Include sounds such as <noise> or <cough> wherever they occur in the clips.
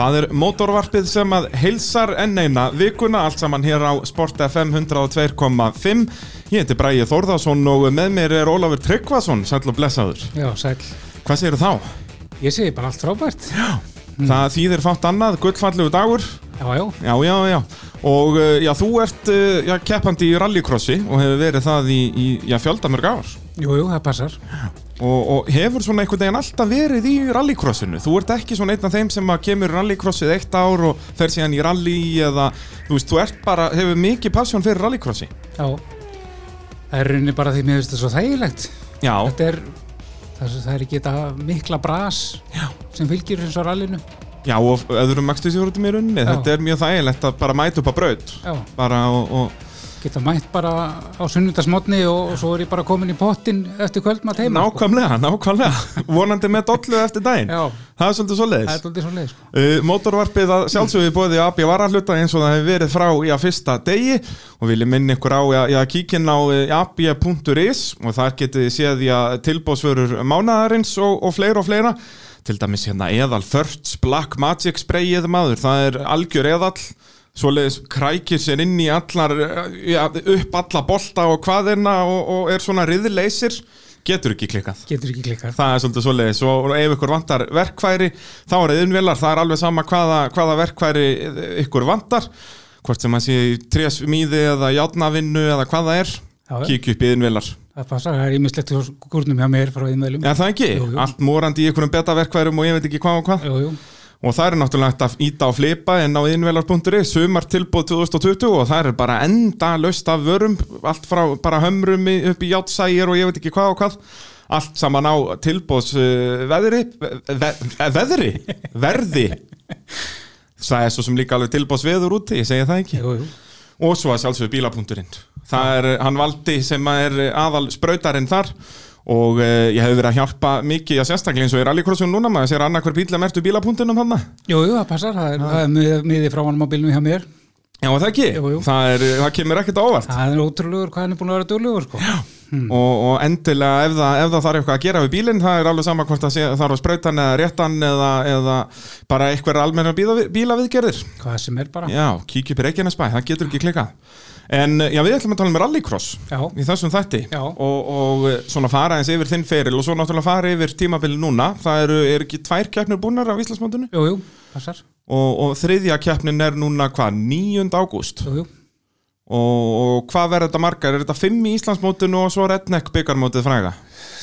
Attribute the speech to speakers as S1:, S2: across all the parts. S1: Það er mótorvarpið sem að heilsar enn eina vikuna, allt saman hér á Sport FM 102.5. Ég heiti Bræði Þórðarsson og með mér er Ólafur Tryggvason, sæll og blessaður.
S2: Já, sæl.
S1: Hvað segir þá?
S2: Ég segi bara allt frábært.
S1: Það þýðir fátt annað, gullfallegu dagur.
S2: Já, já.
S1: Já, já, já. Og uh, já, þú ert uh, já, keppandi í rallycrossi og hefur verið það í, í já, fjöldamörg ár.
S2: Jú, jú, það passar.
S1: Og, og hefur svona einhvern veginn alltaf verið í rallycrossinu? Þú ert ekki svona einn af þeim sem að kemur í rallycrossið eitt ár og fer síðan í rally eða þú veist, þú ert bara, hefur mikið passion fyrir rallycrossi.
S2: Já. Það er rauninni bara því mér finnst þetta svo þægilegt.
S1: Já,
S2: Þetta er, það er, það er ekki þetta mikla bras já. sem fylgir eins og rallinu.
S1: já og öðrum makstusjórutum í rauninni,
S2: Já.
S1: þetta er mjög þægilegt að bara mæta upp að braut.
S2: Já.
S1: Bara og, og
S2: Geta mætt bara á sunnundasmotni og, og svo er ég bara komin í pottin eftir kvöldmatt heima. sko.
S1: nákvæmlega,
S2: <laughs>
S1: nákvæmlega, vonandi með dollu eftir daginn.
S2: Já,
S1: Það er svolítið svo
S2: það er
S1: leiðis.
S2: doldið svo leið, sko.
S1: Uh, Mótorvarpið að sjálfsögðu bóði AB varahluta eins og það hefur verið frá í að fyrsta degi og vil ég minna ykkur á að, að kíkinn á eh, ab.is og þar getið þið séð í að tilbóðsvörur mánaðarins og, og fleira og fleira til dæmis hérna eðal Thirds Black Magic sprayið maður, það er algjör eðall svoleiðis krækir sér inn í allar, eh, já, upp alla bolta og hvaðina og, og er svona riðleysir, getur ekki klikkað
S2: Getur ekki klikkað.
S1: það er svolítið svoleiðis og og ef ykkur vantar verkfæri þá er það innvelar, það er alveg sama hvaða, hvaða verkfæri ykkur vantar hvort sem að sé í trésmíði eða játnavinnu eða hvað það er
S2: Já, já.
S1: kíkju upp í innvelar
S2: Það passar, það er ímislegt úr skurnum hjá mér frá innveilum.
S1: Já það ekki,
S2: Jú, jú.
S1: allt morandi í einhverjum betaverkfærum og ég veit ekki hvað og hvað
S2: Jú, jú.
S1: og það er náttúrulega hægt að íta og flipa en á innvelar.is sumar tilbúð 2020 og það er bara enda löst af vörum allt frá bara hömrum í- upp í játsægir og ég veit ekki hvað og hvað allt saman á tilbúðs uh, veðri ve, ve, veðri, verði það er svo sem líka alveg tilbúðs veður úti, ég segi það ekki
S2: Jú, jú.
S1: og svo að sjálfsögðu bílapunkturinn það er hann valdi sem að er eh, aðal sprautarinn þar og uh, ég hef verið að hjálpa mikið að sérstaklega eins og ég er allir krossum núna maður sér annað hver bíla mertu bílapunktinum hann
S2: Jú, jú, það passar, það er, það er mið- miði frá honum á bílnum hjá mér.
S1: Já, það ekki,
S2: Jú, jú.
S1: Það, er, það kemur ekkert á óvart
S2: Það er ótrúlegur hvað hann er búin að vera duglegur, sko. Já.
S1: og, og endilega ef það, ef það þarf eitthvað að gera við bílinn það er alveg sama hvort það sé, þarf að sprauta hann eða réttan eða, eða bara eitthvað almenna bíla, bílaviðgerðir
S2: Hvað sem er bara.
S1: Já, kíkja upp í Reykjanesbæ, það getur ekki klikkað En já, við ætlum að tala um rallycross
S2: Já.
S1: í þessum þætti
S2: Já.
S1: og, og svona fara eins yfir þinn feril og svo náttúrulega fara yfir tímabili núna það eru er ekki tvær keppnir búnar á Íslandsmóndinu
S2: Jú, jú, passar.
S1: og, og þriðja keppnin er núna hvað, 9. ágúst
S2: Jú, jú.
S1: og, og hvað verður þetta margar? Er þetta fimm í Íslandsmótinu og svo Redneck byggarmótið fræga?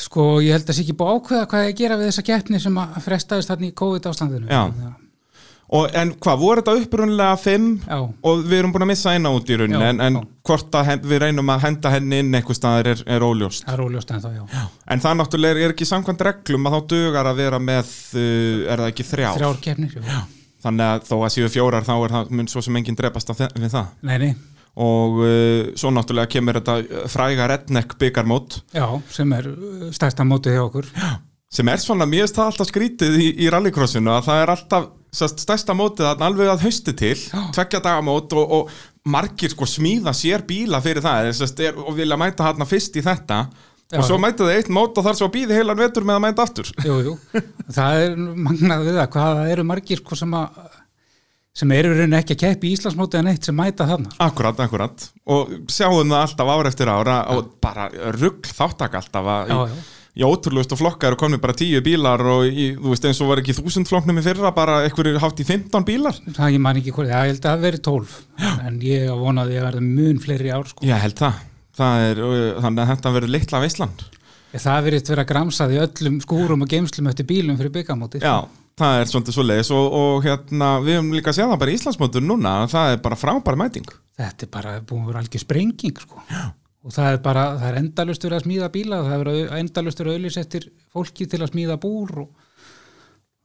S2: Sko, ég held að sé ekki búið að ákveða hvað ég að gera við þessa keppni sem að frestaðist þarna í COVID ástandinu.
S1: Já. Og, en hvað, voru þetta upprunlega fimm
S2: Já,
S1: og við erum búin að missa eina út í rauninni
S2: Já,
S1: en, en
S2: já.
S1: hvort að hen- við reynum að henda henni inn einhver staðar er, er óljóst
S2: það er óljóst en þá, já.
S1: En það náttúrulega er ekki samkvæmt reglum að þá dugar að vera með, uh, er það ekki þrjár?
S2: Þrjár keppnir, jú. Já.
S1: Þannig að þó að séu fjórar þá er það mun svo sem enginn drepast af þe- við það.
S2: Nei, nei,
S1: Og uh, svo náttúrulega kemur þetta uh, fræga redneck byggarmót
S2: já, sem er uh, stærsta mótið hjá okkur. Já.
S1: sem er svona, mér finnst það alltaf skrítið í, í rallycrossinu að það er alltaf sest, stærsta mótið að alveg að hausti til, tvekja dagamót og, og margir sko smíða sér bíla fyrir það sest, er, og vilja mæta hérna fyrst í þetta
S2: Já.
S1: og svo mæta það eitt mót og þar svo býði heilan vetur með að mæta aftur.
S2: Jú, jú. það er magnað við það, hvað það eru margir sko sem að sem eru í rauninni ekki að keppi í Íslandsmótið en eitt sem mæta þarna. sko.
S1: Akkurat, akkurat og sjáum það alltaf ár eftir ára og bara rugg þáttak alltaf að
S2: Já, já.
S1: í ótrúlustu flokkar og komið bara tíu bílar og í, þú veist eins og var ekki þúsund flokknum í fyrra bara einhverjir hátt í 15 bílar
S2: Það ég man ekki hvort, já, ég held að það veri tólf, en ég vonaði að ég verði mun fleiri í ár, sko.
S1: Ég held það, það er, uh, þannig að þetta verður litla veisland
S2: Ég, það verið vera gramsað í öllum skúrum og geimslum eftir bílum fyrir byggamótið.
S1: Já, það er svona svo leiðis og, og hérna við höfum líka að segja það bara í Íslandsmótur núna að það er bara frábær mæting
S2: þetta er bara búin að vera algjör sprenging sko. og það er bara, það er endalust verið að smíða bíla, það er verið að- endalaust verið að auðlis eftir fólki til að smíða búr og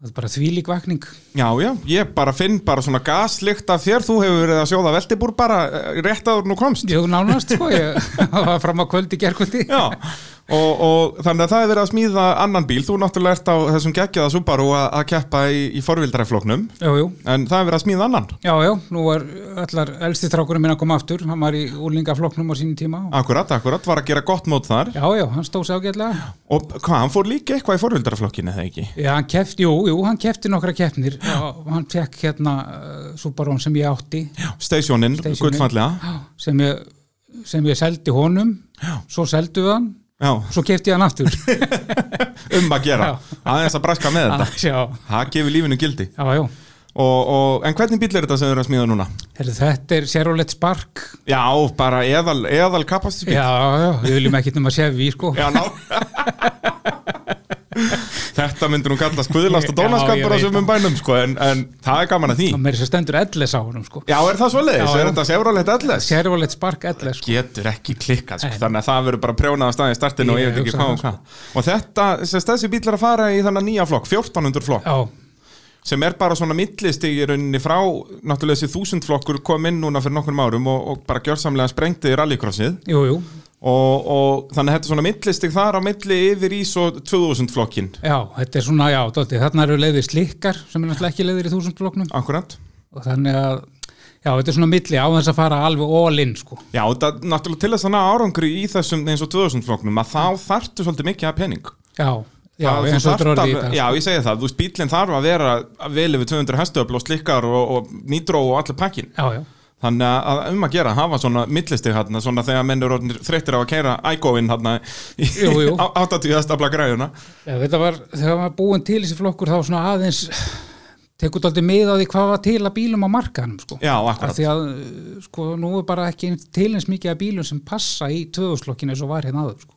S2: það er bara þvílík vakning
S1: Já, já, ég bara finn bara svona gaslykt af þér, þú hefur verið að sjóða veltibúr bara eh, rétt áður nú komst
S2: <laughs> jú nánast sko, ég það var fram á kvöldi gerkvöldi
S1: Já, og, og þannig að það er verið að smíða annan bíl, þú náttúrulega ert á þessum geggjaða Subaru að, að keppa í, í forvildræfloknum,
S2: Jú, jú.
S1: en það er verið að smíða annan
S2: Já, já, nú var allar elsti strákurinn minn að koma aftur, hann var í úlingafloknum á sínum tíma. og-
S1: Akkurat, akkurat, var að gera gott mót þar
S2: Já, já, hann stóð ságætlega.
S1: og hvað, hann fór líka eitthvað í forvildræflokkinu eða ekki?
S2: Já, hann kefti, jú, jú, hann kefti nokkra keppnir og hann fekk hérna uh, Subarón sem ég átti,
S1: Stationinn,
S2: Stationinn.
S1: gullfallega
S2: sem ég, sem ég seldi honum, svo seldu við hann,
S1: Já,
S2: svo kefti ég hann aftur.
S1: um að gera, aðeins að braska með þetta
S2: <laughs> já,
S1: Það gefur lífinu gildi
S2: já, já.
S1: og, og, En hvernig bíl er þetta sem þau eru að smíða núna?
S2: Herðu, þetta er sérulegt spark.
S1: Já, bara eðal, eðal kapastisbíl
S2: Já, já, við viljum ekkert um að séf við, sko.
S1: Já,
S2: <laughs>
S1: ná Þetta myndur nú kallast guðlast og
S2: Já, ég
S1: dónaskapur á
S2: veit
S1: sumum bænum sko, en, en það er gaman að því
S2: Og mér er svo stendur elles á honum, sko.
S1: Já, er það svoleiðis?
S2: Já, já.
S1: Er þetta sérulegt elles?
S2: Sérulegt spark elles, sko.
S1: Getur ekki klikkað, sko.
S2: Nei.
S1: þannig að það verður bara prjónað að staði í startinu og
S2: Ég
S1: ég veit ekki
S2: hugsa
S1: hvað
S2: það, sko.
S1: og hvað Og þetta, sérst, þessi bíl er að fara í þannig nýja flokk, 1400 flokk
S2: Já,
S1: sem er bara svona millist í rauninni frá náttúrulega þessi þúsundflokkur kom inn núna fyrir nokkrum árum og, og bara gjörsamlega sprengti rallycrossið
S2: jú, jú,
S1: og, og þannig að þetta er svona millistig þar á milli yfir í svo 2000 flokkin
S2: já, þetta er svona, já, dótti, þarna eru leiðir slikkar sem er náttúrulega ekki leiðir í þúsundfloknum
S1: akkurat
S2: og þannig að, já, þetta er svona milli á þess að fara alveg all in, sko.
S1: Já, og það, náttúrulega til þess að ná árangri í þessum eins og 2000 flokknum að þá þarftu svolítið mikið að pening
S2: Já, já,
S1: Það- þú
S2: eins og þetta er
S1: þarft
S2: orðið
S1: að-
S2: í dag. sko.
S1: Já, ég segi það, þú veist, bílinn þarf að vera að vel yfir 200 hestöfl og slikkar og, og nýtró og allir pakkin
S2: Já, já,
S1: Þannig að að um að gera, hafa svona millistig hérna, svona þegar menn eru orðnir þreyttir á að keira ægóin hérna í
S2: Jú, jú.
S1: á- 80 stafla græjuna.
S2: já, þetta var, þegar maður búin til þessi flokkur þá svona aðeins tekur daldið mið á því hvað var til að bílum á markanum, sko.
S1: Já,
S2: Af
S1: akkurat.
S2: því að, uh, sko, nú er bara ekki eins- til eins mikið af bílum sem passa í tvöðuslokkinu eins og var hérna aður, sko.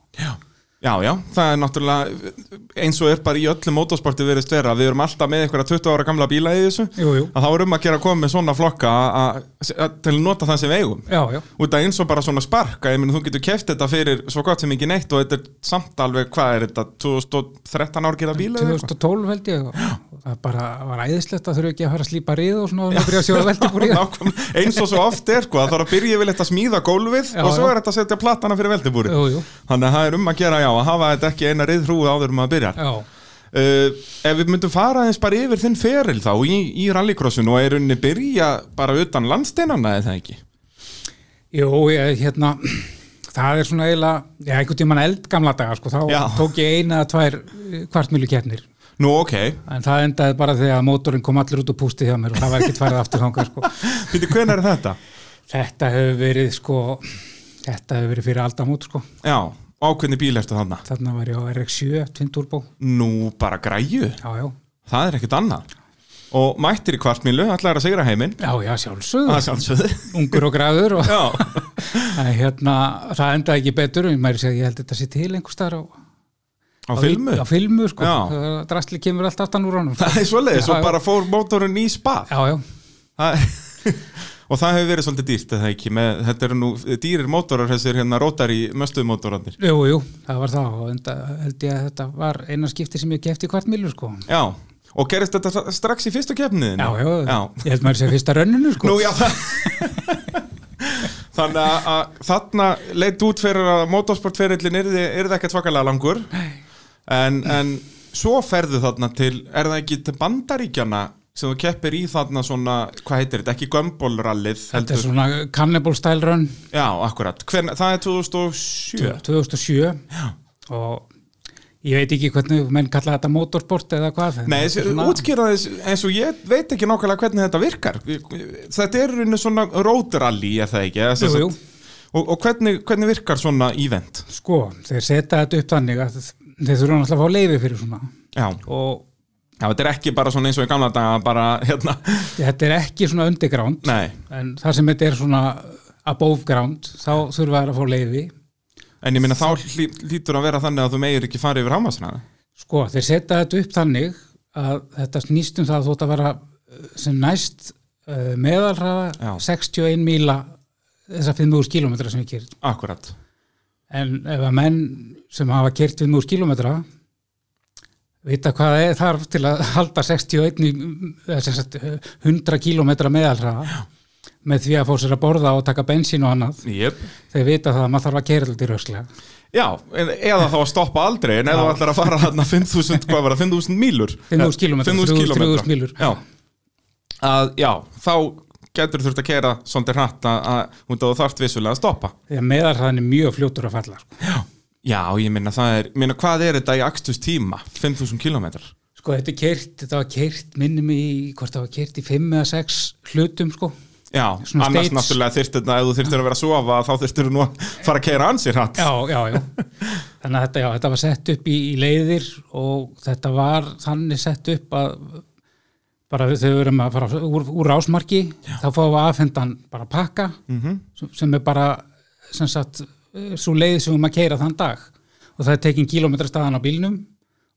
S1: Já, já, það er náttúrulega eins og er bara í öllu mótorsporti verið stverra við erum alltaf með einhverja 20 ára gamla bíla í þessu
S2: Jú, jú.
S1: að þá er um að gera að koma með svona flokka að- að- til að nota það sem við eigum
S2: Já, já,
S1: út af eins og bara svona sparka ég minn þú getur keft þetta fyrir svo gott sem ekki neitt og þetta er samt alveg, hvað er þetta 2013 árgera bíla eða eitthvað?
S2: 2012 held ég og það bara var æðislegt að þurfa ekki að fara að slípa rið og svona og byrja að sjóða veldi
S1: <laughs>
S2: búrið
S1: Nákvæm- eins og svo oft er sko, að það er að byrja yfirleitt að smíða gólfið
S2: Já,
S1: og svo
S2: já.
S1: er þetta að setja platana fyrir veldibúri
S2: Jú, jú,
S1: þannig að það er um að gera já, að hafa þetta ekki eina riðhrúi áður um að byrja
S2: já,
S1: uh, ef við myndum fara aðeins bara yfir þinn feril þá í, í rallycrossinu og er unni byrja bara utan landsteinana eða ekki
S2: jú, ég, hérna það er svona eiginlega, já, einhvern tímann eldgamla daga, sko, þá
S1: Já.
S2: tók ég eina eða tvær kvartmjölu keppnir
S1: nú ok,
S2: en það endaði bara þegar mótorinn kom allir út og pústi hjá mér og það var ekkert farið aftur þangað, sko
S1: veitir hvenær er þetta?
S2: þetta hefur verið, sko þetta hefur verið fyrir aldamót, sko
S1: já, ákveðni bíl ertu þarna
S2: þarna var ég á RX-7, Twin Turbo
S1: nú bara græju,
S2: já, já,
S1: það er ekkert annað og mættir í kvartmílu, allar að sigra heiminn
S2: já, já, sjálfsögðu
S1: að
S2: <laughs>
S1: sjálfsögðu
S2: ungur og græður og
S1: já,
S2: Það, er hérna, það endaði ekki betur ég, meira að segja, ég held að þetta sé til einhvers staðar á,
S1: á filmu
S2: á filmu sko.
S1: Já.
S2: Það- drasli kemur allt aftan úr
S1: <laughs>
S2: honum
S1: það er svoleiðis
S2: Já,
S1: og
S2: já.
S1: bara fór mótorinn í spað
S2: já, já,
S1: Það- <laughs> og það hefur verið svolítið dýrt eða ekki með, þetta eru nú dýrir mótorar þessir hérna rótari möstuð mótorarnir
S2: jú, jú, það var það og enda, held ég að þetta var eina skipti sem ég kefti hvart milur sko.
S1: já, og gerist þetta strax í fyrstu kefniðin
S2: já, já,
S1: já.
S2: ég held maður að segja fyrsta rönninu sko.
S1: Nú, já það- <laughs> þannig að- að þarna leitt út fyrir að motorsportferillin er það ekkert svakalega langur en, en svo ferðu þarna til er það ekki til bandaríkjana sem þú keppir í þarna svona hvað heitir þetta, ekki gömbolrallið
S2: þetta er
S1: heldur,
S2: svona Cannibal Style Run
S1: já, akkurat Hvern, það er 2007
S2: 2007 já. og ég veit ekki hvernig menn kalla þetta motorsport eða hvað en
S1: Nei,
S2: þetta er
S1: þessi-
S2: svona-
S1: útskýra þess eins og ég veit ekki nákvæmlega hvernig þetta virkar Þetta er í rauninni svona road rally er það ekki? eða sem
S2: Jú,
S1: sagt-
S2: jú.
S1: Og, og hvernig, hvernig virkar svona event?
S2: sko, þeir setja þetta upp þannig að þeir þurfa náttúrulega að fá leifi fyrir svona
S1: Já,
S2: og
S1: Já þetta er ekki bara svona eins og í gamla daga bara hérna, <laughs>
S2: þetta er ekki svona underground
S1: nei
S2: en þar sem þetta er svona above ground, þá þurfa þær að fá leiði
S1: En ég minna þá hlý, lítur að vera þannig að þú meir ekki fara yfir hámasina
S2: sko, þeir setja þetta upp þannig að þetta snýst um það að þú ætti að vera eh, sem næst uh, meðalraða
S1: Já.
S2: 61 míla þessar 5.000 kilometra sem ég kyrt
S1: Akkurat
S2: en ef að menn sem hafa kyrt 5.000 kilometra vita hvað það er þarf til að halda 61 í- eða sem sagt, eh, 100 kilometra meðalraða með því að fá sér að borða og taka bensín og annað
S1: Jöp
S2: þeir vita það að maður þarf að keira þetta í rösklega
S1: Já, en, eða þá að stoppa aldrei en eða þú ætlar að fara þarna 5.000, hvað var það, 5.000 mílur
S2: 5.000 kílómetra,
S1: 5.000
S2: 3.000
S1: kílómetra.
S2: mílur.
S1: Já, að, já þá getur þurft að kera svolítið hratt að, að, út af þú þarft vissulega að stoppa
S2: því að meðalhraðan er mjög fljótur að falla sko.
S1: Já, ég minna það er, minna hvað er þetta í akstus tíma, 5.000 kílómetrar
S2: sko þetta er keirt, þetta var keirt minnum í, hvort það var keirt í 5 eða 6 hlutum sko
S1: Já,
S2: Svona
S1: annars
S2: states.
S1: náttúrulega þyrftir þetta, ef þú þyrftir að vera að sofa þá þyrftir þú nú að fara að kera ansir hratt
S2: já, já, já <laughs> þannig að þetta, já, þetta var sett upp í, í leiðir og þetta var þannig sett upp að bara þau verðum að fara úr, úr rásmarki þá fáum við aðfendan bara pakka -hmm. sem er bara sem sagt, svo leið sem við erum að keira þann dag og það er tekin kilometra staðan á bílnum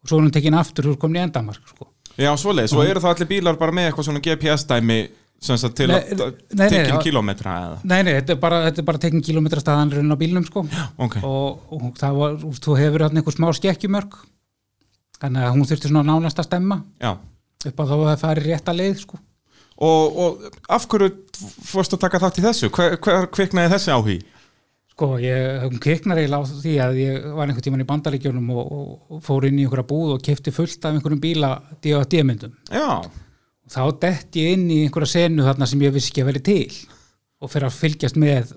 S2: og svo er hún tekin aftur úr komin í endamark sko.
S1: Já, svoleiðis, og eru það allir bílar bara með eitthvað svona GPS-dæmi sem sagt til
S2: Nei,
S1: að
S2: nei, nei,
S1: tekinn
S2: já.
S1: kílómetra eða
S2: Nei, nei, þetta er bara, þetta er bara tekin kilometra staðan raun á bílnum sko.
S1: ok.
S2: og, og það var, þú hefur hann einhver smá skekkjumörk þannig að hún þurfti svona nánast að stemma
S1: Já,
S2: upp að þá það færi rétta leið sko.
S1: og, og af hverju fórst að taka þátt í þessu? Hver, hver kviknaði þessi áhugi?
S2: Sko, ég, hún kviknar eiginlega á því að ég var einhvern tíman í bandaríkjunum og, og, og fór inn í einhverja búð og kefti fullt af einhverjum bíla D.A.D.-myndum.
S1: Já,
S2: Þá dett ég inn í einhverja senu þarna sem ég vissi ekki að veri til og fyrir að fylgjast með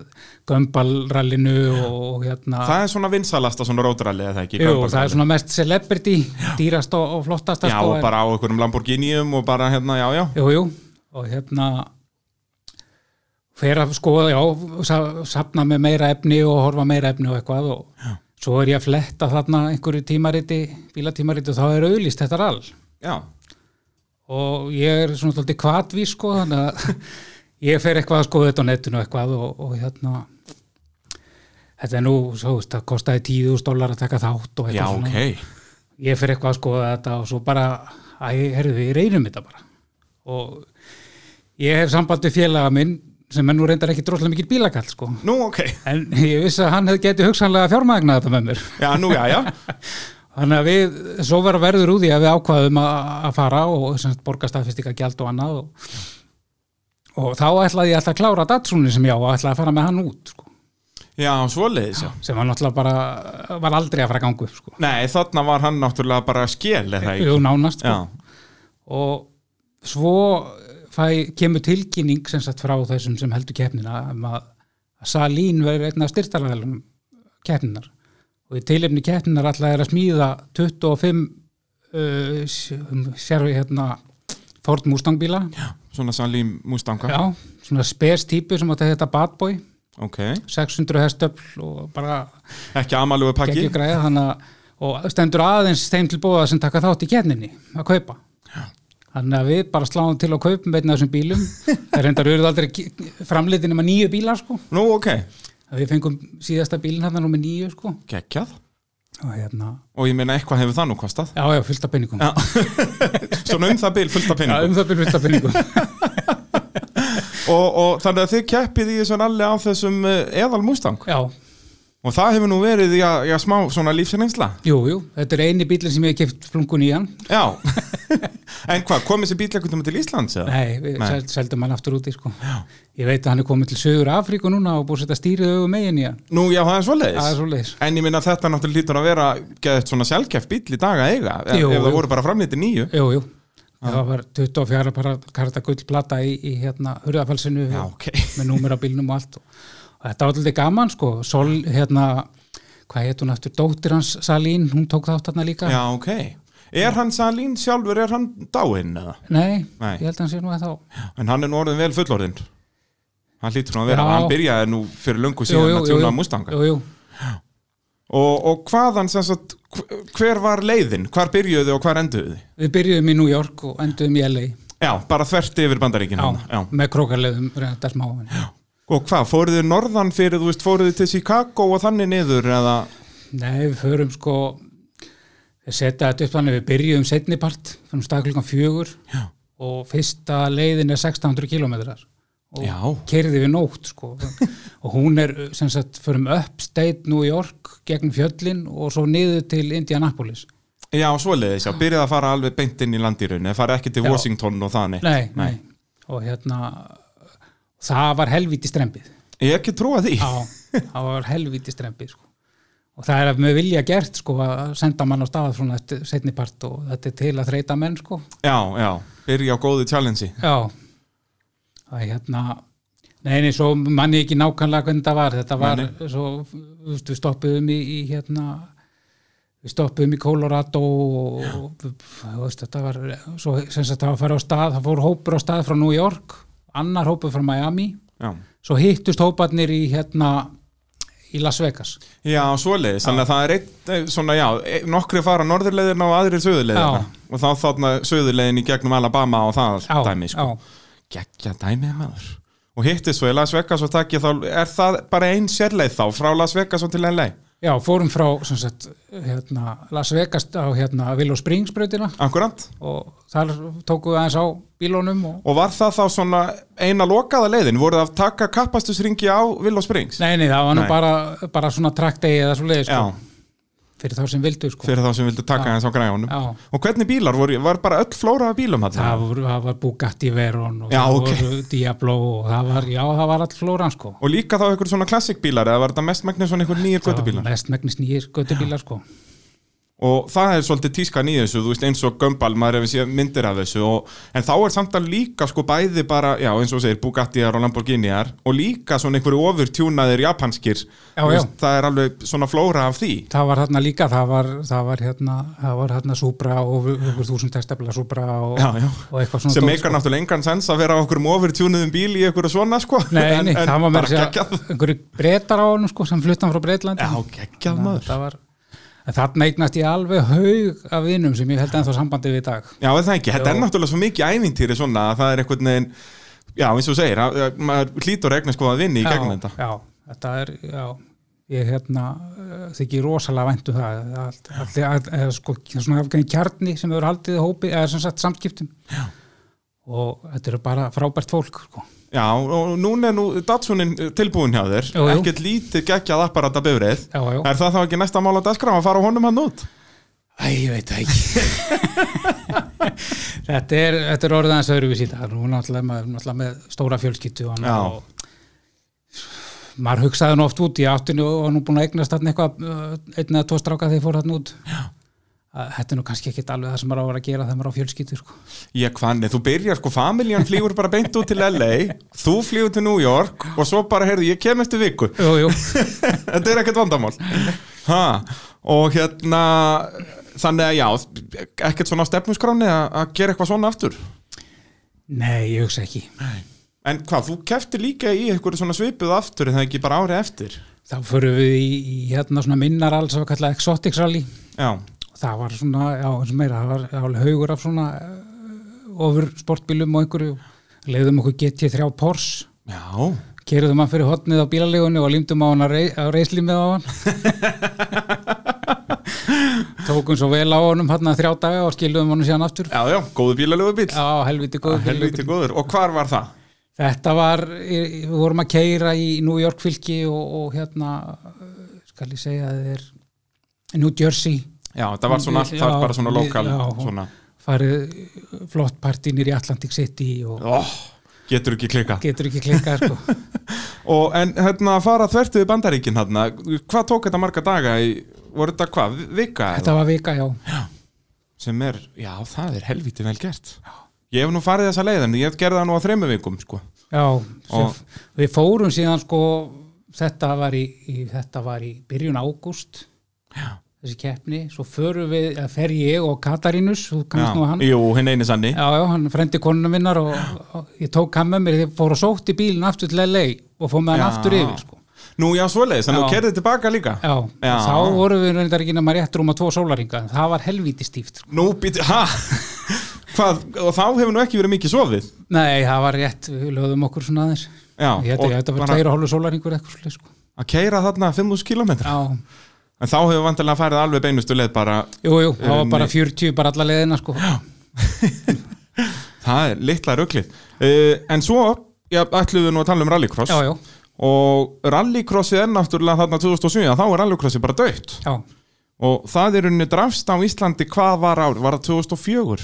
S2: gömbalrallinu og hérna...
S1: það er svona vinsalasta svona rótralið eða ekki?
S2: Jú,
S1: Gambar-
S2: það er svona mest celebrity, dýrast og, og flottasta
S1: Já,
S2: sko,
S1: og
S2: en-
S1: bara á einhverjum Lamborghinium og bara hérna, já, já
S2: Jú, jú, og hérna fer að skoða, já, sa- safna með meira efni og horfa meira efni og eitthvað og svo er ég að fletta þarna einhverju tímariti, bílatímariti og þá er auðlýst þetta all
S1: Já,
S2: og ég er svona svolítið kvatví sko, þannig að <laughs> ég fer eitthvað að skoða þetta á netinu og eitthvað og, og hérna þetta er nú, svo veist, það kostaði 10.000 dólar að taka þátt og eitthvað
S1: já,
S2: svona
S1: ok
S2: ég fer eitthvað að skoða þetta og svo bara, æ, herðu, við reynum þetta bara og ég hef samband við félaga minn sem er nú reyndar ekki droslega mikill bílakall sko.
S1: Nú, ok,
S2: en ég vissi að hann hefði getið hugsanlega fjármagna þetta með mér
S1: já, nú, já, já
S2: þannig að við, svo vera verður úr því að við ákvaðum að, að fara og sem sagt, borga staðfistika gjald og annað og, og þá ætlaði ég alltaf að klára datsrúni sem ég á og ætlaði að fara með hann út sko.
S1: Já, svoleiðis, já
S2: sem var náttúrulega bara var aldrei að fara að ganga upp sko.
S1: Nei, þarna var hann náttúrulega bara skél eða ekki
S2: Jú, nánast sko.
S1: Já,
S2: og svo fæ, kemur tilkynning sem sagt frá þessum sem heldur keppnina um að, að Salín verður einn af styrtalarælum keppninar og í tilefni keppninar alltaf er að smíða 25 uh, sér við hérna Ford Mustang bíla já.
S1: svona Salim Mustanga
S2: svona spes típu sem átti að þetta Bad Boy
S1: Ok,
S2: 600 hestöfl og bara
S1: ekki amalugu pakki
S2: ekki græða þannig að og stendur aðeins þeim til bóða sem taka þátt í kenninni að kaupa þannig að við bara sláum til að kaupum einn af þessum bílum það er reyndar auðvitað aldrei framleitin nema nýju bílar sko
S1: Nú, ok,
S2: við fengum síðasta bílinn hann nummer nýju sko
S1: geggjað
S2: og hérna,
S1: Og ég meina eitthvað hefur það nú kostað
S2: já já, fullt af penningum
S1: Já. <laughs> Svona um það bil fullt af
S2: já,
S1: peningum
S2: um það byrjum fullt af penningum
S1: <laughs> og, og þannig að þið keppið í þessu allir á þessum eh, eðal Mustang
S2: já,
S1: Og það hefur nú verið í að, í að smá svona lífsreynsla
S2: jú, jú, þetta er eini bílinn sem ég hef keft flunkun í hann
S1: Já <laughs> En hvað, komið þessi bíl ekkert um til Íslands eða?
S2: nei, við
S1: Nei.
S2: sel, seldum hann aftur úti sko ég veit að hann er komið til Söður Afríku núna og búið að setja stýrið auðvum megin í hann
S1: Nú, já, það er
S2: það er
S1: svoleiðis
S2: svo leis
S1: En ég minna þetta náttúrulega lítur að vera geðið svona sjálfkeft bíl í dag að eiga ef,
S2: Jú,
S1: ef
S2: jú.
S1: það voru bara framlítið nýju
S2: Jú, jú, það var 24 bara karta gullplata í, í hérna hurðafælsinu
S1: Já, ok
S2: með númer á bílnum og allt og, og þetta var alltaf gaman sko, Sol, hérna hvað heit hún aftur, dóttir hans Salín hún tók þátt þarna líka
S1: Já, ok Er hann Salín sjálfur, er hann dáinn eða?
S2: Nei,
S1: Nei.
S2: ég held að hann sé nú að þá
S1: En hann er nú orðin vel fullorðinn Hann lítur nú að vera,
S2: Já.
S1: hann byrjaði nú fyrir löngu síðan að tjóna Mustanga
S2: jú, jú.
S1: og, og hvaðan sem sagt hv- hver var leiðin, hvar byrjuðu þið og hvar enduðu þið?
S2: Við byrjuðum í New York og enduðum í LA
S1: Já, bara þvert yfir
S2: já,
S1: bandaríkinu já.
S2: með krókarleðum reynda smá en-
S1: Og hvað, fóruðu þið norðan fyrir, þú veist, fóruðu þið til Chicago og þannig niður eða
S2: Nei, við förum sko við setja þetta upp þannig, við byrjuðum setni part, fannum stað klukkan fjögur
S1: Já.
S2: og fyrsta leiðin er 1600 kilometrar og
S1: Já.
S2: keyrði við nótt sko <laughs> og hún er sem sagt, förum upstate New York gegn fjöllin og svo niður til Indianapolis
S1: Já, svoleiðis, já, byrjuðu að fara alveg beint inn í landirunni, það fara ekki til
S2: Já.
S1: Washington og þannig
S2: nei, nei. og hérna það var helvíti strempið
S1: Ég ekki trúa því <laughs>
S2: Já, það var helvíti strempið sko. og og það er að með vilja gert sko að senda mann á staða svona eftir setni part og þetta er til að þreita menn sko
S1: já, já, byrja á góðu challenge
S2: já það er hérna neini, svo manni ekki nákvæmlega hvernig þetta var þetta var,
S1: Nei,
S2: svo, þú veist, við stoppuðum í, í hérna við stoppuðum í Colorado og, og þú veist, þetta var svo, sem sagt, það var að fara á stað, það fór hópur á stað frá New York, annar hópur frá Miami,
S1: já,
S2: svo hittust hóparnir í hérna í Las Vegas
S1: já svoleiðis, þannig að það er eitt eh, svona, já, eh, nokkri fara norðurleiðina og aðrir söðurleiðina
S2: Já.
S1: og þá þarna söðurleiðin í gegnum Alabama og það
S2: Já,
S1: dæmi, sko,
S2: já.
S1: geggja dæmi maður og hitti svo í Las Vegas og takk ég þá er það bara ein sérleið þá frá Las Vegas og til LA
S2: Já, fórum frá sem sagt, hérna, Las Vegas á hérna, Willow Springs brautina
S1: akkurat,
S2: og þar tókuðu aðeins á bílónum og
S1: og var það þá svona eina lokaða leiðin, voru það að taka kappastusringi á Willow Springs
S2: Nei, nei, það var nú
S1: Nei.
S2: bara, bara svona traktegi eða svo leiði sko,
S1: já,
S2: fyrir þá sem vildu sko.
S1: fyrir þá sem vildu taka hans á græjunum
S2: Já.
S1: og hvernig bílar voru, var bara öll flóra af bílum hann,
S2: það, voru, það var Bugatti Veyron og
S1: Já,
S2: það
S1: ok.
S2: voru Diablo og það var, já, það var all flóran sko.
S1: og líka þá einhver svona klassikbílar eða var þetta mestmægnir svona einhver nýjir
S2: Það var
S1: göttubílar
S2: mest megnist nýjir göttubílar sko.
S1: og það er svolítið tískan í þessu, þú veist eins og gömbal maður hefur séð myndir af þessu og, en þá er samt að líka sko bæði bara já eins og þú segir Bugattiar og Lamborghiniar og líka svona einhverju ofurtjúnaðir japanskir,
S2: Já,
S1: Þú
S2: já.
S1: það er alveg svona flóra af því
S2: Það var hérna líka, það var, það var hérna, það var hérna Supra og ykkur þúsund testafla Supra og,
S1: Já, já.
S2: og eitthvað svona sko.
S1: sem
S2: dót,
S1: meikar náttúrulega engan sens að vera á okkur ofurtjúnaðum bíl í einhverju svona sko
S2: Nei,
S1: <laughs>
S2: nei, það var
S1: bara
S2: með að
S1: geggjað.
S2: segja einhverju breytar á honum sko sem fluttan frá Breitlandi
S1: Já, geggjað maður
S2: Það var en Þarna eignast ég alveg haug af vinum sem ég held ennþá sambandi við í dag
S1: Já, er það ekki, þetta
S2: Jó.
S1: er náttúrulega svo mikið ævintýri svona að það er einhvern veginn Já, eins og þú segir, að- að maður hlýtur að egna sko að vinni í gegnum þetta
S2: Já, þetta er, já ég hérna, eh, þykir rosalega væntu það allt, allt, allt, eða, sko, svona afgæðin kjarni sem hefur haldið í hópi, eða sem sagt samskiptum já. og þetta eru bara frábært fólk sko.
S1: Já, og núna er nú Datsunin eh, tilbúin hjá þér
S2: Jú, jú.
S1: Ekkert lítið geggjað apparata bifrið
S2: Já, já.
S1: Er það þá ekki næsta mál á dagskrá að fara á honum hann út?
S2: Æ, ég veit það ekki <laughs> þetta, er, þetta er orðið aðeins öðruvís í dag nú er náttúrulega, maður, er náttúrulega með stóra fjölskyttu og, annað
S1: Já.
S2: og maður hugsaði nú oft út í áttinu og var nú búin að eignast þarna eitthvað uh, einn eða tvo stráka þegar ég fór þarna út Já. þetta er nú kannski ekkit alveg það sem maður á að vera að gera þegar maður á fjölskyttu sko.
S1: Ég kvanni, þú byrjar sko, familjan flýgur bara beint út til LA Þú flýgur til New York og svo bara, heyrðu, ég kem eftir viku
S2: jú, jú.
S1: Þetta er ekkert vandamál ha, Og hérna, þannig að já, ekkert svona á stefnusgráni að að gera eitthvað svona aftur
S2: nei, ég hugsa ekki
S1: En hvað, þú keftir líka í einhverju svona svipuð aftur en það ekki bara árið eftir
S2: þá förum við í, í hérna svona minnar alls að kalla exotics rally
S1: Já,
S2: það var svona, já, eins og meira það var alveg haugur af svona uh, ofur sportbílum og einhverju leiðum okkur GT3 Porsche
S1: já,
S2: keirðum hann fyrir hotnið á bílalegunni og límdum á hann að rei, reisli með á hann tókum svo vel á honum hann þrjá daga og skiluðum honum síðan aftur
S1: já, já, góðu bílalegu bíl
S2: já, helviti góð
S1: Helviti góður, og hvar var það?
S2: þetta var, í- við vorum að keira í New York fylki og, og hérna uh, skal ég segja þér New Jersey
S1: Já, það var svona allt, það
S2: Já,
S1: var bara svona
S2: við-
S1: lokal
S2: já.
S1: svona,
S2: farið eh, flott partinir í Atlantic City og
S1: ó, getur ekki klika
S2: getur ekki
S1: <laughs>
S2: klikkað sko.
S1: Og en hérna að fara þvertu við bandaríkin hérna, hvað tók þetta marga daga í, voru þetta hvað, vika? eða?
S2: þetta var vika, já
S1: Sem er, já, það er helviti vel gert Ég hef nú farið þessa leið en ég gerði það nú á þremmu vikum, sko
S2: já, sem,
S1: Og-
S2: við fórum síðan sko, þetta var í, í þetta var í byrjun ágúst
S1: Já.
S2: þessi keppni, svo förum við eða fer ég og Katarínus, þú kannast nú
S1: Já,
S2: hann
S1: Jú, hinn eini sanni
S2: Já, já, hann frendi konuna minnar og, og ég tók hann með mér, ég fór og sótti bílinn aftur til LA og fór með hann
S1: Já.
S2: aftur yfir sko.
S1: Nú, já, svoleiðis, en
S2: Já.
S1: þú kerðið tilbaka líka
S2: Já,
S1: Já.
S2: þá vorum við reyndar ekki nema rétt rúma tvo sólaringa, það var helvíti stíft sko.
S1: Nú býti, ha? <laughs> Hvað, og þá hefur nú ekki verið mikið sofið
S2: Nei, það var rétt, við lögðum okkur svona aðeins
S1: Já,
S2: Ég held
S1: og
S2: að þetta var
S1: bara-
S2: tveir og hálfu sólaringur eitthvað svolítið sko.
S1: Að keira þarna 5.000 km
S2: Já,
S1: En þá hefur vantilega farið alveg beinustu leið bara
S2: jú, jú, það var
S1: Nei.
S2: bara 40 bara alla leðina sko Já,
S1: Það er litla ruglið uh, En svo, já, ætlum við nú að tala um rallycross
S2: já, já,
S1: Og rallycrossið er náttúrulega þarna 2007 að Þá er rallycrossið bara döitt
S2: já,
S1: og það er unni drafst á Íslandi hvað var ár, var það 2004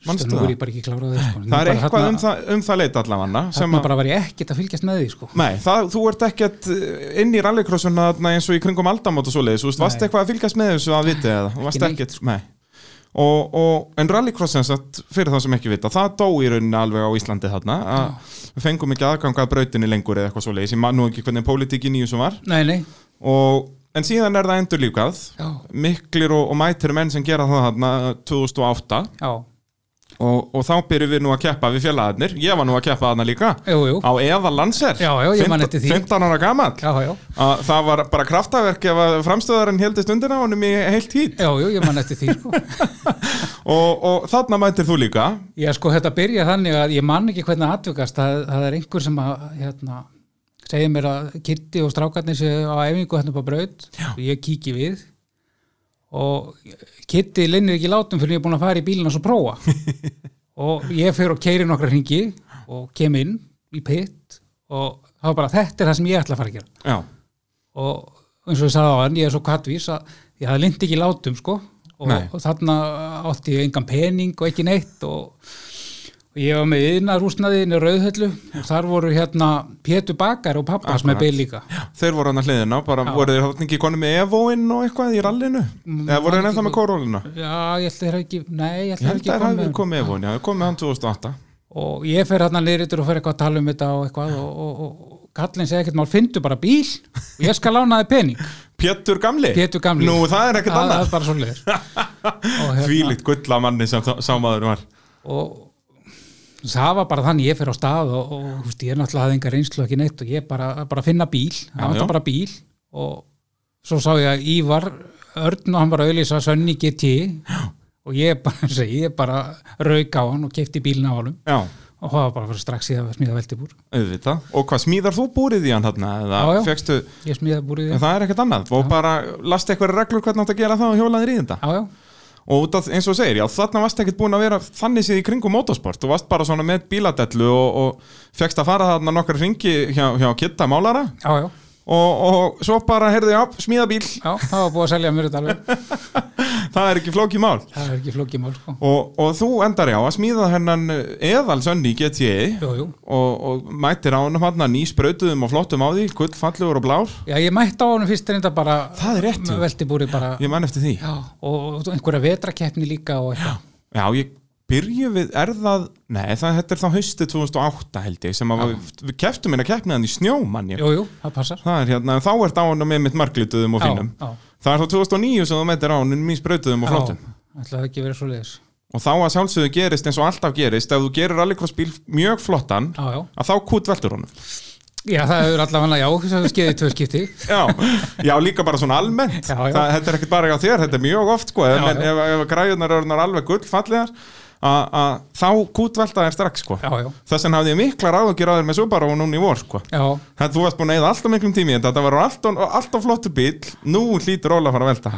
S2: Manstu
S1: manstu
S2: nú er
S1: það?
S2: ég bara ekki klárað því sko. Nú
S1: Það er
S2: bara
S1: eitthvað
S2: þarna-
S1: um það, um það leita allavega sem
S2: Þarna
S1: að,
S2: bara var ég ekkert að fylgjast með því sko.
S1: nei, það, þú ert ekkert eh, inn í rallycrossuna þarna eins og í kringum aldamót og svoleiðis, þú veist,
S2: Nei.
S1: varst eitthvað að fylgjast með þessu að viti eða, Þú varst
S2: neitt,
S1: ekkert nei. og, og en rallycross sem sagt, fyrir það sem ekki vita, það dó í rauninni alveg á Íslandi þarna, að við fengum ekki aðganga að brautinni lengur eða eitthvað svoleiðis, ég man nú ekki hvernig pólitíkin í þessu var
S2: Nei, nei,
S1: og, en síðan er það endurlífgað
S2: já,
S1: miklir og, og mætir menn sem gera það þarna eh, 2008
S2: já,
S1: og, og þá byrjum við nú að keppa við félagarnir ég var nú að keppa þarna líka
S2: jú, jú,
S1: á eða landser
S2: Já, já, ég man eftir því.
S1: 15 ára gamall
S2: já, já,
S1: að það var bara kraftaverk ef að framstöðarinn heldist undir á honum í heilt hít
S2: já, jú, ég man eftir því sko.
S1: og, og þarna mætir þú líka
S2: Já, sko, þetta byrja þannig að ég man ekki hvernig atvökast, það, það er einhver sem að, hérna, segir mér að kitti og strákarnir séu á efingu hérna på braut, Já. ég kíki við og kitti linnir ekki látum fyrir ég er búin að fara í bílinn hans og prófa og ég fyrir og keiri nokkra hringi og kem inn í pitt og það var bara þetta er það sem ég ætla að fara að gera
S1: já,
S2: og eins og ég sagði á hann, ég er svo kattvís að ég hafði lind ekki látum sko og,
S1: Nei.
S2: og þarna átti ég engan pening og ekki neitt og, og ég var með yðnarúsnaðin í Rauðhöllu og þar voru hérna Pétur Bakar og pappa sem er
S1: Akkurat.
S2: beil líka
S1: þeir voru hann að hliðina bara voru þeir hann ekki konum með Evoinn og eitthvað í rallinu
S2: Mm,
S1: eða voru þeir ennþá með korólina
S2: Já, ég ætla þeir ekki, nei, ég
S1: ég
S2: ætla þeir
S1: held
S2: ekki
S1: að það
S2: komið
S1: hefur komið Evoinn, já, komið hann 2008
S2: og ég fer hérna nýritur og fer eitthvað að tala um þetta og eitthvað og, og, og, og kallinn segir ekkert mál, fyndu bara bíl og ég skal lána þið pening
S1: Pétur gamli,
S2: Pétur gamli
S1: nú það er ekkert annað
S2: Það- Það er bara hérna-
S1: <laughs>
S2: svo leir
S1: Þvílíkt gull að manni sem þá- sá maður var
S2: og það var bara þannig ég fyrir á stað og, og þú veist, ég er náttúrulega hafði enga reynslu og ekki neitt og ég bara, bara finna bíl það var
S1: já.
S2: bara bíl og svo sá ég að Ívar Örn og hann var að auðlýsa Sönni GT og ég bara, <laughs> segi, ég bara rauk á hann og kefti bílinn á honum
S1: Já,
S2: og það var bara fyrir strax ég að smíða veltibúr
S1: auðvitað Og hvað smíðar þú búrið í hann þarna? Eða
S2: Já, já.
S1: fékkstu,
S2: ég smíðaði búrið
S1: en það er ekkert annað Og bara last eitthvað reglur hvernig átt að gera það og hjólaðir í þetta
S2: já, já,
S1: Og út að, eins og þú segir, já, þarna varst ekkert búin að vera þannig séð í kringum motorsport Þú varst bara svona með bíladellu og, og fékkst að fara þarna nokkar ringi hjá, hjá Kitta Málara
S2: já, já,
S1: og, og svo bara, heyrðu, já, smíða bíl
S2: já það var búið að selja mér
S1: <laughs>
S2: þetta alveg
S1: Það er ekki flókið mál
S2: það er ekki flókið mál sko.
S1: Og, og þú endar já að smíða hennan eðalsönni í GTI
S2: jú, jú.
S1: og, og mættir á honum hann nýsprautuðum og flottum á því, gullfallegur og blár
S2: já, ég mætti á honum fyrst reynda bara
S1: Það er rétt, jú.
S2: veltibúrið bara
S1: ég man eftir því já,
S2: Já, og og einhverja vetrakeppni líka og eitthvað.
S1: ég byrju við, er það nei, það, þetta er þá haustið 2008 held ég sem að við, við keftum hérna keppniðan í snjó mann ég,
S2: Jú, jú, það passar.
S1: það er hérna, en þá ert á honum með mitt marglituðum og fínum
S2: Já, já.
S1: það er þá 2009 sem þú mættir á honum nýsprautuðum og flottum
S2: Já, ætlaði ekki að vera svo leiðis.
S1: og þá að sjálfsögðu gerist eins og alltaf gerist ef þú gerir rallycross bíl mjög flottan
S2: Já, já.
S1: að þá kút veldur honum
S2: Já, það hefur allavega, já, það hefur skeiðið tvö skipti.
S1: <laughs> já, já, líka bara svona almennt
S2: Já, já.
S1: Það, þetta er ekkert bara hjá þér, þetta er mjög oft sko,
S2: Já,
S1: já, en
S2: já.
S1: ef, ef græðunar eru orðnar alveg gullfallegar a- að þá kútvelta þær strax sko.
S2: Já, já.
S1: þess vegna hafði ég mikla ráðugjur á þér með Subaru núna í vor sko.
S2: Já,
S1: Það, þú varst búin að eða alltaf miklum tími í þetta, þetta var alltaf, alltaf flottur bíl nú hlýtur Óla að fara að velta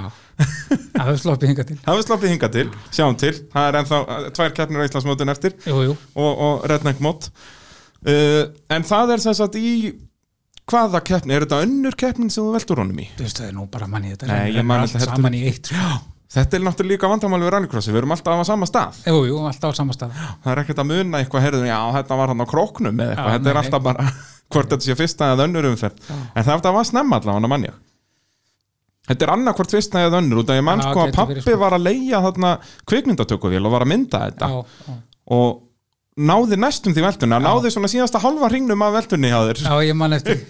S2: það hefur sloppið hingað til.
S1: það við sloppið hinga til, sjáum til það er ennþá eh, tvær keppnir á Íslandsmótin eftir
S2: Jú, jú.
S1: og, og Redneck Mod uh, en það er sem sagt í hvaða keppni, er þetta önnur keppnin sem þú veltur honum í?
S2: Þú veist, það er nú bara manni þetta.
S1: Nei, ég man
S2: Allt
S1: þetta heldur-
S2: Saman í eitt. Já.
S1: Þetta er náttúrulega líka vandamál við rallycrossi, við erum alltaf á sama stað
S2: Jú, jú, alltaf á sama stað.
S1: Það er ekkert að muna eitthvað, heyrðu, já, þetta var hann á króknum eða eitthvað,
S2: Já,
S1: þetta er
S2: nei.
S1: alltaf bara <laughs> hvort þetta sé fyrsta eða önnur umferð en það var snemma allavega, mann ég Þetta er annað hvort fyrsta eða önnur út af ég mann
S2: Já,
S1: sko að
S2: gæti verið,
S1: pappi
S2: sko.
S1: var að leia þarna kvikmyndatökuvél og var að mynda þetta
S2: Já, já.
S1: og náði næstum því veltuna, náði svona síðasta halva hringnum af veltunni hjá þér
S2: Já, ég man eftir.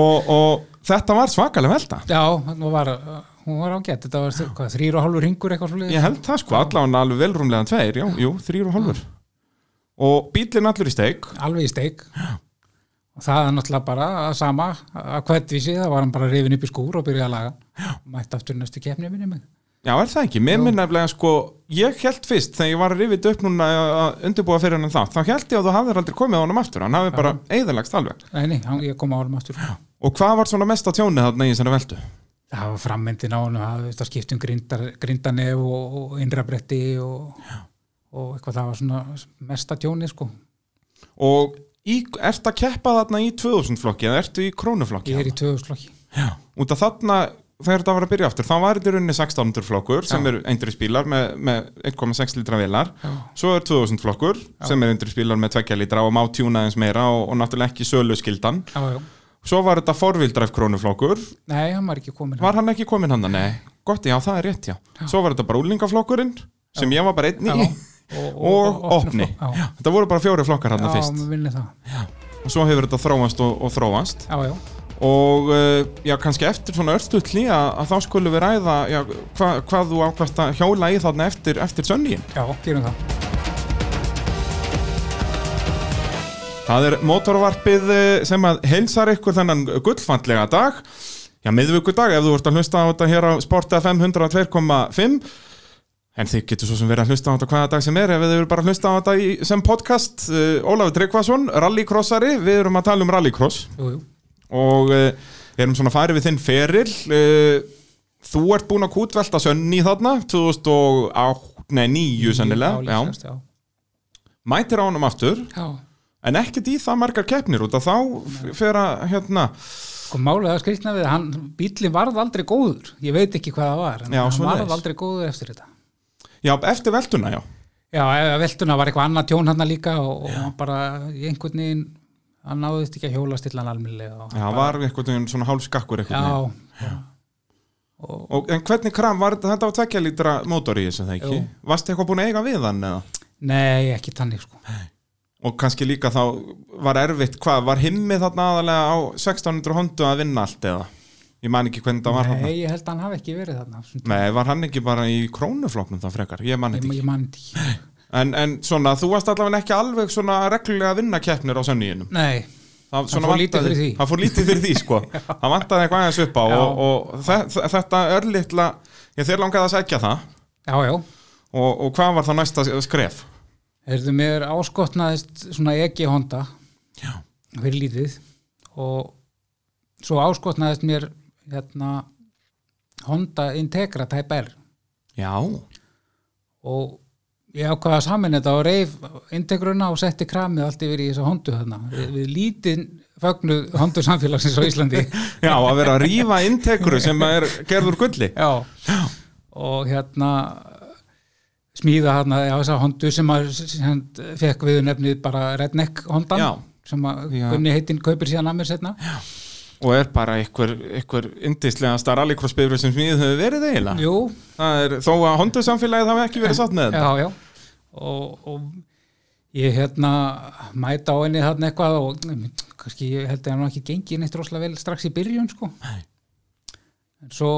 S1: og, og þetta var svakalega velta
S2: Já, hún var, hún var ágætt. Þetta var, hvað, þrýr og hálfur ringur eitthvað svo
S1: Ég held það sko, allavega alveg velrúmlega tveir, já, jú, þrýr og halvur og bílinn allur í steik
S2: Alveg í steik. Og það er náttúrulega bara sama að hvertvísi, það var hann bara rifin upp í skúr og byrjaði að laga. Já. Mætti aftur í næstu keppni minni mig.
S1: Já, er það ekki? Mér minn nefnilega sko, ég held fyrst þegar ég var að rifið upp núna að undirbúa fyrir hennan það, þá held ég að þú hafðir aldrei komið á honum aftur, hann hafi bara eðalagst alveg.
S2: Nei, nei, hann, ég kom á honum aftur.
S1: Og hvað var svona mesta tjónið þarna í þessari veldu?
S2: Það var frammyndin á honum, það, það skiptum um grindar, grindanef og, og innrabretti og, og eitthvað það var svona mesta tjónið sko.
S1: Og í, ertu að keppa þarna í 2000 flokki eða ertu í krónuflokki?
S2: Ég er í tvöðuslokki.
S1: Út af þarna þegar þetta var að byrja aftur, þá var þetta í rauninni 1600 flokkur sem
S2: Já.
S1: eru endrisbílar með, með 1,6 litra vélar svo er 2000 flokkur sem eru endrisbílar með 2 litra og má tjúna eins meira og, og náttúrulega ekki sölu skildan
S2: já, já.
S1: svo var þetta forvildræf krónuflokkur
S2: Nei, hann var ekki komin
S1: var hann ekki komin hann? Nei, gott, já, það er rétt, já, svo var þetta bara úlingaflokkurinn sem ég var bara einn í
S2: Já.
S1: og opni,
S2: flokk- Já,
S1: Já, þetta voru bara fjóri flokkar hann
S2: já
S1: fyrst
S2: mér vinni það
S1: og svo hefur þetta þróast og, og þróast
S2: Já, já,
S1: og uh, já, kannski eftir svona örstutli að, að þá skulum við ræða já, hva, hvað þú ákvæmst að hjóla í þarna eftir, eftir sönníin.
S2: já, gerum það
S1: Það er motorvarpið eh, sem að heilsar ykkur þennan gullfandlega dag já, miðvikudag ef þú ert að hlusta á þetta hér á Sport FM 102.5 en þið getur svo sem verið að hlusta á þetta hvaða dag sem er ef þið eru bara að hlusta á þetta í, sem podcast uh, Ólafur Tryggvason, rallycrossari við erum að tala um rallycross
S2: Jú, jú,
S1: og uh, við erum svona farið við þinn feril uh, þú ert búin að kútvelta sönni þarna 2008, nei 9
S2: Já,
S1: sennilega já,
S2: líklegast, já.
S1: mætir á honum aftur
S2: já.
S1: en ekkert í það margar keppnir út að þá f- fer að hérna
S2: Sko málið að skrifna við, hann, bílinn varð aldrei góður, ég veit ekki hvað það var, en
S1: Já,
S2: hann
S1: svoleiðis.
S2: varð aldrei góður eftir þetta.
S1: já, eftir veltuna já
S2: Já, ef- veltuna var eitthvað annað tjón hann líka og, og hann bara í einhvern veginn, hann náðist ekki að hjóla stilla hann alminlega. Og,
S1: Já, það var einhvern veginn svona hálfskakkur
S2: já,
S1: einhvern veginn. Og, en hvernig kram var þetta, þetta var tvekja lítra mótor í þessu það ekki?
S2: Jú.
S1: Varstu eitthvað búin að eiga við hann eða?
S2: nei, ekki tannig sko.
S1: Og kannski líka þá var erfitt, hvað, var himmið þarna aðalega á 1600 hondu að vinna allt eða? Ég man ekki hvernig það var hann.
S2: Nei, ég held að hann hafi ekki verið þarna. Svona,
S1: Nei, var hann ekki bara í krónufloknum þá frekar? Ég mann
S2: ég,
S1: þetta ekki.
S2: ég mann ekki.
S1: En, en svona, þú varst allavega ekki alveg svona reglulega að vinna keppnir á sönniðinum.
S2: Nei,
S1: Það,
S2: fór lítið fyrir því.
S1: Það fór lítið fyrir því,
S2: <laughs>
S1: sko. það vantaði eitthvað aðeins upp á
S2: Já.
S1: og, og þe þe- þetta örlítla, ég þér langaði að segja það
S2: já, já.
S1: og, og hvað var það næsta skref?
S2: Erðu mér áskotnaðist svona ekki honda
S1: Já.
S2: fyrir lítið og svo áskotnaðist mér hérna Honda Integra Type R
S1: Já.
S2: og ég ákvaða saman þetta og reif Integruna og setti kramið allt yfir í þessa Hondu þarna við, við lítið fögnu Hondu samfélagsins á Íslandi
S1: Já, að vera að rífa integru sem er gerður gulli.
S2: Já. og hérna smíða hérna já, þessa hondu sem að sem fekk við nefnið bara Redneck hondan
S1: Já.
S2: sem að
S1: Já.
S2: Gunni heitinn kaupir síðan að mér setna
S1: Og er bara einhver, einhver indislegasta rallycrossbifrið sem smíðið hefur verið eiginlega.
S2: Jú,
S1: Það er, þó að hondu samfélagið hafi ekki verið satt með þetta.
S2: já, já og, og ég hérna mæta á henni þarna eitthvað og mm, kannski ég held að hann ekki gengi neitt rosalega vel strax í byrjun sko
S1: Nei.
S2: en svo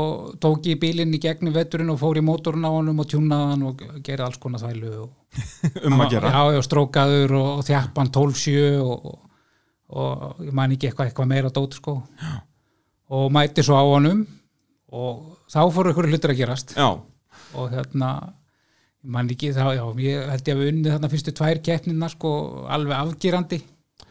S2: tók ég bílinn í gegnum veturinn og fór í mótorun á honum og tjúnaði hann og gerði alls konar þvælu og
S1: um að gera.
S2: Já, já, strókaður og, og þjappan 12-7 og, og, og ég man ekki eitthvað, eitthvað meira dót sko. og mæti svo á honum og þá fóru ykkur hlutur að gerast
S1: Já.
S2: og hérna ég man ekki þá, já, ég held ég að við unnið þarna fyrstu tvær keppnina sko alveg afgerandi,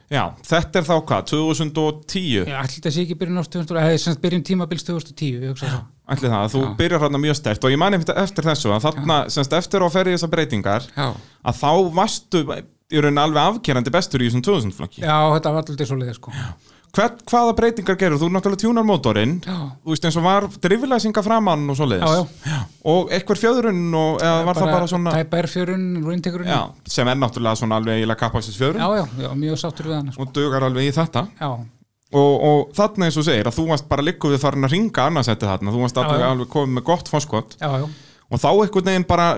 S1: Já, þetta er þá hvað, 2010
S2: ég ætli þetta sé ekki byrjun árs 2000, eða sem sagt byrjun tímabils 2010 ég hugsa það,
S1: ætli það, þú byrjar hérna mjög stert og ég man eftir, eftir þessu að þarna, semst eftir að ferja þessar breytingar
S2: já
S1: að þá varstu í raunin alveg afkerandi bestur í þessum 2000 flokki
S2: Já, þetta var alltaf svo leiðið sko
S1: Hvert, hvaða breytingar gerur, þú náttúrulega tjúnar mótorinn
S2: Já.
S1: þú veist eins og var driflæsinga framann og svoleiðis
S2: Já, já.
S1: og eitthvað fjöðrun og eða var það bara svona
S2: Tæpa R-fjörun, Rúintegrun
S1: já, sem er náttúrulega svona alveg eiginlega kappaksins
S2: já,
S1: fjöðrun
S2: já, já, mjög sáttur við hann sko.
S1: og dugar alveg í þetta
S2: Já,
S1: og, og þarna eins og segir að þú varst bara likkuð við farin að ringa annarsetti þarna, þú varst
S2: Já,
S1: alveg,
S2: já.
S1: alveg komið með gott fórskot
S2: já, já
S1: og þá einhvern veginn bara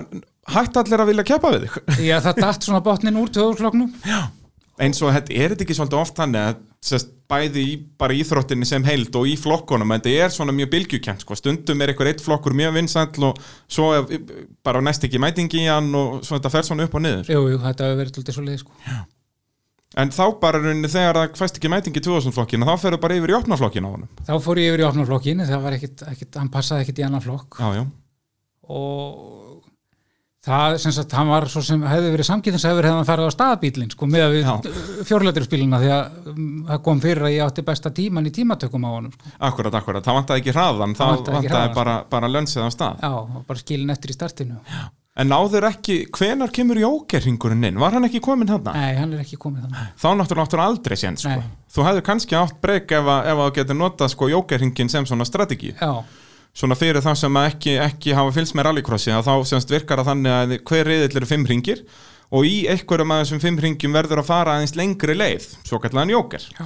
S1: hætti allir að vilja keppa við þig <laughs>
S2: Já, það datt svona botnin úr tvöðurkloknum.
S1: eins og þetta er þetta ekki svolítið oft þannig að sest, bæði í, bara í íþróttinni sem heild og í flokkunum, en þetta er svona mjög bylgjukjent sko. stundum er einhver eitt flokkur mjög vinsæll og svo er, bara næst ekki mætingi í hann og svo þetta fer svona upp og niður
S2: Jú, jú, þetta hefur verið alltaf svo leið, sko.
S1: en þá bara rauninni þegar það fæst ekki mætingi í 2000 flokkina, þá ferðu bara yfir í opnaflokkin á honum
S2: Þá fór ég yfir í opnarflokkin, það var ekkit, ekkit, hann passaði ekkit í annan flokk
S1: já, já,
S2: og það, sem sagt, hann var svo sem hefði verið samkýðinshefur hefði hann farið á staðbílinn, sko, með að við fjórlætirspílinna því að um, það kom fyrir að ég átti besta tíman í tímatökum á honum, sko.
S1: akkurat, akkurat það vantaði ekki hraðan, það
S2: vantaði ekki
S1: vantaði
S2: hraðann, sko.
S1: bara, bara lönsið á stað
S2: Já, og bara skilin eftir í startinu.
S1: en náður ekki, hvenar kemur jókerringurinn inn, var hann ekki komin hann?
S2: Nei, hann er ekki komið þannig.
S1: þá náttúrulega áttur aldrei sér sko.
S2: Nei.
S1: þú hefði kannski átt breyk ef, að- ef að þú getur notað sko, jókerhingin sem svona strategíu
S2: Já,
S1: svona fyrir það sem að ekki, ekki hafa fylgst með rallycrossi að þá semst virkar það þannig að hver reyðill eru fimm ringir og í einhverjum af þessum fimm ringjum verður að fara aðeins lengri leið, svo kallan jóker
S2: Já.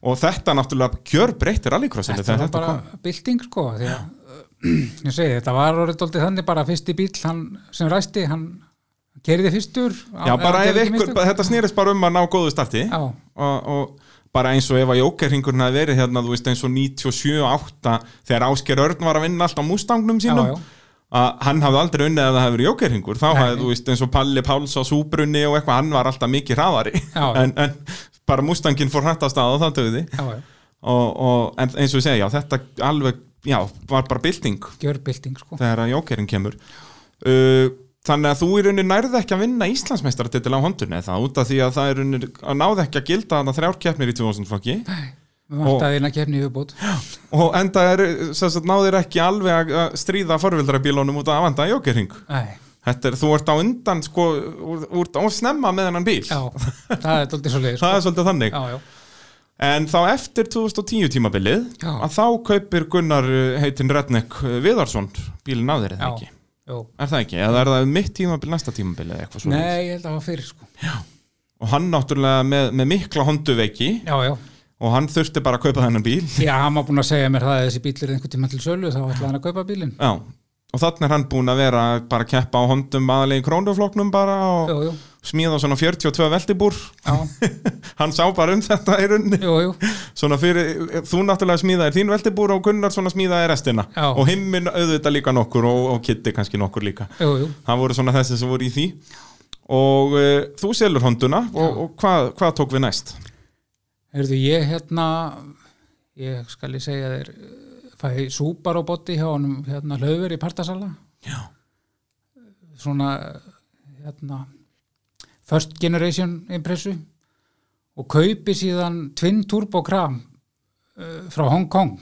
S1: og þetta náttúrulega gjör breytir rallycrossinu
S2: þetta
S1: þegar
S2: var bara
S1: kom.
S2: bylting sko því að, ég segi þetta var orðið dóldið þannig bara fyrsti bíl hann, sem ræsti, hann keriði fyrstur
S1: Já, bara ef ykkur,
S2: mistök.
S1: þetta snýrist bara um að ná góðu starti
S2: Já,
S1: og, og bara eins og ef að jókerringurinn hafi verið hérna, þú veist, eins og 97-8 þegar Ásker Örn var að vinna allt á Mustangnum sínum
S2: Já, já.
S1: að hann hafði aldrei unnið að það hefði verið jókerringur þá
S2: Nei.
S1: hafði, þú veist, eins og Palli Páls á Súbrunni og eitthvað, hann var alltaf mikið hraðari
S2: Já, já.
S1: <laughs> en, en bara Mustangin fór hrætt af stað og það döði
S2: já, já,
S1: og, og en eins og ég segja, já, þetta alveg, já, var bara bylting
S2: gjör bylting sko
S1: þegar að jókerinn kemur uh, þannig að þú í rauninni nærði ekki að vinna Íslandsmeistartitil á hondunni eða það út af því að það er rauninni að náði ekki að gilda þannig þrjár keppnir í 2000 flokki
S2: við vantaði eina kefni viðbót
S1: og enda er, sem sagt, náðir ekki alveg að- að stríða forvildrabílónum út af avanda jókerring
S2: Nei,
S1: Þetta er, þú ert á undan sko, úr, úr, úr snemma með hennan bíl
S2: já, það er dóldið svo leiðis
S1: það er svolítið þannig
S2: já, já,
S1: en þá eftir 2010 tímabilið
S2: Já.
S1: að þá kaupir Gunnar uh, heitinn Redneck uh, Viðarsson bílinn af þeir eða
S2: já,
S1: ekki
S2: já.
S1: Er það ekki? Eða er það mitt tímabil, næsta tímabil eða eitthvað svo
S2: Nei, ég held að það var fyrir sko
S1: og hann náttúrulega með, með mikla honduveiki
S2: Já, já,
S1: og hann þurfti bara að kaupa þennan bíl
S2: já, hann var búin að segja mér það að þessi bíl er einhvern tímann til sölu þá ætlaði hann að kaupa bílinn
S1: já, og þannig er hann búin að vera bara að keppa á hondum aðalegi krónufloknum bara og
S2: Jú, jú,
S1: smíða svona 42 veltibúr
S2: já,
S1: hann sá bara um þetta í runni
S2: jú, jú
S1: svona fyrir, þú náttúrulega smíðaðir þín veltibúr og Gunnar svona smíðaði restina
S2: Já.
S1: og himmin auðvitað líka nokkur og, og Kitty kannski nokkur líka
S2: Jú, jú,
S1: það voru svona þessi sem voru í því og uh, þú selur honduna og, og hvað, hvað tók við næst?
S2: heyrðu ég hérna ég skal ég segja þér eh, fæ súpar á botti hjá honum hérna hlaufur í partasala
S1: Já.
S2: svona eh, hérna first generation impressu og kaupi síðan twin turbo kram uh, frá Hong Kong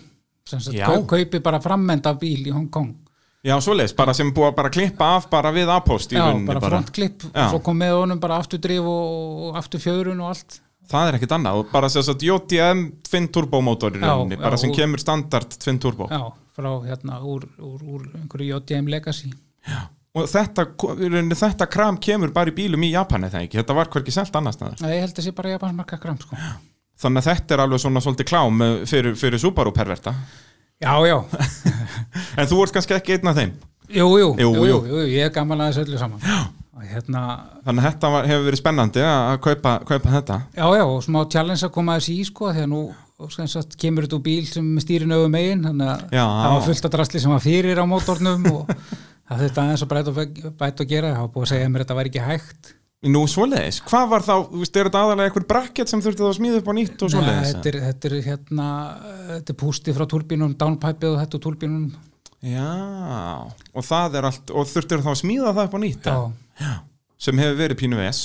S2: sem sagt
S1: Já.
S2: kau- kaupi bara frammend af bíl í Hong Kong
S1: Já, svoleiðis, bara sem búið að bara klippa af bara við apost í
S2: já,
S1: rauninni
S2: bara frontklipp
S1: Já.
S2: og svo kom með honum bara aftur drif og, og aftur fjörun og allt
S1: Það er ekkit annað, og bara sem sagt JTM Twin Turbo mótor í
S2: Já,
S1: rauninni, bara
S2: já,
S1: sem
S2: og-
S1: kemur standard Twin Turbo.
S2: já, frá hérna úr, úr, úr einhverju JDM Legacy
S1: Og þetta, ko- í rauninni, þetta kram kemur bara í bílum í Japani þegar ekki, þetta var hverki selt annars staðar.
S2: Nei, ég held að sé bara japansmarka kram sko.
S1: Þannig að þetta er alveg svona svolítið klám eh, fyrir, fyrir Subaru perverta.
S2: Já, já,
S1: En þú ert kannski ekki einn af þeim.
S2: jú, jú,
S1: Jú,
S2: jú,
S1: jú.
S2: jú, jú ég er gaman að þessu öllu saman og hérna,
S1: Þannig að þetta var, hefur verið spennandi að að kaupa, kaupa þetta.
S2: já, já, og smá challenge að koma þessi í sko, þegar nú og sem sagt, kemur þetta úr bíl sem stýrin öfum megin þannig að
S1: Já.
S2: það var fullt að drasli sem var fyrir á mótornum og <laughs> það þetta aðeins að bæta og, bæta og gera, það var búið að segja mér að þetta væri ekki hægt
S1: Nú, svoleiðis. Hvað var þá, þú veist, er þetta aðalega einhver bracket sem þurfti þá að smíða upp á nýtt og
S2: Nei,
S1: svoleiðis?
S2: þetta, er, þetta er hérna þetta er pústi frá turbínum, downpipe og þetta turbínum
S1: Já, og það er allt, og þurftir þá að smíða það upp á nýtt?
S2: já,
S1: sem hefur verið pínu VS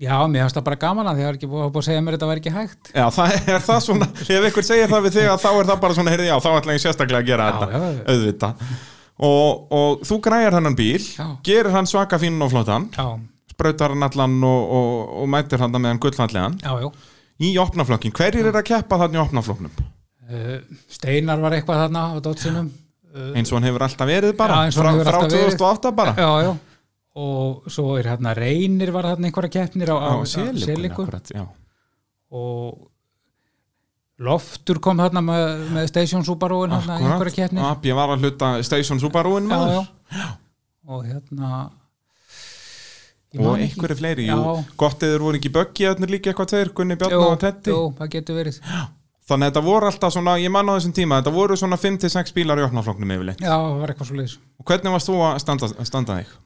S2: já mér fannst það bara gaman að því það var ekki búið, það var búið að segja mér að þetta væri ekki hægt
S1: Já, það <laughs> er það svona, ef ykkur segir það við þig að þá er það bara svona, heyrði, já, þá ætla ég sérstaklega að gera
S2: Já,
S1: þetta,
S2: já, já.
S1: auðvitað og, og þú græjar hennan bíl
S2: Já.
S1: gerir hann svaka fínan og flottan
S2: Já,
S1: sprautar hann allan og, og, og mætir hann með hann gullfallegan
S2: já, já
S1: í opnaflokkin, hverjir er að keppa þannig í opnaflokknum?
S2: Uh, Steinar var eitthvað þarna á dotsinum uh,
S1: Eins og hann hefur alltaf verið bara
S2: Já, eins og
S1: frá,
S2: hann hefur
S1: frá
S2: alltaf verið.
S1: 2008 bara
S2: já, já. og svo er hérna Reynir var þarna einhverja keppnir á, á, á Selikur
S1: akkurat, já
S2: og Loftur kom þarna með, með Station Subaruin hérna í einhverja
S1: Akkurat,
S2: keppnir
S1: AB var að hluta Station Subaruinn
S2: já,
S1: maður
S2: já. og hérna ég
S1: og
S2: man ekki.
S1: einhverju fleiri,
S2: Já.
S1: jú, gott eða þeir voru ekki böggi þarna líka eitthvað tveir, Gunni Bjarni og Teddy
S2: jú, jú, það getur verið já,
S1: þannig að þetta voru alltaf svona, ég mann á þessum tíma þetta voru svona 5-6 bílar í opnafloknum yfirleitt
S2: það var eitthvað svo leiðis
S1: og hvernig varst þú að standa, standa þig?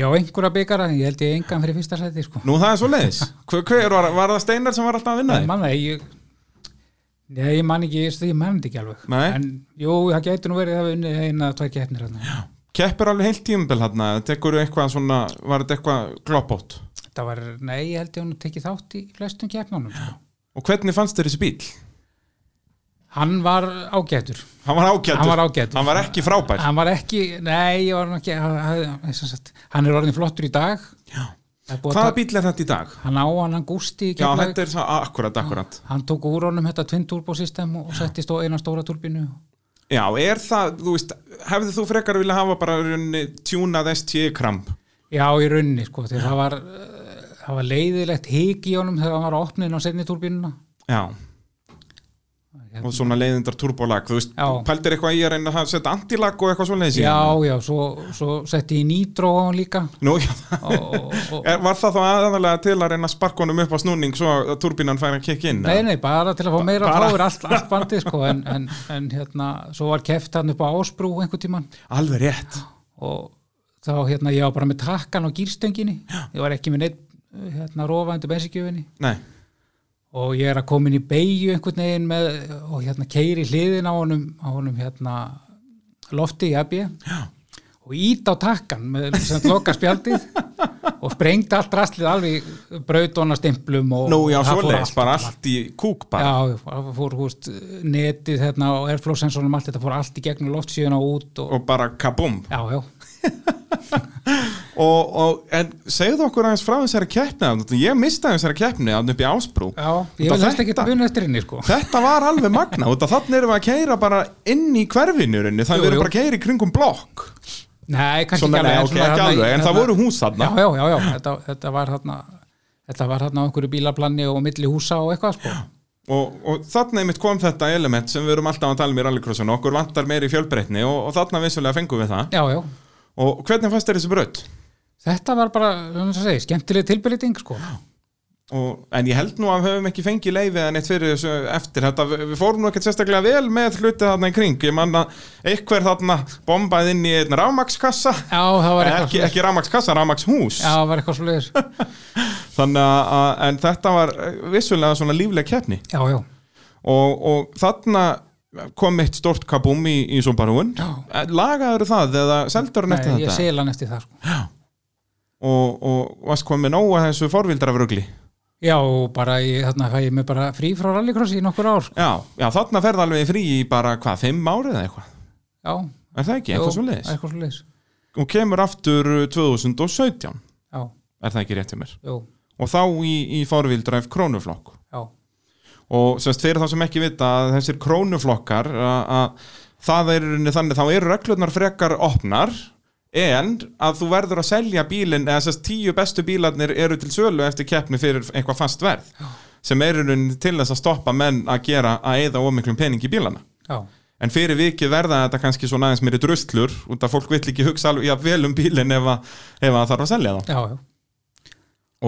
S2: já, einhverja byggara, ég held ég engan fyrir fyrsta sæti sko.
S1: Nú það er svo leiðis, hver, hver var, var það Steinar sem var alltaf að vinna
S2: Ég
S1: þig?
S2: man það, ég, nei, ég man ekki, ég, ég man þetta ekki alveg.
S1: Nei.
S2: En jú, það getur nú verið að við unnið eina að tvær keppnir hérna.
S1: Keppur alveg heilt tímabil hann tekur eitthvað svona, var þetta eitthvað gloppót
S2: Þetta var, nei, ég held ég hún tekið þátt í flestum keppnunum. Sko.
S1: og hvernig fannst þér þessi bíl?
S2: Hann var ágætur.
S1: Hann var ágætur,
S2: Hann var ágætur. Ah,
S1: Hann var ekki frábær
S2: Hann var ekki, nei, ég var nú ekki, hann- hann- sem sagt, hann er orðin flottur í dag.
S1: Já.
S2: Það er búið að
S1: Hvaða
S2: ta-
S1: bíl er þetta í dag?
S2: Hann á hann, hann gústi í
S1: Já,
S2: keppnum.
S1: þetta er svo, akkurat, akkurat
S2: Hann tók úr honum þetta twin turbo system og settist á eina stóra turbinu.
S1: Já, er það, þú veist, hefði þú frekar vilja hafa bara runni tjúnað ST-kramp?
S2: Já, í rauninni, sko, þegar það var, eh, það var leiðilegt hik í honum þegar hann var opnin á seinni túrbínuna.
S1: Já, og svona leiðindar turbolag, þú veist,
S2: Hérna. Já.
S1: pældir eitthvað í að reyna að setja antilag og eitthvað svoleiðis í
S2: Já,
S1: hann?
S2: já, svo, svo setti ég nýtró á hann líka.
S1: Nú, já,
S2: Og, og, og,
S1: Er- var það þá aðanlega til að reyna að sparka honum upp á snúning svo að turbínan fær að kikka inn?
S2: Nei,
S1: eða?
S2: nei, bara til að fá meira
S1: bara-
S2: fáir allt, allt bandið sko, en, en, en hérna, svo var keft hann upp á Ásbrú einhvern tíman
S1: Alveg rétt.
S2: og þá hérna, ég var bara með takkan á gýrstönginni, ég var ekki með neitt hérna, rofa undir bensinkjöfinni
S1: Nei,
S2: og ég er að koma inn í beigju einhvern veginn með, og hérna keiri hliðin á honum, á honum hérna lofti í abbi og ít á takkan með sem loka spjaldið og sprengdi allt rastlið alveg brautónastimplum og
S1: nú já,
S2: og það fór
S1: svoleiðis,
S2: allt-
S1: bara allt í kúk bara.
S2: Já, það fór húst netið hérna og airflow sensornum allt þetta fór allt í gegnum loftsíðuna og út og,
S1: Og bara kabum.
S2: já, já,
S1: Og, og, en segðu okkur aðeins frá þessari keppni, þarna. ég mistaði þessari keppni að upp í ásbrú.
S2: já
S1: Þetta
S2: ég vil þess ekki
S1: þetta-
S2: að buna eftir henni sko
S1: Þetta var alveg magna, og þannig erum við að keira bara inn í hverfinurinn, þannig
S2: Jú,
S1: við erum
S2: jú.
S1: bara að keira í kringum blokk.
S2: Nei, kannski
S1: Svona,
S2: ekki
S1: nei,
S2: alveg,
S1: ok,
S2: svona
S1: ekki
S2: þarna í-
S1: alveg, en það
S2: þarna-
S1: voru hús þarna.
S2: Já, já, já, já þetta, þetta var þarna þetta var þarna á einhverju bílaplanni og milli húsa og eitthvað sko
S1: og, og þarna einmitt kom þetta element sem við erum alltaf að tala um í rallycrossinu okkur vantar meiri fjölbreytni og, og þarna vissulega fengum við það
S2: Já, já,
S1: og hvernig fannst þér þessi braut?
S2: þetta var bara, svona að segja, skemmtileg tilbyrðing sko
S1: Og, en ég held nú að við höfum ekki fengið leiðið en eitt fyrir þessu eftir þetta við, við fórum nú ekkert sérstaklega vel með hlutið þarna í kring ég manna eitthver þarna bombað inn í einn rámakskassa
S2: Já, það var eitthvað
S1: ekki,
S2: svoleiðis.
S1: ekki rámakskassa, rámakshús
S2: Já, það var eitthvað svoleiðis
S1: þannig að- að en þetta var eh, vissulega svona lífleg keppni
S2: Já, já,
S1: og, og þarna kom eitt stort kabúm í, í Subaruun
S2: Já.
S1: lagaður það eða seldur hann
S2: nei,
S1: eftir
S2: ég
S1: þetta
S2: sel hann eftir það sko
S1: og, og varst komið nóg að þessu forvildarafrugli
S2: Já, og bara, ég, þarna fæ ég mig bara frí frá rallycrossi í nokkur ár sko.
S1: já, já, þarna ferð alveg í frí í bara hvað, fimm árið eða eitthvað
S2: Já,
S1: er það ekki, eitthvað
S2: Jú,
S1: svo
S2: eitthvað svoleiðis.
S1: og kemur aftur uh, 2017
S2: já,
S1: er það ekki rétt hjá mér
S2: jú,
S1: og þá í, í forvildræf krónuflokk
S2: já,
S1: og semst fyrir þá sem ekki vita að þessir krónuflokkar að, að það er í rauninni þannig þá eru reglurnar frekar opnar en að þú verður að selja bílinn eða semst tíu bestu bílarnir eru til sölu eftir keppni fyrir eitthvað fast verð sem er í rauninni til þess að stoppa menn að gera að eyða ómiklum pening í bílana
S2: já,
S1: en fyrir vikið verða þetta kannski svona aðeins meiri druslur út að fólk vill ekki hugsa alveg jafn vel um bílinn ef að, ef að þarf að selja þá
S2: já, já.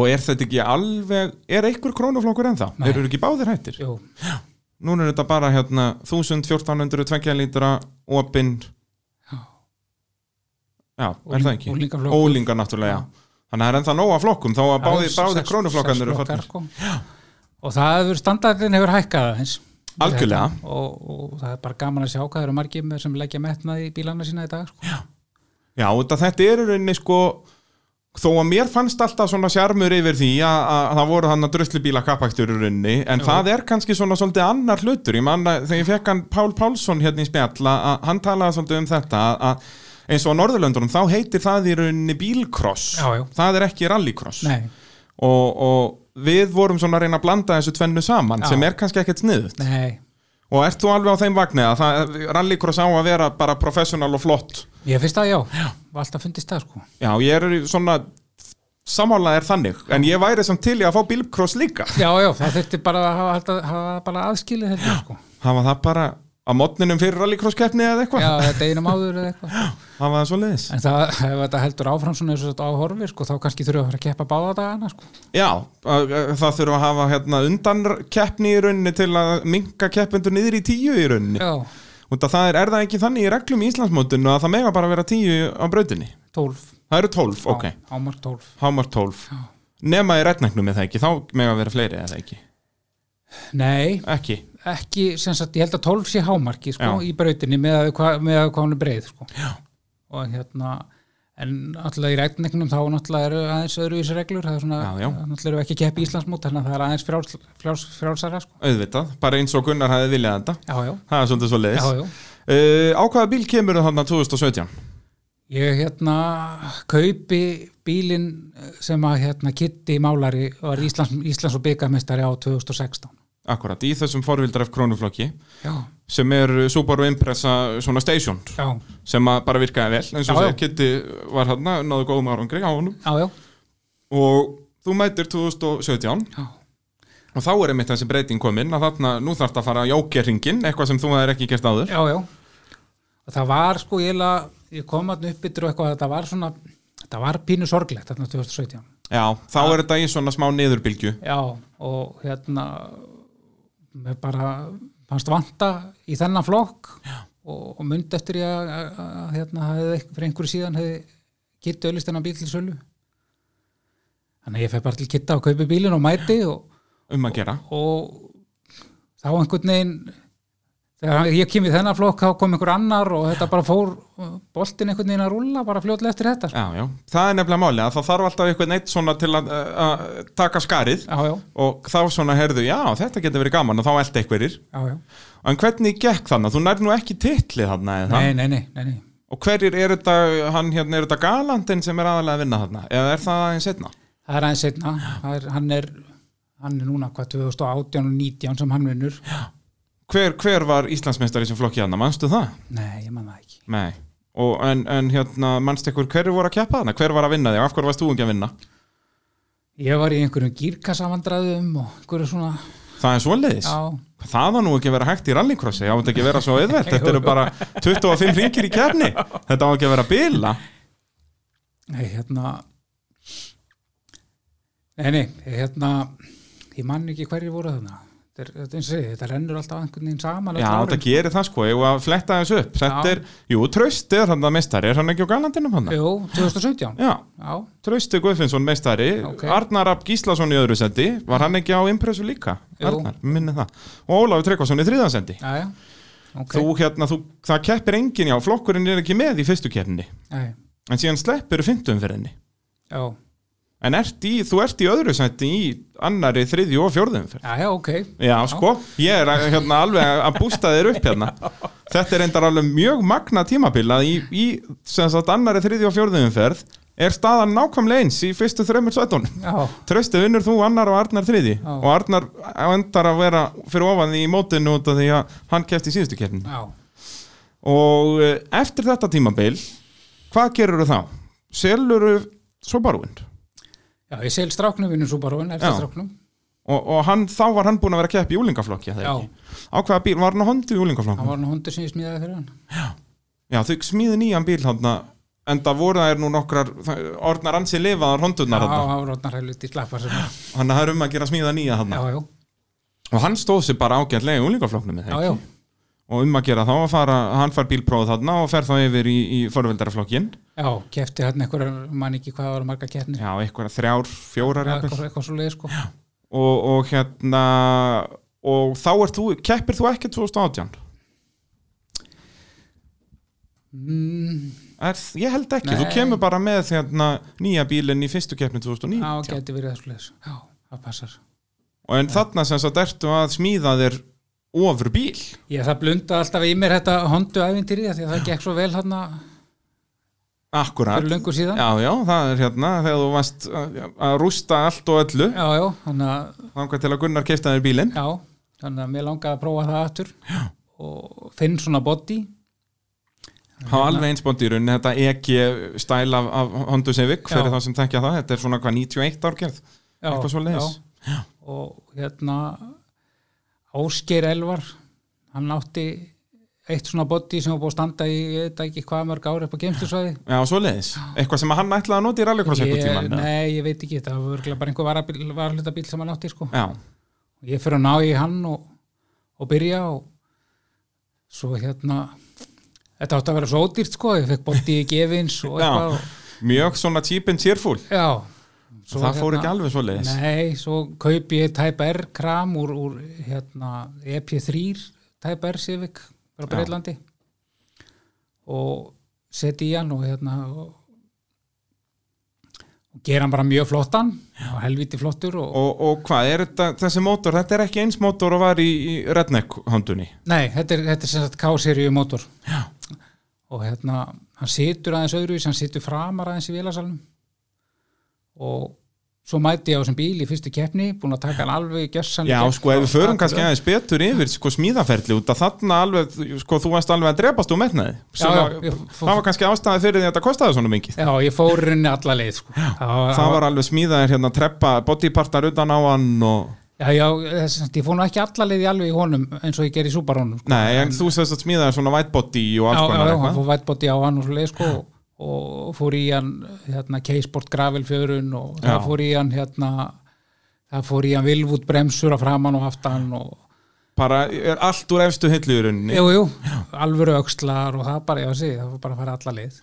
S1: og er þetta ekki alveg, er einhver krónuflokkur ennþá?
S2: Nei.
S1: Eru ekki báðir hættir?
S2: Jú.
S1: Núna er þetta bara hérna 1400, 2 lítra, opinn Já, er það ekki?
S2: Úlingaflokkur.
S1: Ólingar náttúrulega, já Þannig að það er ennþá nóga flokkum þá að báði,
S2: Já,
S1: báði
S2: sex-
S1: krónuflokkarnir
S2: sex
S1: eru
S2: flokkar,
S1: farnir
S2: sko. og það hefur standardin hefur hækkað aðeins
S1: Algjörlega.
S2: Þetta. og, og það er bara gaman að sjá hvað eru margir með sem leggja metnað í bílana sína í dag sko.
S1: Já, þetta, þetta er í rauninni sko þó að mér fannst alltaf svona sjarmur yfir því að, að það voru hann að druslubíla kappaktur í rauninni, en það er kannski svona svolítið annar hlutur, ég manna þegar ég fekk hann Pál Pálsson hérna í spjall að að hann talaði svolítið um þetta að, að eins og á Norðurlöndunum þá heitir það í rauninni bílkross
S2: Já, já.
S1: það er ekki rallycross
S2: nei,
S1: og, og við vorum svona að reyna að blanda þessu tvennu saman
S2: Já.
S1: sem er kannski ekkert sniðut
S2: nei,
S1: og ert þú alveg á þeim vagnið að það, rallycross á að vera bara professional og flott
S2: ég finnst það já, já. alltaf fundist það sko.
S1: já, ég er í svona samála er þannig, en ég væri samt til í að fá bílcross líka,
S2: já, já, það þurfti bara að hafa, hafa, hafa bara aðskilið þetta sko.
S1: hafa það bara á modninum fyrir rallycross keppni eða
S2: já,
S1: eitthvað
S2: deginum áður eða eitthvað
S1: hafa það svo leiðis,
S2: En það, ef þetta heldur áfram svona eins og þetta áhorfir, sko, þá kannski þurfum við að fara að keppa báða dagana, sko.
S1: já að- að- það þurfa að hafa hérna undan keppni í rauninni til að minka keppendur niður í tíu í rauninni,
S2: Já,
S1: og það er, er það ekki þannig í reglum í Íslandsmótinu að það mega bara vera tíu á brautinni,
S2: tólf.
S1: það eru tólf, ok
S2: Á, ámark tólf.
S1: Hámar 12 Nema í retnæknum eða ekki, þá mega vera fleiri eða ekki
S2: Nei,
S1: Ekki,
S2: ekki, sem sagt, ég held að tólf sé hámarki, sko,
S1: Já.
S2: í brautinni með að, hva, með að hvað hún er breið, sko. Já. Og hérna, en alltaf í regningnum þá náttúrulega eru aðeins öðruvísi reglur, það er svona,
S1: Já, já.
S2: náttúrulega eru við ekki að keppa í Íslandsmót, þannig að það er aðeins frjáls, frjáls, frjálsara, sko.
S1: auðvitað, bara eins og Gunnar hafði viljað þetta
S2: Já, já,
S1: Það er svolítið svo
S2: já,
S1: leiðis
S2: já.
S1: uh, Á hvaða bíl kemur þarna 2017?
S2: Ég hérna kaupi bílinn sem að hérna Kitty Málari var Íslands, Íslands og byggamestari á 2016.
S1: akkurat, í þessum forvildref krónuflokki
S2: já,
S1: sem er uh, Subaru Impreza svona station
S2: já,
S1: sem að bara virkaði vel eins og
S2: Já, já.
S1: segja, Kitty var hann náðu góðum árangri á honum
S2: já, já,
S1: og þú mætir 2017
S2: já,
S1: og þá er einmitt þessi breyting komin að þarna, nú þarf þetta að fara að jókja ringin eitthvað sem þú hefur ekki gert áður
S2: já, já. Og það var sko, ég, la, ég kom að uppbyttur og eitthvað, þetta var svona, þetta var pínu sorglegt þarna 2017.
S1: Já, þá er þetta í svona smá niðurbylgju
S2: Já, og hérna, mér bara fannst vanta í þennan flokk og, og mynd eftir ég að, að, að hérna, hefði, fyrir einhverju síðan hefði kitt öllist hennar bíl til sölu. Þannig að ég fer bara til kitta og kaupi bílinn og mæti og,
S1: um að gera
S2: og þá einhvern veginn þegar ég kem í þennan flokk þá kom einhver annar og þetta bara fór boltin einhvern veginn að rúlla bara fljótlega eftir þetta sko.
S1: Já, já, það er nefnilega máli að það þarf alltaf einhvern eitt svona til að, að að taka skarið
S2: já, já,
S1: og þá svona herðu, já, þetta getur verið gaman og þá eldi einhverjir
S2: já, já.
S1: En hvernig gekk þannig? Þú nær nú ekki titlið þarna eða?
S2: Nei, nei, nei, nei, nei.
S1: Og hverjir er þetta, hann hérna, er þetta galandinn sem er aðalega að vinna þarna? Eða er það aðeins setna?
S2: það er aðeins einna er, hann, er, hann er núna hvað 2018 og 19 sem hann vinnur
S1: Hver, hver var Íslandsmeistar í sem flokki þarna? Manstu það?
S2: nei, ég man það ekki
S1: Nei. Og, en, en hérna, manstu ykkur hverju voru að keppa þarna? Hver var að vinna þig? Af hverju varst þú ekki að vinna?
S2: ég var í einhverjum gírkassavandræðum og einhverju svona
S1: Það er svoleiðis.
S2: já,
S1: Það var nú ekki að vera hægt í rallycrossi, það átti ekki að vera svo auðvelt, þetta eru bara 25 ringir í kefni, þetta á ekki að vera bila.
S2: nei, hérna nei, nei, hérna ég man ekki hverju voru þarna þetta er, þetta er, eins og ég segi, þetta rennur alltaf einhvern veginn saman öll
S1: Já,
S2: árin.
S1: þetta gerir það sko, ég var að fletta þessu upp, þetta
S2: Já.
S1: er, jú, tröst er hann að meistari, er hann ekki á galandinum hann?
S2: Jú, 2017
S1: Já,
S2: Já,
S1: Trausti Guðfinnsson meistari
S2: Ok.
S1: Arnar Rapp Gíslason í öðru sendi var hann ekki á impressu líka
S2: Jú.
S1: Arnar, minni það og Ólafur Tryggvason í þriðan sendi
S2: já, já Ok,
S1: þú, hérna, þú, það keppir engin já, flokkurinn er ekki með í fyrstu keppni
S2: Nei,
S1: en síðan sleppir fymtum fyrir henni
S2: já,
S1: en ert í, þú ert í öðru sendi í annari, þriðju og fjórðum fyrir
S2: já, já, ok
S1: Já, sko, ég er að- hérna, alveg að bústa þér upp
S2: <laughs>
S1: hérna Þetta er endar alveg mjög magna tímabil að í, í sem sagt, annari, þriðju og fjórðum ferð er staðan nákvæmlega eins í fyrstu þreymur svetunum
S2: Já,
S1: Trösti vinnur þú annar og Arnar þriði
S2: Já.
S1: og Arnar endar að vera fyrir ofan í mótinu út af því að hann kefti í síðustu keppni
S2: já,
S1: og eh, eftir þetta tímabil hvað gerur þá? Selur svo barúin
S2: já, ég sel stráknum vinnum Subaruinn, eftir
S1: Já.
S2: stráknum
S1: og, og hann, þá var hann búinn að vera að keppa í úlingaflokki
S2: Já.
S1: á hvaða bíl, var hann á hondu í
S2: Hann
S1: úlingaflokki?
S2: var nú hundur sem ég smíðaði fyrir hann
S1: Já, þau smíði nýjan bíl hann enda voru það er nú nokkrar það- orðnar ansi lifaðar hondunar
S2: Já,
S1: hann
S2: hann var rótnar heilut í slappa sem Já,
S1: hann er um að gera smíða nýja hann
S2: já,
S1: og hann stóð sér bara ágætlega í úlingaflokknum
S2: já, já,
S1: og um að gera þá að fara, hann far bílpróð þarna og fer þá yfir í, í forveldaraflokkin
S2: já Kefti hann einhverjar, mann ekki hvað var marga keppnir
S1: já, eitthvað þrjár, fjórar
S2: Já,
S1: jafnvel.
S2: Eitthvað eitthvað svo leið, sko
S1: og, og hérna og þá er þú, keppir þú ekki 2018
S2: Mm,
S1: er, ég held ekki,
S2: Nei.
S1: þú kemur bara með hérna, nýja bílinn í fyrstu keppni 2009
S2: Já, geti verið þessu leið Já, það passar
S1: og en þarna sem sagt ertu að smíða þér ofur bíl
S2: Ég, það blunda alltaf í mér þetta hondu ævintýri því að það gekk svo vel hann
S1: akkurat,
S2: fyrir löngu síðan
S1: já já, það er hérna þegar þú varst að að rústa allt og öllu
S2: já, já þannig að
S1: þangar til að Gunnar keipta þér bílinn
S2: Já, þannig að mér langaði að prófa það aftur Já. og finn svona body
S1: Það var alveg einsbónd í rauninni, þetta EG stæl af, af Honda Civic fyrir
S2: Já.
S1: þá sem tekja það, þetta er svona hvað 91 árgerð
S2: Já,
S1: Eitthvað svoleiðis.
S2: já. og hérna Ásgeir Elvar hann átti eitt svona body sem var búið að standa í ég veit ekki hvað mörg ári upp á geimstusvæði
S1: Já, svo leiðis, eitthvað sem hann ætlaði að nota í rallycross eitthvað tíman
S2: Nei, ég veit ekki, það var örugglega bara einhver varabíl- varahlutabíl sem hann átti sko.
S1: Já,
S2: og ég fyrir að ná í hann og, og byrja og svo hérna þetta átti að vera svo ódýrt sko ég fekk body í gefins og
S1: Já.
S2: eitthvað og,
S1: mjög svona cheap and cheerful
S2: já
S1: það fór ekki alveg svo leiðis
S2: hérna- Nei, svo kaupi ég Type R kram úr, úr hérna, EP3 Type R Civic frá
S1: Já.
S2: Breitlandi og seti í hann og hérna og, og gera hann bara mjög flottan og helviti flottur og,
S1: og, og hvað, er þetta, þessi mótor, þetta er ekki eins mótor og var í, í Redneck Hondunni
S2: Nei, þetta er, þetta er sem sagt K-seríu mótor Já. og hérna hann situr aðeins öðruvís, hann situr framar aðeins í vélasalnum og svo mæti ég á þessum bíl í fyrstu keppni búin að taka hann alveg gessan
S1: Já, sko, ef við förum kannski aðeins betur yfir sko, smíðaferli út að þarna alveg, sko, þú varst alveg að drepast úr metnaði sem
S2: já,
S1: að-
S2: ég fór-
S1: það var kannski ástæði fyrir því að þetta kostaði svona mikið
S2: Já, ég fór henni alla leið sko. já,
S1: það var alveg smíðaðir hérna treppa bodypartar utan á hann og
S2: Já, já, þess, ég fór nú ekki alla leið í alveg í honum eins og ég ger í súbarónum sko.
S1: Nei, en þú sérst að smíðaðir svona white body og
S2: Já,
S1: alls
S2: já,
S1: konar
S2: já, hann
S1: eitthvað
S2: fór vætbóti á hann og svo leið sko, og fór í hann hérna, K-Sport gravelfjörun og
S1: Já.
S2: það fór í hann hérna, það fór í hann vilvút bremsur að framan og aftan og
S1: bara er allt úr efstu hillu í rauninni
S2: Jú, jú, alvöru öxlar og það bara, já, sí, það var bara að fara alla leið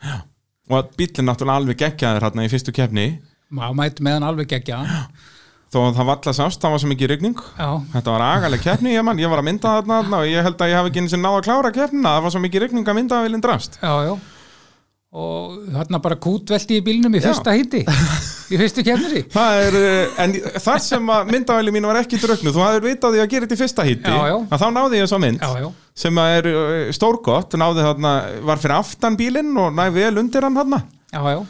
S1: og að bíllinn náttúrulega alveg geggjaðir hérna í fyrstu keppni
S2: maður mæti með hann alveg geggja
S1: þó að það valla sást, það var svo mikið rigning
S2: já,
S1: Þetta var agaleg keppni, ég mann, ég var að mynda þarna, þarna og ég held að ég hafi ekki eins og náða að klára keppnina, það var svo mikið rigning að mynda að vilja drast.
S2: já, já og þarna bara kútvelti í bílnum í
S1: Já.
S2: fyrsta hiti í fyrstu kemnri
S1: Það er, eh, en þar sem að myndavæli mín var ekki drögnu, þú hafðir vitað því að gera þetta í fyrsta hitti,
S2: Já, já.
S1: að þá náði ég svo mynd
S2: já, já,
S1: sem að er eh, stórgott, náði þarna, var fyrir aftan bílinn og næði vel undir hann þarna
S2: já, já,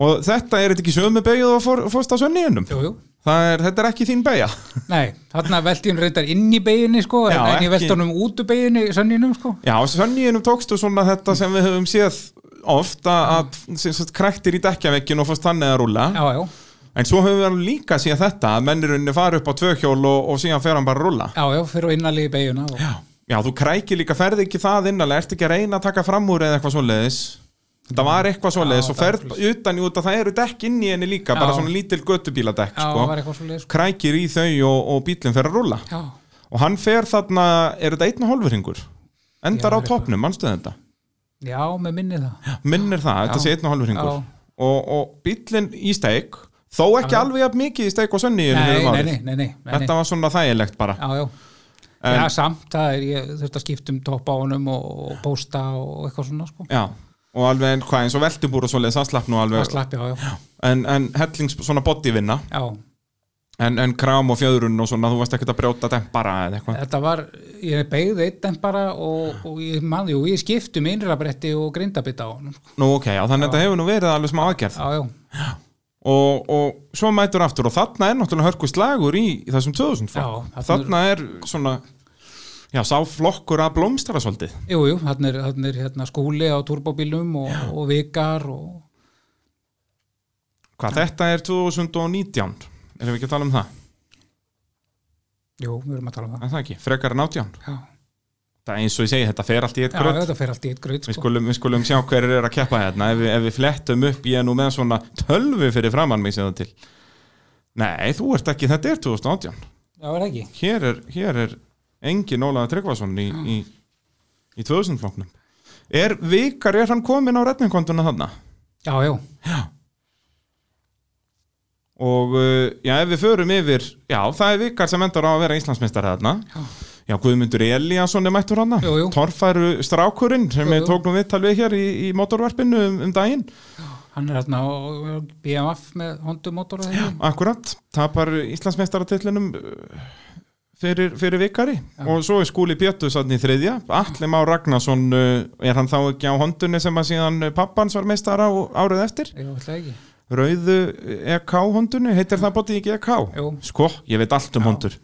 S1: og þetta er þetta ekki sömu beigjuð og fór, fórst á sönniðunum.
S2: jú, jú
S1: Það er, þetta er ekki þín beigja.
S2: Nei, þarna velti hún reyndar inn í beginni sko,
S1: Já,
S2: en, en
S1: ekki-
S2: ég velti honum út úr beginni sönninum sko.
S1: Já, sönniðunum tókstu svona þetta sem við höfum séð oft að, að sem sagt, kræktir í dekkjaveggjun og fórst hann eða rúla.
S2: Já, já,
S1: En svo höfum við alveg líka síðan þetta að mennirunni fara upp á tvöhjól og, og síðan fer hann bara að rulla.
S2: já, já, fyrir og innalegi begina og...
S1: Já. þú krækir líka, ferði ekki það innanlega, ert ekki að reyna að taka fram úr eða eitthvað svoleiðis. Þetta var eitthvað svoleiðis
S2: Já,
S1: og ferð utan í út að það eru dekk inn í henni líka, bara
S2: Já.
S1: svona lítil göttubíladekk,
S2: Já,
S1: sko.
S2: það var eitthvað svo leið sko.
S1: Krækir í þau og, og bílinn fer að rulla.
S2: Já,
S1: Og hann fer þarna, er þetta einn og hálfur hringur? Endar
S2: Já,
S1: á topnum, mannstu þetta?
S2: já, með minni það
S1: Minnir það, þetta
S2: Já.
S1: sé einn og hálfur hringur.
S2: Já.
S1: Og, og bílinn í steik, þó ekki
S2: Já.
S1: alveg jafn mikið í steik og sönni
S2: Nei, nei, nei, nei, nei, nei, nei.
S1: um Þetta var svona þægilegt bara.
S2: Já, já,
S1: En,
S2: já, samt það er ég þurfti að skipta um topp á honum og, og pósta og eitthvað svona sko.
S1: já, og alveg en- hvað eins og veltubúr og svoleiðis, það slapp nú alveg
S2: Það slapp, já, já,
S1: en, en hellings svona bodyvinna
S2: já
S1: en, en kram og fjöðrun og svona, þú varst ekkert að brjóta dempara eða eitthvað
S2: Þetta var, ég beigði eitt en bara og, og ég man, jú, ég skipti um innrabretti og grindabita á honum sko.
S1: Nú ok, já, þannig að þetta hefur nú verið alveg smá aðgerð
S2: Já, já,
S1: og, og svo mætur aftur og þarna er náttúrulega hörku slagur í þessum 2000 flokk.
S2: Já,
S1: þarna
S2: þarna
S1: er svona já, sá flokkur að blómstara svolítið
S2: Jú, jú, hann er, hann er hérna, skúli á turbóbílum og, og vikar og
S1: hvað þetta er 2019 erum við ekki að tala um það,
S2: jú, við erum að tala um það.
S1: en það ekki, frekar en 18
S2: Já,
S1: það er eins og ég segi, þetta fer allt í eitt
S2: já
S1: gröð
S2: þetta fer allt í eitt gröð,
S1: Við
S2: sko.
S1: skulum, við skulum sjá hverjir er að keppa hérna ef við, ef við flettum upp ég er nú með svona tölvu fyrir framann mig sem það til Nei, þú ert ekki, þetta er 2018
S2: Já, er það ekki.
S1: Hér er, hér er engin Ólaða Tryggvason í, í, í 2000-flokknum Er vikar, er hann komin á redningkontuna þarna?
S2: Já, já,
S1: Og uh, já, ef við förum yfir Já, það er vikar sem endar á að vera Íslandsmeistar þarna
S2: Já.
S1: Já, Guðmundur Elíasson er mættur hana
S2: Jú, jú.
S1: Torfæru strákurinn sem
S2: Jú,
S1: við
S2: jú.
S1: tókum viðtal við hér í, í motorvarpinu um, um daginn
S2: hann er hérna á á BMF með hondumotor og þetta.
S1: Akkurat, tapar Íslandsmeistaratillunum fyrir, fyrir vikari og svo er skúli Bjöttus í þriðja, Atli Már Ragnarsson uh, er hann þá ekki á hondunni sem að síðan pappans var meistara á, árið eftir
S2: Já, ætla ekki.
S1: Rauðu EK hondunni, heitir það bótið ekki EK?
S2: Jú.
S1: Sko, ég veit allt um hondur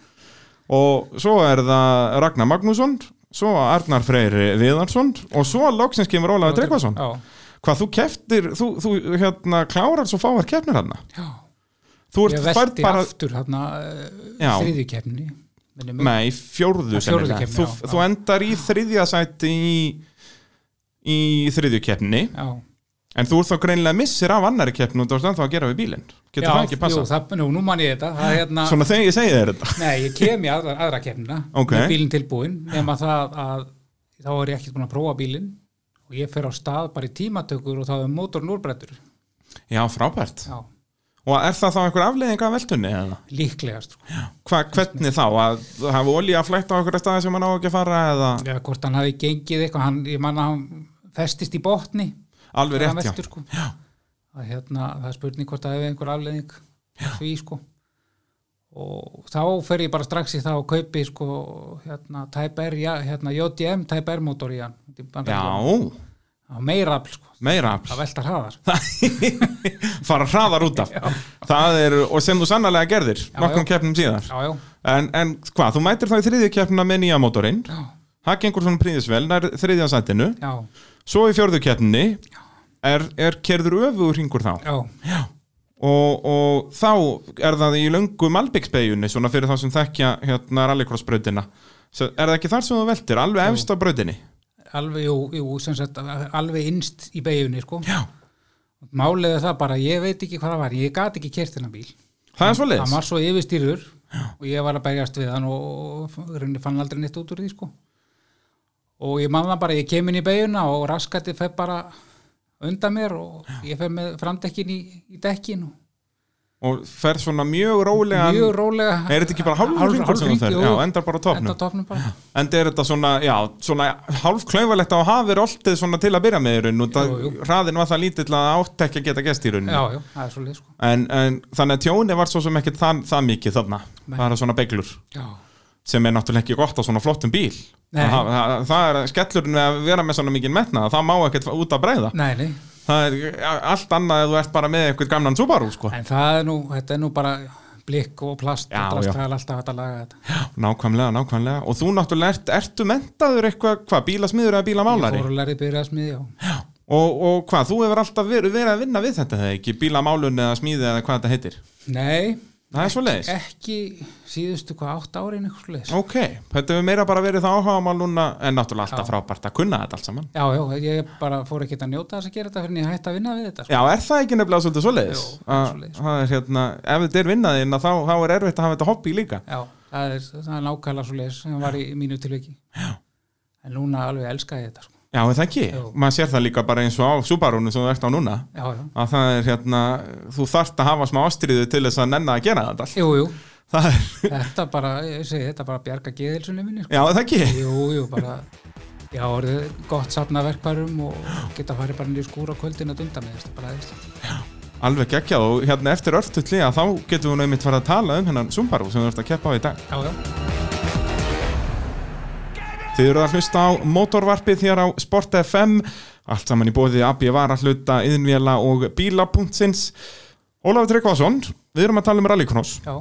S1: og svo er það Ragnar Magnússon svo Arnar Freyr Viðarsson og svo loksins kemur Ólaður Tryggvason
S2: Já,
S1: hvað þú keftir, þú, þú hérna klárar svo fáar keppnir hann
S2: já.
S1: þú
S2: Ég
S1: ert færð
S2: velti
S1: bara
S2: aftur hérna
S1: Já.
S2: þriðju kefni. Minnum,
S1: Nei, fjórðu,
S2: Ja, um- fjórðu
S1: sennilega.
S2: keppni,
S1: þú,
S2: já, já.
S1: þú endar í þriðja sæti í, í þriðju keppni
S2: já.
S1: en þú ert þá greinilega missir af annari keppni og þú ert ennþá að gera við bílinn getur
S2: já,
S1: það ekki
S2: Jú,
S1: passað?
S2: það, nú, nú man ég þetta. Það er hérna...
S1: Svona þegar ég segi þér þetta
S2: Nei, ég kem í aðra, aðra
S1: <laughs>
S2: kemna
S1: Ok.
S2: með bílinn tilbúinn nema það að þá er ég ekkert búin að prófa bílinn og ég fer á stað bara í tímatökur og þá er mótorn úrbrettur
S1: Já, frábært
S2: Já,
S1: Og er það þá einhver afleiðing af veltunni? eða?
S2: líklegast sko.
S1: Hva, hvernig þá? Að hafa olí að flætta á einhverja staði sem hann á ekki að fara eða
S2: eða hvort hann hafi gengið eitthvað hann, ég manna hann festist í botni
S1: alveg
S2: þegar hann
S1: rétt já
S2: veltur, sko. að hérna, það er spurning hvort það hefur einhver afleðing því sko og þá fer ég bara strax í það og kaupi sko hérna, Type R, ja, hérna JDM Type R mótor í hann
S1: Já,
S2: á meira afl sko,
S1: meira afl <laughs>
S2: það veltar hraðar
S1: fara hraðar út af það er, og sem þú sannlega gerðir nokkrum
S2: já.
S1: keppnum síðar
S2: já, já,
S1: en, en hvað, þú mætir þá í þriðju keppnina með nýja mótorinn
S2: já,
S1: það gengur svona príðisvel, nær þriðja sætinu
S2: já,
S1: svo í fjörðu keppninni er, er kerður öfugur hringur þá
S2: já.
S1: og, og þá er það í löngu Malbyggsbeigjunni svona fyrir þá sem þekkja hérna rallycrossbrautina Svo er það ekki þar sem þú veltir, alveg efst á brautinni
S2: alveg, jú, jú, sem sagt alveg innst í beigjunni sko.
S1: já,
S2: málið er það bara, ég veit ekki hvað það var ég gat ekki kert þennan bíl
S1: það er svo
S2: hann
S1: leiðis
S2: var svo yfirstýrur og ég var að berjast við hann og rauninni fann aldrei neitt út úr því sko. og ég man það bara, ég kem inn í beiguna og raskati fer bara undan mér og ég fer með framdekkin í, í dekkin og
S1: og fer svona mjög rólega
S2: mjög rólega
S1: er þetta ekki bara hálfur
S2: hálf-
S1: hringur sem þú
S2: hálfhringi,
S1: ferð?
S2: jú,
S1: Já, endar bara á toppnum.
S2: endar á topnum bara.
S1: enda er þetta svona, já, svona hálfklaufalegt að hafa verið oltið svona til að byrja með í raun og það,
S2: Jú, jú.
S1: hraðin var það lítill að átt ekki að geta gest í raun
S2: já, já, það er svo leið sko.
S1: en, en þannig að tjóni var svo sem ekkert það, það mikið þarna,
S2: Nei.
S1: bara svona beglur
S2: já,
S1: sem er náttúrulega ekki gott á svona flottum bíl
S2: Nei.
S1: það, það, það er skellurinn við að vera með svona mikið metna það má ekkert út að breyða
S2: nei, nei
S1: það er allt annað að þú ert bara með eitthvað gamlan Subaru sko
S2: en það er nú, þetta er nú bara blikk og plast
S1: Já,
S2: og plast,
S1: já.
S2: það er alltaf hægt að laga þetta
S1: nákvæmlega, nákvæmlega og þú náttúrulega ert, ertu mentaður eitthvað hvað, bílasmiður eða bílamálari
S2: fórulari byrjaðsmið, já,
S1: og, og hvað, þú hefur alltaf verið, verið að vinna við þetta þegar ekki bílamálun eða smíði eða hvað þetta heitir
S2: nei
S1: það er svo leiðis,
S2: ekki síðustu hvað átt árin eitthvað leis
S1: ok, þetta hefur meira bara verið það áhagamál núna en náttúrulega alltaf
S2: Já.
S1: frábært að kunna þetta allt saman
S2: Já, já, ég bara fór ekkert að njóta þess að gera þetta fyrir en ég hætti að vinna við þetta sko.
S1: Já, er það ekki nefnilega svolítið svoleiðis?
S2: Jú, það er
S1: Að-
S2: svoleiðis.
S1: það er hérna, ef þetta er vinnaðinn þá, þá er erfitt að hafa þetta hobby líka
S2: Já, það er, það er nákvæmlega svo leis sem var í mínu tilviki Já En núna alveg elska ég þetta sko.
S1: Já, er það ekki,
S2: Jú.
S1: maður sér það líka bara eins og á Subarunu sem þú ert á núna
S2: Já, já,
S1: að það er hérna, þú þarft að hafa smá ástriðu til þess að nenna að gera þetta allt.
S2: jú, jú
S1: Það er,
S2: Þetta bara, ég segi þetta bara bjarga geðilsunni minni sko.
S1: já, er það ekki
S2: Jú, jú, bara Já, orðið gott safna verkvarum og geta farið bara niður í skúr á kvöldin að dunda með þetta er bara eðislega
S1: Alveg geggjað og hérna eftir örtutli að þá getum við námiðt farið að tala um hennan Subaru sem þú ert að keppa á í dag.
S2: Já, já,
S1: Þið eru að hlusta á motorvarpið hér á Sport FM, allt saman í bóði AB Varahluta, Yðinvjela og Bíla.sins. Ólafur Tryggvason, við erum að tala um rallycross
S2: já,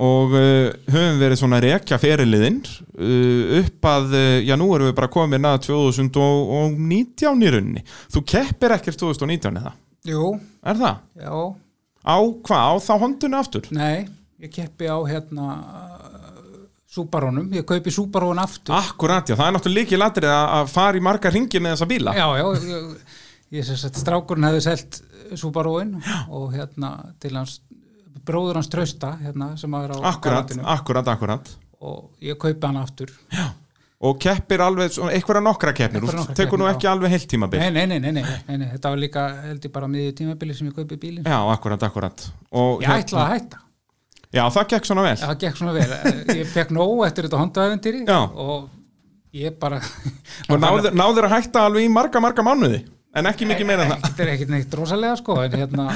S1: og uh, höfum verið svona að rekja feriliðinn uh, upp að, uh, já nú erum við bara komin að 2019 í rauninni. Þú keppir ekkert 2019 eða?
S2: jú,
S1: Er það?
S2: já
S1: Á hvað? Á þá hondunni aftur?
S2: Nei, ég keppi á hérna Súbarónum, ég kaupi Súbarón aftur
S1: Akkurat, já, það er náttúrulega líkið latrið að að fara í marga ringi með þessa bíla.
S2: já, já, ég, ég sem sagt strákurinn hefði selt Subaruinn og hérna til hans bróður hans trösta hérna sem að vera á
S1: Akkurat,
S2: garðinum.
S1: akkurat, akkurat.
S2: og ég kaupi hann aftur
S1: Og keppir alveg, svona einhverja nokkra keppnir,
S2: Einhverjar
S1: þú
S2: nokkra
S1: tekur nú
S2: keppnir,
S1: ekki alveg heilt tímabil.
S2: nei nei nei, nei, nei, nei, nei, þetta var líka held ég bara miðju tímabili sem ég kaupi bílinn
S1: Já, akkurat, akkurat. Og, hérna-
S2: ég ætlaði að hætta,
S1: Já, það gekk svona vel.
S2: það gekk svona vel Eh, ég fekk nóg eftir þetta hondaöfundýri
S1: Já.
S2: og ég bara
S1: Og náður, náður að hætta alveg í marga, marga mánuði, en ekki mikið meira en það.
S2: þetta er ekkit neitt rosalega sko en hérna,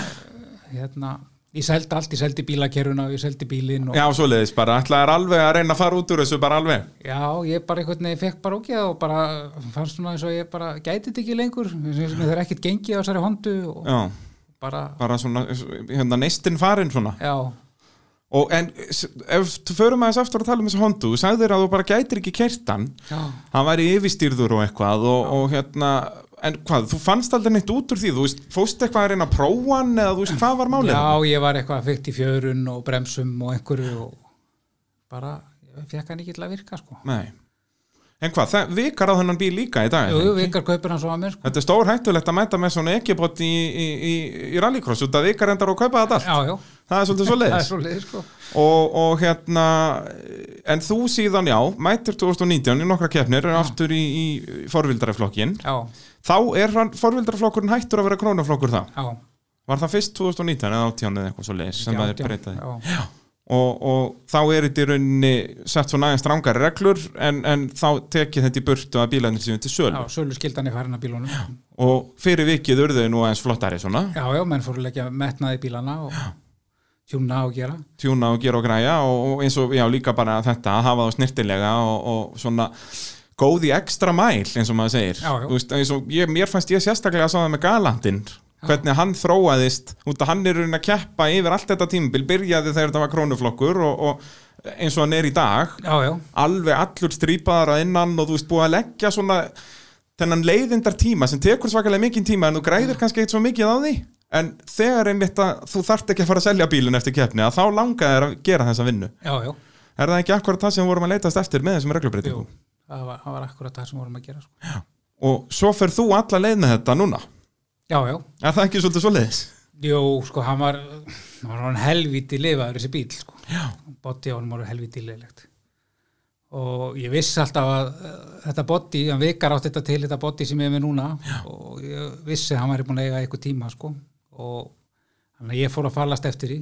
S2: hérna ég seldi allt, ég seldi bílakeruna og ég seldi bílinn og
S1: Já, svoleiðis bara, ætlaðir alveg að reyna að fara út úr þessu bara alveg.
S2: Já, ég bara einhvern veginn fekk bara ógeð og bara fannst svona eins og ég bara gæti þetta ekki lengur, það er ekkert gengið á þessari hondu og
S1: Já,
S2: bara,
S1: bara svona, hérna, neistinn farinn svona.
S2: já,
S1: Og en, s- ef þú förum aðeins aftur að tala um þessu hondu, þú sagðir að þú bara gætir ekki kertan,
S2: já,
S1: hann væri yfirstýrður og eitthvað og, og hérna, en hvað, þú fannst aldrei neitt út úr því, þú veist, fóst eitthvað að reyna að prófa hann eða þú veist, hvað var málið?
S2: já, ég var eitthvað að fyrkt í fjörun og bremsum og einhverju og bara, ég fekk hann ekki til að virka sko.
S1: Nei. En hvað, það vikar á þennan bíl líka í dag?
S2: Jú,
S1: eða?
S2: jú, vikar kaupir hann svo að mér sko.
S1: Þetta er stór hættulegt að mæta með svona ekkibot í, í, í, í rallycross út að vikar endar og kaupa þetta allt.
S2: Já, já,
S1: Það er svolítið svo
S2: <laughs> það er
S1: leiðis.
S2: svo leiðis sko.
S1: Og, og hérna, en þú síðan já, mætir 2019 í nokkra keppnir og aftur í, í forvildaraflokkin.
S2: Já,
S1: Þá er hann- forvildaraflokkurinn hættur að vera krónaflokkur þá.
S2: já,
S1: Var það fyrst 2019 eða 18 eða eitthvað svo leiðis sem það er
S2: já,
S1: breytaði?
S2: já, já,
S1: og, og þá er þetta í rauninni sett svona aðeins strangari reglur en, en þá tekið þetta í burtu að bílarnir séu til sölu
S2: já, sölu skildan er farin að bílunum Já,
S1: og fyrir vikið urðuði nú aðeins flottari svona
S2: já, menn fóru að leggja metnaði bílana og tjúna og gera
S1: tjúna og gera og græja og, og eins og já líka bara þetta að hafa þá snirtilega og, og svona góð í ekstra mæl eins og maður segir
S2: Já, já.
S1: Þú veist, eins og ég, mér fannst ég sérstaklega að það með galandinn hvernig hann þróaðist út að hann er raunin að keppa yfir allt þetta tímbil byrjaði þegar þetta var krónuflokkur og, og eins og hann er í dag
S2: já, já,
S1: alveg allur strýpaðar að innan og þú veist búið að leggja svona þennan leiðindar tíma sem tekur svakalega mikinn tíma en þú græðir kannski eitt svo mikið á því en þegar einmitt að þú þarft ekki að fara að selja bílun eftir keppni að þá langa þér að gera þessa vinnu
S2: já, já,
S1: er það ekki akkurat það sem við vorum að leitast eftir með þessum
S2: jú,
S1: reglubreitingum
S2: það var, það var akkurat það sem vorum að gera sko.
S1: og svo fer þú alla leið með þetta núna
S2: Já, já,
S1: er það ekki svolítið svo leiðis?
S2: jú, sko, hann var, hann var hann helviti lifaður þessi bíl, sko.
S1: Já,
S2: Boddi á hann var helviti liðlegt. Og ég vissi alltaf að eh, þetta boddi, hann vikar átt þetta til, þetta boddi sem ég er með núna og ég vissi að hann væri búin að eiga eitthvað tíma, sko. Og þannig að ég fór að fallast eftir því.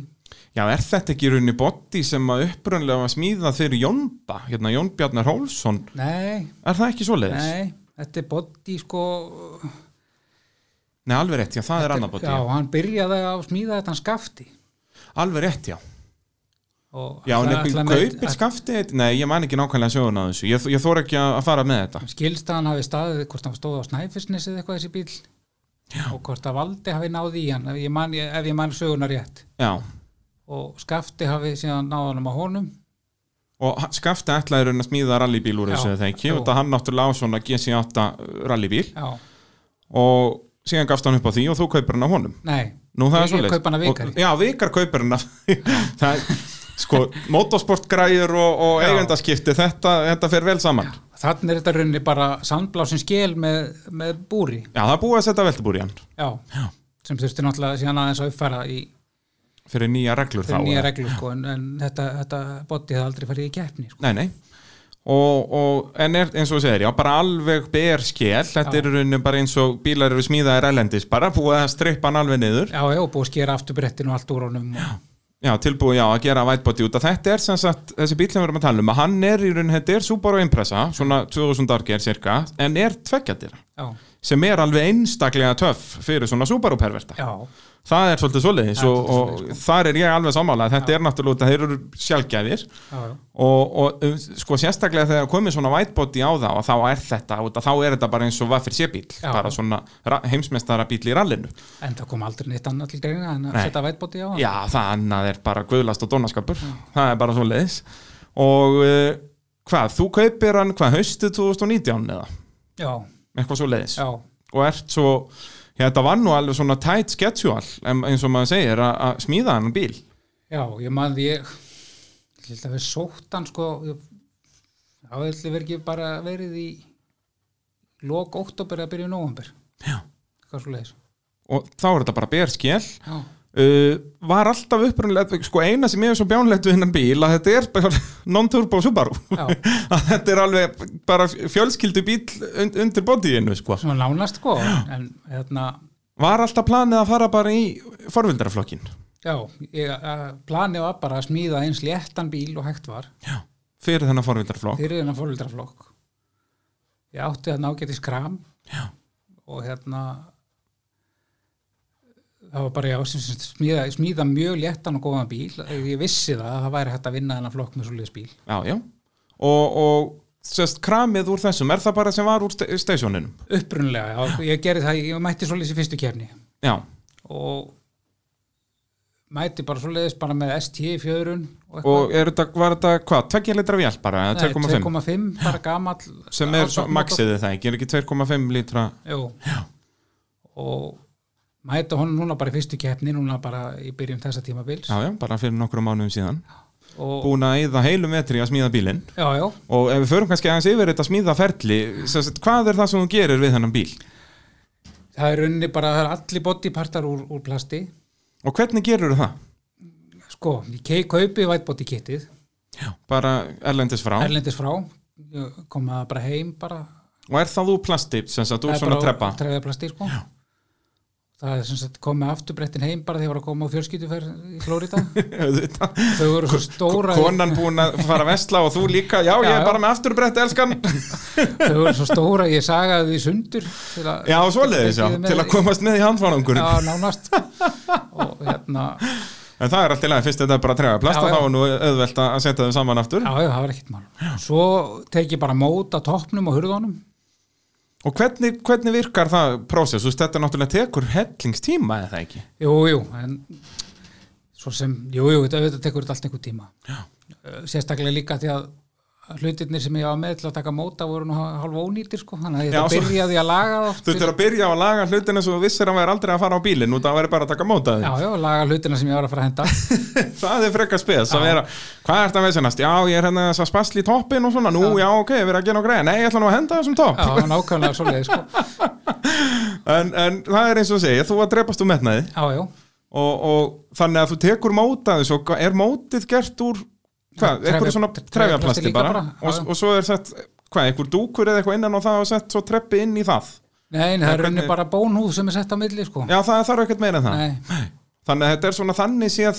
S1: Já, er þetta ekki í rauninni botti sem að upprunlega var smíðað fyrir Jónba, hérna Jón Bjarnar Hólsson,
S2: Nei,
S1: er það ekki svo leiðis?
S2: nei, þetta er boddi, sko,
S1: Nei, alveg rétt, já, það er annað botti,
S2: já, hann byrjaði að smíða þetta hann skafti.
S1: alveg rétt, já.
S2: Og
S1: Já, en
S2: ætlaði-
S1: eitthvað
S2: ætlaði með-
S1: kaupir skaftið, nei, ég man ekki nákvæmlega söguna af þessu, ég, ég þóra ekki að að fara með þetta.
S2: skilst að hann hafi staðið hvort hann stóð á Snæfisnes eða eitthvað þessi bíl Já. og hvort að Valdi hafi náði í hann ef ég man, ef ég man söguna rétt
S1: Já,
S2: og Skafti hafi síðan náði hann á honum
S1: og ha- skaftið ætlaði raun að smíða rallybíl úr
S2: Já,
S1: þessu eða ekki,
S2: jú.
S1: og það hann náttúrulega á svona GC8 uh, rallybíl
S2: Já,
S1: og síðan gafst hann upp á því og þú kaupir hann á honum.
S2: nei,
S1: Nú það
S2: Ég-
S1: er svo
S2: ég kaup hann af Vikari.
S1: Já, vikar kaupir hann af, <laughs> það er, sko, motorsportgræjur og, og
S2: Já.
S1: eigendaskipti, þetta, þetta fer vel saman. Já,
S2: þannig er þetta rauninni bara sandblásin skil með, með búri
S1: það er búið að setja veltubúr í hann
S2: Já.
S1: Já.
S2: sem þurfti náttúrulega síðan aðeins að uppfæra í
S1: fyrir nýja reglur
S2: þeir
S1: þá,
S2: nýja
S1: eða?
S2: reglur sko, en, en þetta, þetta boddi hefði aldrei farið í keppni sko.
S1: Nei, nei og, og en er, eins og þú segir, já, bara alveg ber skél, þetta
S2: Já.
S1: er í rauninu bara eins og bílar eru smíðaðir ælendis, bara búið að strippa hann alveg niður,
S2: Já, já, og búið að skera afturbrettinu og allt úr honum og,
S1: já, tilbúið já, að gera whitebody út að þetta er sem sagt, þessi bíl sem við erum að tala um, að hann er í rauninu, þetta er Subaru Impreza, svona 2000 arger cirka, en er tveggjadira
S2: Já,
S1: sem er alveg einstaklega töff fyrir svona Subaru perverta
S2: já,
S1: það er svolítið svoleiðis
S2: Já,
S1: og,
S2: svolítið
S1: og þar er ég alveg sammála þetta er náttúrulega, út að þeir eru sjálfgæfir
S2: já, já.
S1: og, og um, sko sérstaklega þegar komið svona whitebody á þá þá er þetta, út að þá er þetta bara eins og vaffir sé bíl,
S2: Já.
S1: bara svona heimsmeistara bíl í rallinu
S2: En það kom aldrei neitt annað til greina en
S1: Nei.
S2: að setja vætbóti á hann.
S1: já, það annað er bara guðlast og dónaskapur það er bara svo leiðis og uh, hvað, þú kaupir hann hvað, haustið 2019 eða
S2: Já,
S1: eitthvað svo leiðis
S2: já,
S1: og ert svo, já, þetta var nú alveg svona tight schedule, em- eins og maður segir að- að smíða hann bíl
S2: já, ég man því ég ég held að við sótt hann sko ég- já, ég held að við ekki bara verið í lok óttobur að byrja í nóvambur
S1: Já.
S2: Hvað svo leiðis?
S1: og þá er þetta bara berskjell
S2: Já,
S1: uh, var alltaf upprunlega sko eina sem ég er svo bjánlegt við hennan bíl að þetta er bara <laughs> non-turbo Subaru <laughs>
S2: já,
S1: að þetta er alveg bara fjölskyldu bíl und, undir bodyinu sko
S2: svona nánast sko en hérna,
S1: var alltaf planið að fara bara í forvildaraflokkin
S2: já ég, að, planið var bara að smíða eins léttan bíl og hægt var
S1: fyrir þennan forvildaraflokk
S2: fyrir þennan fólöldraflokk hérna ég átti þarna ágæti skram
S1: Já.
S2: og hérna það var bara já, sem, sem, smíða, smíða mjög léttan og góðan bíl ég vissi það að það væri hægt að vinna þennan flokk með svoleiðis bíl
S1: já, já. og, og sest, kramið úr þessum er það bara sem var úr st stasjóninum
S2: upprunulega, já, ég gerði það, ég mætti svoleiðis í fyrstu kefni
S1: já,
S2: og mætti bara svoleiðis bara með ST fjörun og eitthvað
S1: og er þetta, var þetta hvað, 2 litra vél bara,
S2: Nei,
S1: eða 2,5
S2: bara gamall
S1: sem er svo-
S2: átján motor.
S1: maxið er það ekki, er ekki 2,5 litra
S2: Jú. og mæta honum núna bara í fyrstu keppni núna bara í byrjun þessa tímabils
S1: já, já, bara fyrir nokkrum mánuðum síðan
S2: og,
S1: búin að eyða heilum metri að smíða bílinn
S2: já, já,
S1: og ef við förum kannski aðeins yfir þetta smíðaferli sem sagt, hvað er það sem þú gerir við þennan bíl
S2: það er unni bara það er allir bodypartar úr, úr plasti
S1: og hvernig gerur það?
S2: sko, ég kei- kaupi white body kitið
S1: Já. bara erlendis frá
S2: erlendis frá ég kom það bara heim bara,
S1: og er það úr plasti sem sagt úr
S2: það er
S1: svona
S2: bara
S1: treppa
S2: trefjaplasti, sko já. það er sem sagt komið afturbrettin heim bara þegar ég var að koma á fjölskylduferð í Flórida
S1: <laughs> Auðvitað.
S2: þau voru svo stóra
S1: konan búin að fara að vesla og þú líka já, ég
S2: Já, já.
S1: er bara með afturbrett elskan
S2: þau voru svo stóra, ég sagaði því sundur til að-
S1: já, svoleiðis já,
S2: Tekið
S1: <laughs>
S2: með-
S1: til að komast með í handfánungur
S2: Já, nánast og hérna
S1: En það er allt í lagi, fyrst þetta er bara trega plast
S2: Já,
S1: og
S2: já.
S1: þá er nú auðvelt að setja þau saman aftur
S2: já, já, það var ekkert mál svo tek ég bara mót að toppnum og hurðunum
S1: Og hvernig, hvernig virkar það prósess? Þú veist, þetta náttúrulega tekur hellingstíma eða ekki?
S2: jú, jú, en svo sem, jú, jú, þetta auðvitað tekur þetta allt einhver tíma já. sérstaklega líka því að hlutirnir sem ég var með til að taka móta voru nú hálfa ónýtir sko, þannig að
S1: Já,
S2: þetta
S1: svo-
S2: byrjaði að laga þá
S1: Þú þurftur að byrja á að laga hlutin eins og þú vissir að maður er aldrei að fara á bílinn út af að vera bara að taka móta
S2: já,
S1: þig.
S2: já, laga hlutina sem ég var að fara að henda
S1: <laughs> það er frekar spes að vera, hvað er þetta að veisinnast? Já, ég er hérna þess að spasli í toppin og svona, nú já, ok, við erum að gera á greið, nei, ég ætla nú að henda þessum topp.
S2: já, nákvæmlega svoleiði sko
S1: En, en það er eins og segja, þú að drepast um metnaði
S2: Já, já,
S1: og, og þannig að þú tekur móta þessu og er mótið gert úr, hvað,
S2: Já,
S1: eitthvað
S2: trefja-
S1: svona
S2: trefjaplasti
S1: trefjaplasti
S2: líka
S1: bara,
S2: bara, já,
S1: og,
S2: já.
S1: og svo er sett, hvað, einhver dúkur eða eitthvað innan á það og sett svo treppi inn í það.
S2: nei, nei, það er
S1: hvernig-
S2: rauninni bara bónhúð sem er sett á milli, sko
S1: Já, það þarf ekkert meira en það.
S2: Nei,
S1: Þannig að þetta er svona þannig séð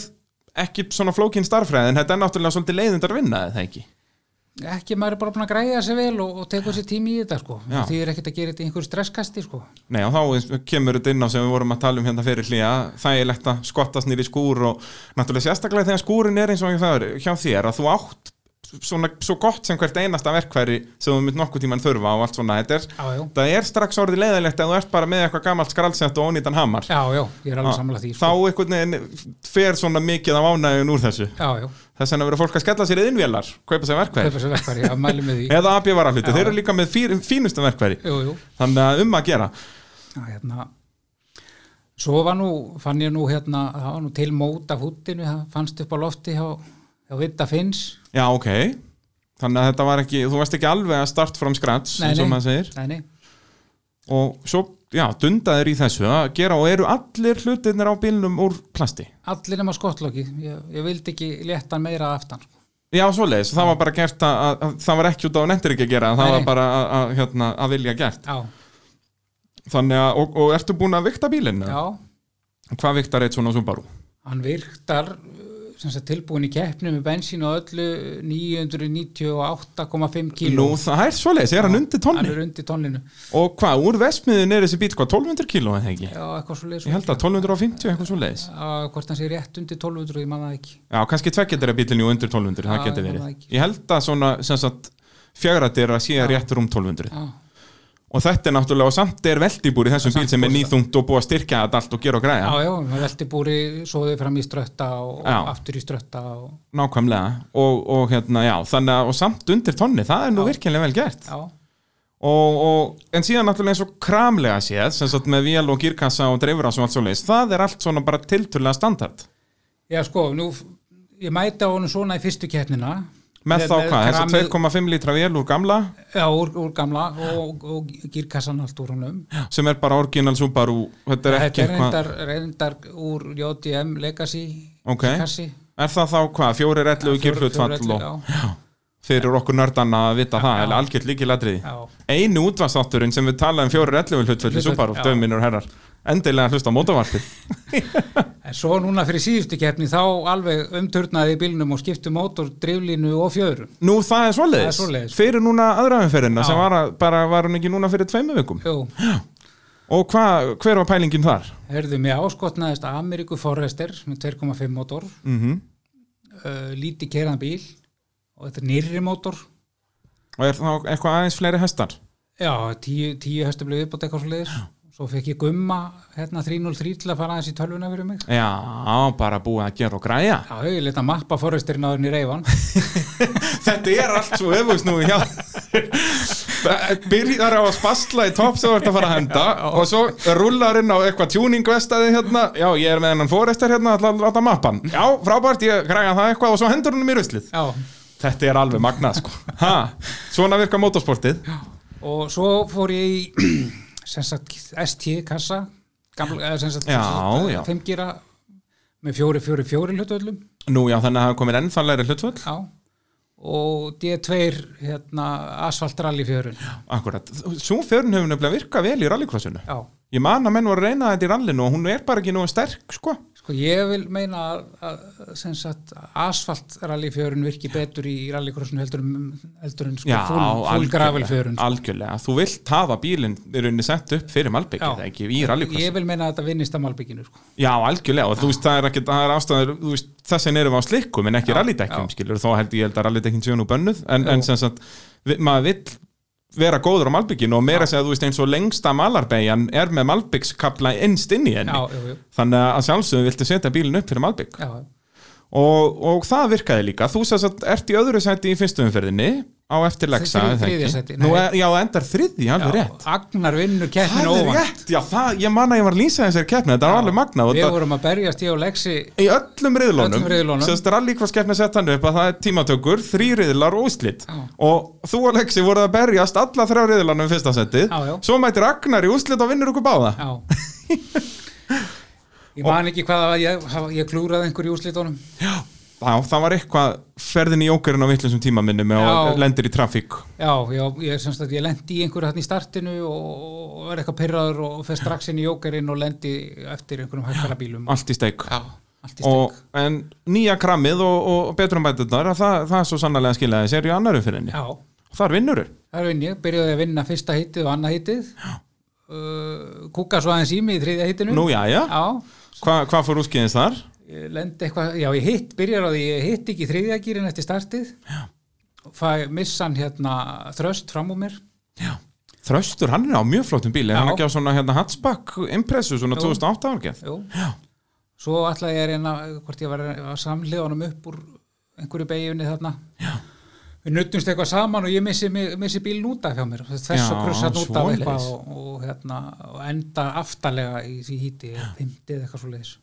S1: ekki svona flókin starfræði en þetta er náttúrulega svolítið leiðindar vinna eða ekki
S2: ekki, maður er bara búin að græja sér vel og, og tekur sér tími í þetta, sko
S1: Já.
S2: Því er ekkert að gera þetta í einhverju stresskasti, sko
S1: Nei og þá kemur þetta inn á sem við vorum að tala um hérna fyrir hlýja þægilegt að skottast nýri skúr og náttúrulega sérstaklega þegar skúrin er eins og það er hjá þér að þú átt svona svo gott sem hvert einasta verkfæri sem þú mynd nokkuð tíman þurfa og allt svona þetta er,
S2: Já, já,
S1: það er strax orðið leiðilegt að þú ert bara með eitthvað gamalt skralsett og ónýtan hamar Ah,
S2: já, já, ég er alveg samlega því,
S1: þá
S2: sko
S1: einhvern veginn fer svona mikið af ánægjun úr þessu
S2: Já, já,
S1: þess vegna verður fólk að skella sér yðinvélar kaupa sér verkfæri
S2: kaupa sér verkfæri, já, mæli með því
S1: eða AB var
S2: Já.
S1: þeir eru líka með fír, fínustum verkværi
S2: Jú, jú,
S1: þannig að um að gera
S2: já, hérna Svo var nú, fann ég nú hérna, það var nú til mót af húttinu, það fannst upp á lofti hjá, hjá Vita Finns
S1: já ok, þannig að þetta var ekki þú varst ekki alveg að start from scratch
S2: Nei,
S1: eins og
S2: nei.
S1: maður segir
S2: Nei, nei,
S1: og svo, já, dundaður í þessu að gera og eru allir hlutirnir á bílnum úr plasti
S2: allir nema skottloki, ég, ég vildi ekki léttan meira að aftan, sko
S1: já, svoleiðis, það var bara gert að, að, að það var ekki út á nettir ekki að gera, það
S2: Nei, nei.
S1: var bara að, að, hérna, að vilja gert,
S2: Já,
S1: þannig að og, og ertu búin að vikta bílinu?
S2: já,
S1: Hvað viktar eitt svona Subaru?
S2: Hann virktar uh, sem sagt, tilbúin í keppni með bensín og öllu uh, 998,5
S1: Nú,
S2: kíló.
S1: það er svoleiðis, er hann undir
S2: Hann
S1: tonni?
S2: er undir tónlinu.
S1: Og hvað, úr vesmiðin er þessi bíl, hvað, 1200 kíló eða ekki?
S2: Já, eitthvað sko. svo leiðis.
S1: Ég held að 1250 eitthvað svo leiðis
S2: Hvort hann sé rétt undir 1200, ég manna ekki.
S1: Já, kannski tveggjadir að bílinni og undir 1200, það
S2: Já,
S1: getur
S2: ég man það
S1: verið
S2: ekki.
S1: Ég held að svona, sem sagt, fjagradir að sé
S2: Já.
S1: rétt rúm 1200
S2: Já,
S1: Og þetta er náttúrulega, og samt er veltibúr í þessum bíl sem er nýþungt og búið að styrkja þetta allt og gera og
S2: já,
S1: græja
S2: já, maður velti búri svoðið fram í strötta og,
S1: Já.
S2: og aftur í strötta og
S1: Nákvæmlega, og, og hérna, já, þannig að, og samt undir tonni, það er nú
S2: Já.
S1: virkilega vel gert
S2: já,
S1: og, og, en síðan náttúrulega eins og kramlega séð, sem sagt með vél og gírkassa og dreifurás og allt svo leiðis, það er allt svona bara tiltölulega standard
S2: já, sko, nú ég mæti á honum svona í fyrstu keppnina
S1: Með þá hvað, þessi
S2: kramið-
S1: 2,5 lítra vél úr gamla
S2: Já, úr, úr gamla og, og, og gírkassan allt úr honum
S1: sem er bara orginal Subaru þetta er
S2: Þetta
S1: ekki
S2: er
S1: eitthvað
S2: reyndar, reyndar úr JDM Legacy
S1: Ok.
S2: kassi
S1: er það þá hvað, fjórir ellu
S2: Já, fjórir-
S1: kyrflutfall
S2: fjórir
S1: og
S2: ellefu,
S1: fyrir okkur nördarna að vita það,
S2: já.
S1: eða algjört líkilatriði
S2: já,
S1: einu útvarsátturinn sem við talaðum fjórir ellu hlutföll í
S2: Hlutföll,
S1: Subaru,
S2: já.
S1: döminur herrar endilega hlusta á mótavarpið
S2: já. En svo núna fyrir síðustu keppni þá alveg umturnaði bílnum og skiptu mótor, driflínu og fjöðrum.
S1: nú það er
S2: Það
S1: svoleiðis,
S2: er svoleiðis.
S1: fyrir núna aðraðumferðina
S2: Já.
S1: sem var að, bara var hún ekki núna fyrir tveimu vikum
S2: Jú,
S1: og hva, hver var pælingin þar?
S2: herðu mig áskotnaðist að Ameríku Forrester með 2,5 mótor,
S1: Mm
S2: uh, lítið kerðan bíl og þetta er nýrri mótor.
S1: og er þá eitthvað aðeins fleiri hestar?
S2: Já, tíu, tíu höstu bleið upp á eitthvað svo leiðis. Svo fekk ég gumma hérna 303 til að fara aðeins í tölvuna fyrir mig.
S1: já, bara búið að gera og græja
S2: Já, ég leta mappa Forresterinn á henni reyfan.
S1: Þetta er allt svo öfust nú hjá Byrjar á að spasla í topp sem þú ert að fara að henda og svo rullar inn á eitthvað tjúningvestaði hérna, já ég er með hennan fórestar hérna alltaf alltaf mappan, já frábært ég græja það eitthvað og svo hendur hann um í ruslið
S2: <laughs> Já,
S1: Þetta er alveg magnað sko ha, Svona virka motorsportið
S2: og svo fór ég í <clears throat> sem sagt ST kassa gamla, eða sem sagt,
S1: Já,
S2: sem
S1: já.
S2: sagt fimmgýra með fjóri, fjóri, fjóri hlutöldum
S1: Nú já þannig að hafa komin ennþanlegri hlutvöld
S2: já, og D2 hérna asfaltralli fjörun já,
S1: Akkurat, svo fjörun hefur nefnilega virkað vel í rallycrossinu
S2: já,
S1: Ég man að menn voru að reyna þetta í rallinu og hún er bara ekki nógu sterk sko
S2: Sko ég vil meina að, að sem sagt asfalt rallyfjörun virki betur í rallycrossinu heldur, en- heldur en sko
S1: Já,
S2: full, sko. full gravelfjörun.
S1: algjörlega, þú vilt hafa bílinn í rauninni sett upp fyrir Malbygg
S2: Já.
S1: eða ekki í rallycross
S2: Ég vil meina að þetta vinnist að malbygginu sko.
S1: Já, algjörlega, og þú veist, það er ekki það er ástæður, þú veist, þess vegna erum við á slikkum en ekki
S2: Já,
S1: rallydekkum,
S2: já.
S1: skilur, þó held ég held að rallydekkin séu nú bönnuð, en,
S2: Já.
S1: en sem sagt vi- maður vill vera góður á Malbygginu og meira að segja, þú veist, eins og lengsta malarbegjan er með Malbyggskabla innst inn í henni,
S2: Já, já, já,
S1: þannig að sjálfsögum viltu setja bílinn upp fyrir Malbygg
S2: já,
S1: og, og það virkaði líka þú sagði að ert í öðru sæti í fyrstu umferðinni á eftir Lexa
S2: Þriðja-
S1: er það
S2: þriðja
S1: ekki?
S2: sæti,
S1: Nú,
S2: nei.
S1: e- já, það endar þriðji,
S2: já.
S1: alveg rétt
S2: Agnar vinnur
S1: það
S2: keppnin
S1: er
S2: óvand.
S1: rétt, já, það, ég man að ég var að lýsa þessari keppni þetta var alveg magnað og
S2: Við
S1: það-
S2: vorum að berjast ég og Lexi
S1: í öllum riðlunum,
S2: Öllum riðlunum.
S1: sérst rallíkvarskeppni sett hann upp að það er tímatökur, þrý riðlar og úslit
S2: Já.
S1: og þú og Lexi voruð að berjast alla þrjá riðlunum fyrsta setið
S2: Já, já.
S1: svo mætir Agnar í úslit og vinnur okkur báða <laughs>
S2: Já Ég man ekki hvað það var, ég, hafa- ég klúraði einhverju úrslitunum
S1: Já, það var eitthvað ferðin í ókerinn á vitlusum tímaminnum og
S2: Já.
S1: lendir í trafík
S2: Já, já, ég, semst að ég lendi í einhverju hann í startinu og var eitthvað pyrraður og fer strax inn í jókerinn og lendi eftir einhverjum hækkara bílum
S1: allt í steik
S2: Já, allt í
S1: og,
S2: stygg
S1: en nýja krammið og, og betrumbætundar það, það er svo sannlega skiljaði sér í annar umfyrinni
S2: Já,
S1: þar vinnur
S2: það er vinn ég, byrjaði að vinna fyrsta hitið og annað hitið uh, Kúka svo aðeins í mig í þriðja hitinu
S1: nú jæja,
S2: Mm. Já,
S1: Hva, hvað fór útskýðins þar?
S2: ég lendi eitthvað, já ég hitt, byrjar á því, ég hitt ekki í þriðja gýrin eftir startið Já Fæ missan hérna þröst fram úr mér
S1: Þröstur, hann er á mjög flottum bíl er
S2: Já.
S1: hann ekki á svona hérna, hatchback impressu svona 2008 árgeð
S2: Jú. Svo ætlaði ég að reyna hvort ég var að samlega honum upp úr einhverju beigjunni þarna. Já. Við nuttumst eitthvað saman og ég missi, mig- missi bíl núta hjá mér. Þess
S1: Já,
S2: og krussa núta og
S1: svoleiðis.
S2: eitthvað og, og, hérna, og enda aftarlega í því híti, fymtið eitthvað svo leiðis.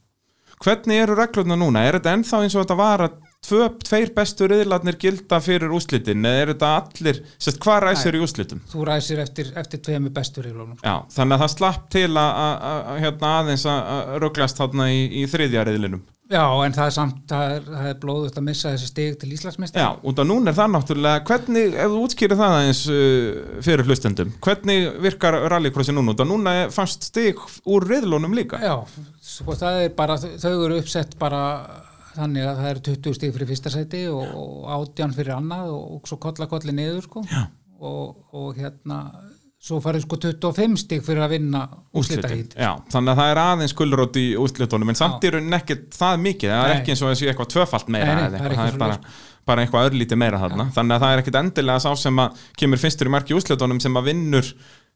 S1: Hvernig eru reglurna núna? Er þetta ennþá eins og þetta var að tvö, tveir bestu riðlarnir gilda fyrir úslitin eða er þetta allir, sérst hvað ræsir í úslitum?
S2: Þú ræsir eftir, eftir tveimur bestur í lónum.
S1: Já, þannig að það slapp til að, að, að hérna, aðeins að- að röglast þarna í, í þriðja riðlinum
S2: Já, en það er samt, það er, það er blóðut að missa þessi stig til Íslandsmeistar.
S1: Já, út af núna er það náttúrulega, hvernig, ef þú útskýrir það aðeins uh, fyrir hlustendum, hvernig virkar rallycrossi núna? Út af núna er fast stig úr riðlunum líka.
S2: Já, sko það er bara, þau eru uppsett bara þannig að það eru 20 stig fyrir fyrsta sæti og, og 18 fyrir annað og, og svo kolla kolli niður sko Já. og, og hérna svo farið sko 25 stig fyrir að vinna úslita
S1: Úrslitin. Já, þannig að það er aðeins gulrót í úrslitunum, en samt eru nekkit það mikið, það er
S2: Nei.
S1: ekki eins og þessu eitthvað tvöfalt meira,
S2: Nei, nei,
S1: eða
S2: það er
S1: eitthvað, það
S2: ekki
S1: er bara, bara eitthvað örlítið meira þarna. Þannig að það er ekkit endilega sá sem að kemur fyrstur í marki úrslitunum sem að vinnur,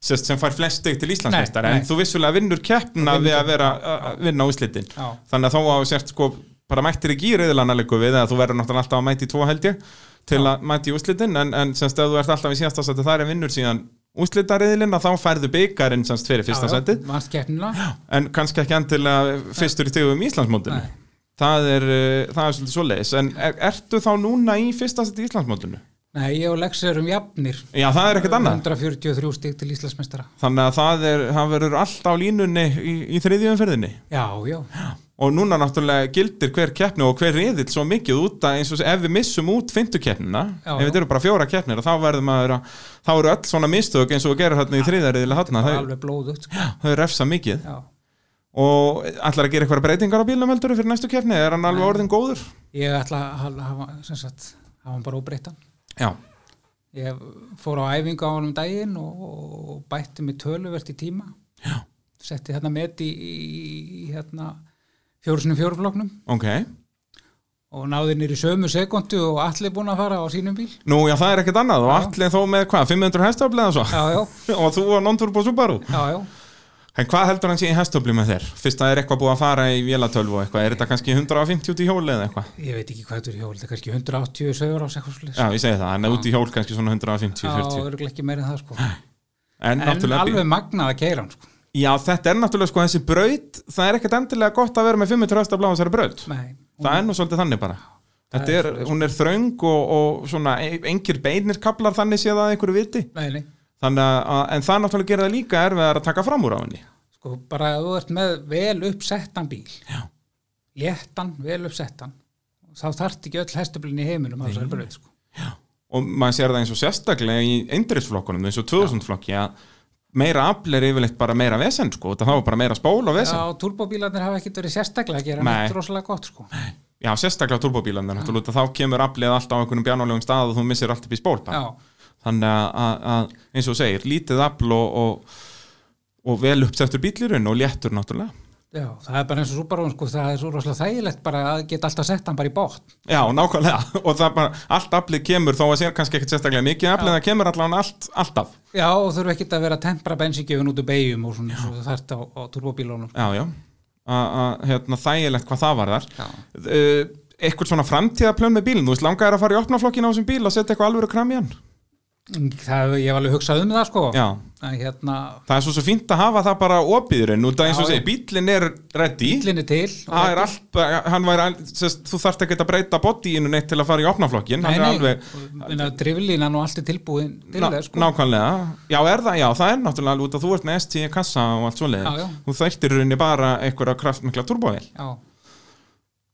S1: sem, sem fær flest stig til Íslandsmeistar,
S2: Nei,
S1: en
S2: nei.
S1: þú vissulega vinnur keppna við að vera að vinna úrslitin.
S2: Já.
S1: þannig að þó að þú sért sko bara mættir ekki í reyðilana leiku við eða þú verður náttúrulega alltaf að mæti í tvo held ég til að mæti í úslitin en, en semst ef þú ert alltaf í síðasta seti þar en vinnur síðan úslitariðilina þá færðu byggarinn semst fyrir fyrsta setið
S2: Vannst keppnina
S1: en kannski ekki endilega fyrstur í tegum Íslandsmótinu
S2: Nei.
S1: það er, uh, það er svolítið svoleiðis en er, ertu þá núna í fyrsta seti í Íslandsmótinu?
S2: Nei, ég og Lexi erum jafnir
S1: Já það er ekkert annað
S2: 143 stig til Íslandsmeistara
S1: þannig að það, er, það verður allt á línunni í, í þriðjum ferðinni
S2: Já, já,
S1: og núna náttúrulega gildir hver keppni og hver riðil svo mikið út að eins og ef við missum út fymtukeppnina,
S2: Já,
S1: ef
S2: já.
S1: þetta eru bara fjóra keppnir þá verður maður að, þá eru öll svona mistök eins og við gerum hérna í þriðariðilega hérna
S2: það er
S1: þau,
S2: alveg blóðut sko.
S1: þau refsa mikið
S2: Já,
S1: og ætlar að gera eitthvað breytingar á bílnum heldur fyrir næstu keppni, er hann alveg orðin góður?
S2: ég ætla að hafa, sem sagt, hafa hann bara óbreyttan
S1: Já,
S2: Ég fór á æfingu á honum daginn og, og bætti mig töluvert í tíma.
S1: Já.
S2: Setti hérna met í, í, í hérna fjórusunum fjórufloknum
S1: ok
S2: og náði nýri sömu sekundu og allir búin að fara á sínum bíl.
S1: Nú, já, það er ekkert annað og allir þó með hvað, 500 hestöfli eða svo
S2: Já, já,
S1: <laughs> og þú og non-turbo Subaru
S2: já, já.
S1: En hvað heldur hann sé í hestöfli með þér? Fyrst að það er eitthvað búið að fara í vélatölvu og eitthvað, er þetta kannski 150 út í hjóli eða eitthvað?
S2: Ég veit ekki hvað þetta er hjól, þetta er kannski 180 sögur ás eitthvað slið.
S1: Já, ég segi það, hann er út í hjól kannski svona 150-40
S2: Já, örgulega ekki meira en það sko.
S1: En,
S2: En
S1: náttúrulega
S2: alveg magnað að keira hann sko.
S1: Já, þetta er náttúrulega sko þessi braut Það er ekkert endilega gott að vera með 500 hestabla á þessari braut
S2: Nei,
S1: Það er nú svolítið þannig bara Þetta er, hún er þröng og, og svona e- engir beinir kaplar þannig séð að einhverju viti
S2: nei, nei.
S1: Þannig að, en það náttúrulega gera það líka erfiðar að taka fram úr á henni
S2: Sko bara að þú ert með vel uppsettan bíl. Já. Léttan, vel uppsettan. Þá þarft ekki öll hestublinni í heiminum að þessar bröð sko.
S1: Og maður sér það eins og sérstaklega í eindriðsflokkunum eins og 2000 flokki að meira afl er yfirleitt bara meira vesen sko, það var bara meira spól og vesen
S2: Já, turbóbílarnir hafa ekkert verið sérstaklega að gera
S1: Nei.
S2: neitt rosalega gott sko.
S1: Já, sérstaklega turbóbílandar, náttúrulega þá kemur aflið allt á einhvernum bjánulegum stað og þú missir allt upp í spól bara.
S2: Já,
S1: þannig að- að, að eins og þú segir, lítið afl og, og, og vel uppsettur bílirun og léttur náttúrulega
S2: já, það er bara eins og súbarón sko, það er svo rosalega þægilegt bara að geta alltaf sett hann bara í bótt.
S1: Já, nákvæmlega, <laughs> og það bara allt aflið kemur þó að sér kannski ekkert sérstaklega mikið aflið, það kemur allan allt, alltaf
S2: Já, og þurfa ekkert að vera að tempra bensíkjöfun út úr beigjum og svona, svo það ert á, á turbóbílunum.
S1: Já, já, að að, hérna, þægilegt hvað það var þar
S2: Já.
S1: eitthvað svona framtíðaplön með bílinn, þú veist langaðir að fara í opnaflokkin á þessum bíl og setja eitthvað alvöru kram í hann
S2: Það, ég hef alveg hugsað um það sko.
S1: Já,
S2: En hérna,
S1: það er svo, svo fínt að hafa það bara opiðurinn út að eins og
S2: Já,
S1: segir, bílinn er ready
S2: bílinn er til.
S1: það er allt, eh, hann væri all- sest, þú þarft ekki að breyta bodyinu neitt til að fara í opnaflokkin
S2: Nei,
S1: hann er
S2: nei,
S1: alveg
S2: alveg... driflínan og allt er tilbúin til
S1: Ná,
S2: þess sko.
S1: nákvæmlega, já er það, já það er náttúrulega alveg út að þú ert með ST kassa og allt
S2: Já, já.
S1: svoleiðin, þú þættir rauninni bara einhverja kraftmikla turbovél,
S2: Já,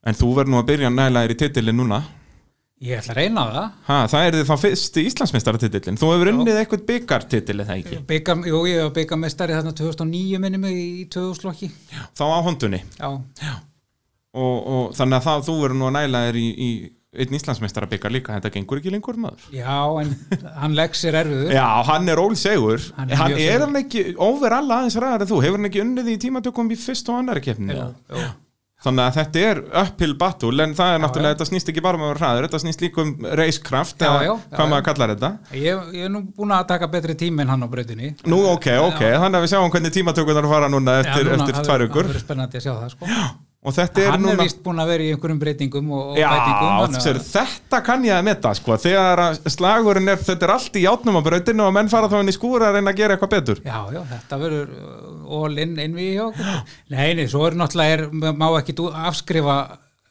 S1: en þú verður nú að byrja nægilega í titilin núna,
S2: ég ætla að reyna það.
S1: ha, það er þið þá fyrst í Íslandsmeistaratitilin, þú hefur unnið eitthvað byggartitil eða ekki,
S2: Byggar, jú, ég hef byggar mestari þarna 2009 minni mig í 2000 slokki.
S1: þá á hondunni
S2: Já,
S1: og, og þannig að það, þú verður nú að nægilega í, í einn Íslandsmeistara líka, þetta gengur ekki lengur maður
S2: já, en hann legg sér erfiður.
S1: Já, hann er ólsegur
S2: Hann
S1: Hann,
S2: er mjög
S1: er
S2: segur.
S1: hann ekki, óver alla aðeins ræðar en þú, hefur hann ekki unnið í tímatökum í fyrst og annari keppni
S2: Já, já.
S1: Þannig að þetta er uphill battle en það er náttúrulega,
S2: já.
S1: þetta snýst ekki bara um að vera hraður þetta snýst líka um racecraft
S2: Já,
S1: eða
S2: já, já,
S1: hvað
S2: já.
S1: maður kallar þetta
S2: Ég, ég er nú búin að taka betri tími en hann á breytinni.
S1: Nú, ok, ok, þannig að við sjáum hvernig tímatökunar fara núna eftir, eftir tvær
S2: Það
S1: ykkur
S2: verður spennandi að sjá það sko.
S1: og þetta er
S2: hann er
S1: núna
S2: vist búin að vera í einhverjum breytingum og, og
S1: Já,
S2: bætingum.
S1: sér, þetta kann ég að meta sko, þegar að slagurinn er, þetta er allt í játnum á brautinu og menn fara þá inn í skúra að reyna að gera eitthvað betur
S2: Já, já, þetta verður uh, all in, in við hjá okkur. Nei, nei, svo er náttúrulega, er, má ekki afskrifa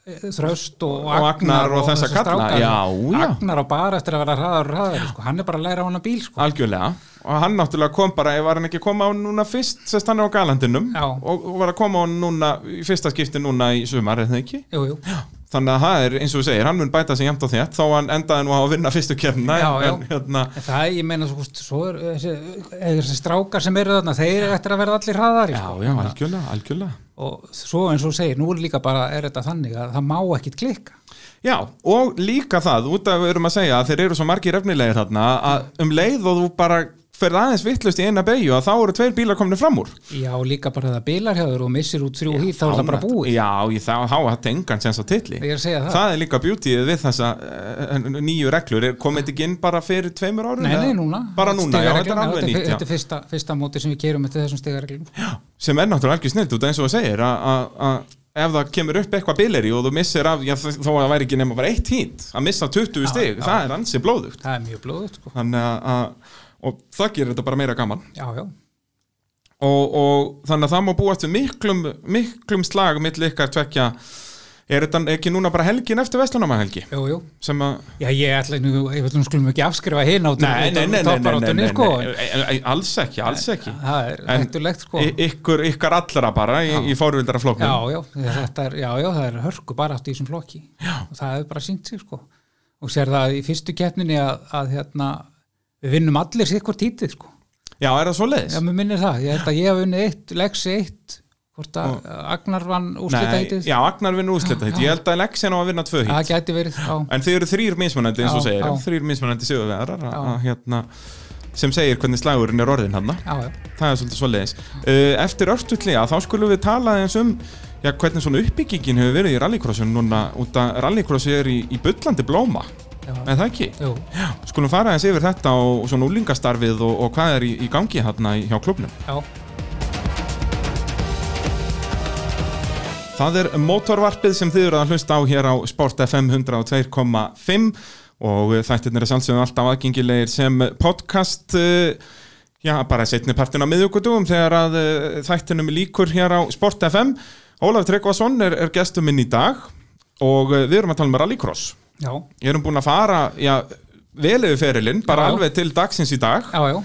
S2: eh, þröst og,
S1: Og Agnar og þessa
S2: þessa
S1: kalla.
S2: stráka.
S1: Já, já.
S2: Agnar á bara eftir að vera hraðar og hraðar, sko. hann er bara að læra á hana bíl, sko.
S1: Algjörlega, og hann náttúrulega kom bara ef var hann ekki að koma á núna fyrst sest hann er á galandinum
S2: Já.
S1: og, og var að koma á núna í fyrsta skipti núna í sumar eða ekki,
S2: Jú, jú,
S1: þannig að það er eins og við segir, hann mun bæta sig jæmt á þétt þó hann endaði nú á að vinna fyrstu kemna
S2: Já, já.
S1: en hérna,
S2: En það, ég meina, svo, svo er þessi, eh, þessi strákar sem eru þarna, þeir eru eftir að verða allir hraðari,
S1: já,
S2: sko.
S1: já, algjörlega, algjörlega
S2: Og svo eins og þú segir, nú er líka bara, er þetta þannig að það má ekkit klikka.
S1: Já, og líka það, út af við erum að segja að þeir eru svo margir efnilegir þarna að um leið og þú bara ferð aðeins vittlust í eina beigju að þá eru tveir bílar komni fram úr
S2: Já, líka bara það bílar hjá þér og missir út þrjú hýtt, þá er það bara
S1: Ánægt.
S2: búið.
S1: Já, ég þá þá þetta engan sens á titli
S2: Ég er að segja það.
S1: Það er líka beautyið við þessa uh, nýju reglur, Er- kom þetta ekki inn bara fyrir tveimur árum?
S2: Nei,
S1: eða?
S2: nei, núna.
S1: Bara núna, já, þetta
S2: Stigareglum,
S1: er alveg nýtt
S2: Þetta
S1: já.
S2: er fyrsta, fyrsta móti sem við kerum eftir þessum stigareglum.
S1: Sem er náttúrulega algjör snilt út af eins og það segir að- að að ef það kemur upp eitthvað bileri og þú missir af, já, þó þó að það væri ekki nema bara eitt hít að missa 20 stig, það er ansi blóðugt
S2: Það er mjög blóðut, sko.
S1: þannig að, að og það gerir þetta bara meira gaman
S2: Já, já.
S1: og, og þannig að það má búast við miklum, miklum slag milli ykkar tvekja er þetta ekki núna bara helgin eftir Vestlunamahelgi
S2: Jú, jú.
S1: sem að
S2: Já, ég ætla nú, ég veit nú skulum ekki afskrifa hinn á
S1: Nei, nei, nei, nei, nei, nei, nei,
S2: sko.
S1: nei, nei, alls ekki, alls ekki
S2: Það er
S1: En-
S2: hættulegt, sko.
S1: I, ykkur, ykkar allra bara í, í fórvildara
S2: Já,
S1: flokkum
S2: já, þetta er, já, já, það er hörku bara átt í þessum flokki. Já. Og það hefur bara sínt sig, sko. Og sér það í fyrstu keppninni að, að hérna, við vinnum allir sikkur títið, sko.
S1: Já, er það svo leiðis?
S2: Já, mér minnir það. Ég held að ég hef unnið eitt, legsi eitt, hvort að Agnar vann úrslita heitið.
S1: já, Agnar vinnur úsleita þetta, ég held að Lexi ná að vinna tvö hít
S2: Það gæti verið, já.
S1: En þið eru þrýr mismunandi eins og
S2: Já,
S1: segir
S2: já.
S1: Þrýr mismunandi sigurvegarar að- að, hérna, sem segir hvernig slagurinn er orðin hann
S2: Já, já.
S1: það er svolítið svoleiðis uh, eftir örtutlega þá skulum við tala eins um já, hvernig svona uppbyggingin hefur verið í rallycrossinu núna út að rallycrossi er í, í bullandi blóma
S2: Já.
S1: en það ekki
S2: Jú,
S1: já, skulum fara eins yfir þetta og, og svona úlingastarfið og, og hvað er í, í gangi hérna í- hjá klubnum
S2: já,
S1: Það er mótorvarpið sem þið eru að hlusta á hér á Sport FM 102.5 og þættirnir er sjálfsögum alltaf aðgengilegir sem podcast eh, já, bara setni partin á miðugudugum þegar að eh, þættinum líkur hér á Sport FM. Ólaf Tryggvason er, er gestur minn í dag og eh, við erum að tala um rallycross.
S2: já,
S1: Ég erum búin að fara, já, vel yfir ferilinn, bara
S2: Já.
S1: alveg til dagsins í dag
S2: já, já,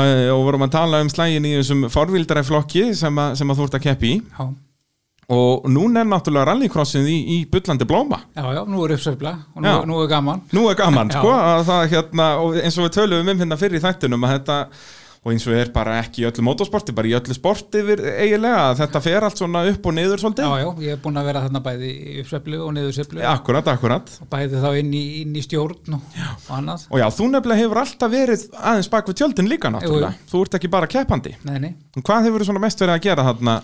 S1: eh, og vorum að tala um slægin í þessum forvildaræflokki sem, að- sem að þú ert að keppi í
S2: já,
S1: og núna er náttúrulega rallycrossið í, í bullandi blóma
S2: já, já, nú er uppsöfla og nú,
S1: Já.
S2: nú er gaman.
S1: nú er gaman
S2: <laughs> Já.
S1: sko að það hérna og eins og við töluðum um hérna fyrir í þættinum að þetta og eins og er bara ekki í öllu motorsporti, bara í öllu sporti yfir- eiginlega, að þetta fer allt svona upp og niður
S2: já,
S1: svolítið.
S2: já, ég er búin að vera þarna bæði í uppsveflu og niðursveflu
S1: Akkurat, akkurat.
S2: og bæði þá inn í, inn í stjórn og, og annað
S1: Og já, þú nefnilega hefur alltaf verið aðeins bak við tjöldin líka náttúrulega.
S2: Jú,
S1: Þú ert ekki bara keppandi.
S2: nei, nei.
S1: En Hvað hefur þú svona mest verið að gera þarna?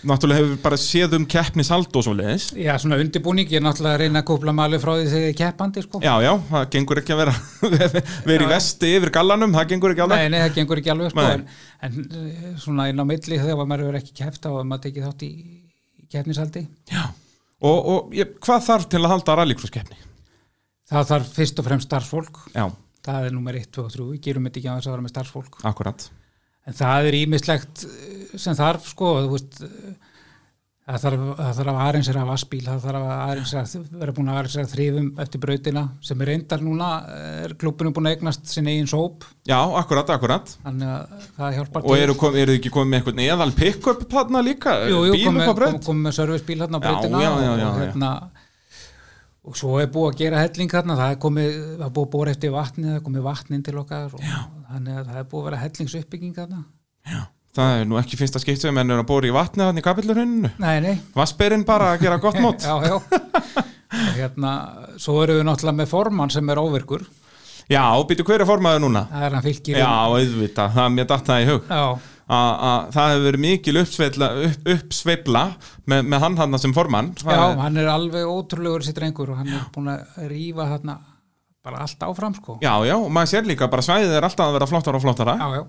S1: Náttúrulega hefur bara séð um keppnishald og svo leiðis.
S2: Já, svona undirbúning, ég er náttúrulega að reyna að kúpla malu frá því þegar ég er keppandi sko.
S1: Já, já, það gengur ekki að vera, <laughs> vera í vesti yfir gallanum, það gengur ekki alveg.
S2: Nei, nei, það gengur ekki alveg sko,
S1: Nei.
S2: en, en eh, svona inn á milli þegar maður hefur ekki kæft þá að maður tekið þátt í í keppnisaldi
S1: Já. Og, og ég, hvað þarf til að halda rallycrosskeppni?
S2: það þarf fyrst og fremst starfsfólk
S1: Já,
S2: það er nummer 1, 2 og 3, við gerum þetta ekki á þess að vera með starfsfólk
S1: akkurat.
S2: en það er ímislegt eh, sem þarf sko, þú veist eh, það þarf, það þarf að aðeins er að vassbíl það þarf að aðeins er að vera búin að aðeins er að þrifum eftir brautina sem er reyndar núna eh, er klubunum búin að eignast sinni eigin sóp
S1: Já, akkurat, akkurat.
S2: þannig að það hjálpar
S1: Og eru, kom, eru þið ekki komið með einhvern eðal pick-up þarna líka?
S2: jú, jú,
S1: Bíl upp
S2: kom,
S1: á
S2: með- kom,
S1: braut?
S2: kom með servicebíl hérna á
S1: Já,
S2: breytina
S1: já, já, já,
S2: og,
S1: já.
S2: hérna, og svo er búið að gera helling hérna, það er komið, það er búið að bóra eftir vatni það er komið vatn inn til okkar og, þannig að það er búið að vera hellingsuppbygging hérna
S1: Það er nú ekki fyrsta skipt sem menn eru að bóra í vatni þannig í kapillurhunnu.
S2: nei, nei,
S1: Vassberinn bara að gera gott mót.
S2: <laughs> já, já og hérna, svo eru við náttúrulega með formann sem er óvirkur,
S1: Já, býtu hverju formaður núna?
S2: það er hann fylgir
S1: Já, auðvitað, það mér datt það í hug
S2: já,
S1: að að það hefur verið mikil uppsveifla, upp, uppsveifla með, með hann hann sem formann Það
S2: já,
S1: er-
S2: hann er alveg ótrúlegur sér drengur og hann er búin að rífa hérna bara allt áfram sko
S1: já, já, og maður sér líka bara svæðið er alltaf að vera flottara og flottara
S2: já, já.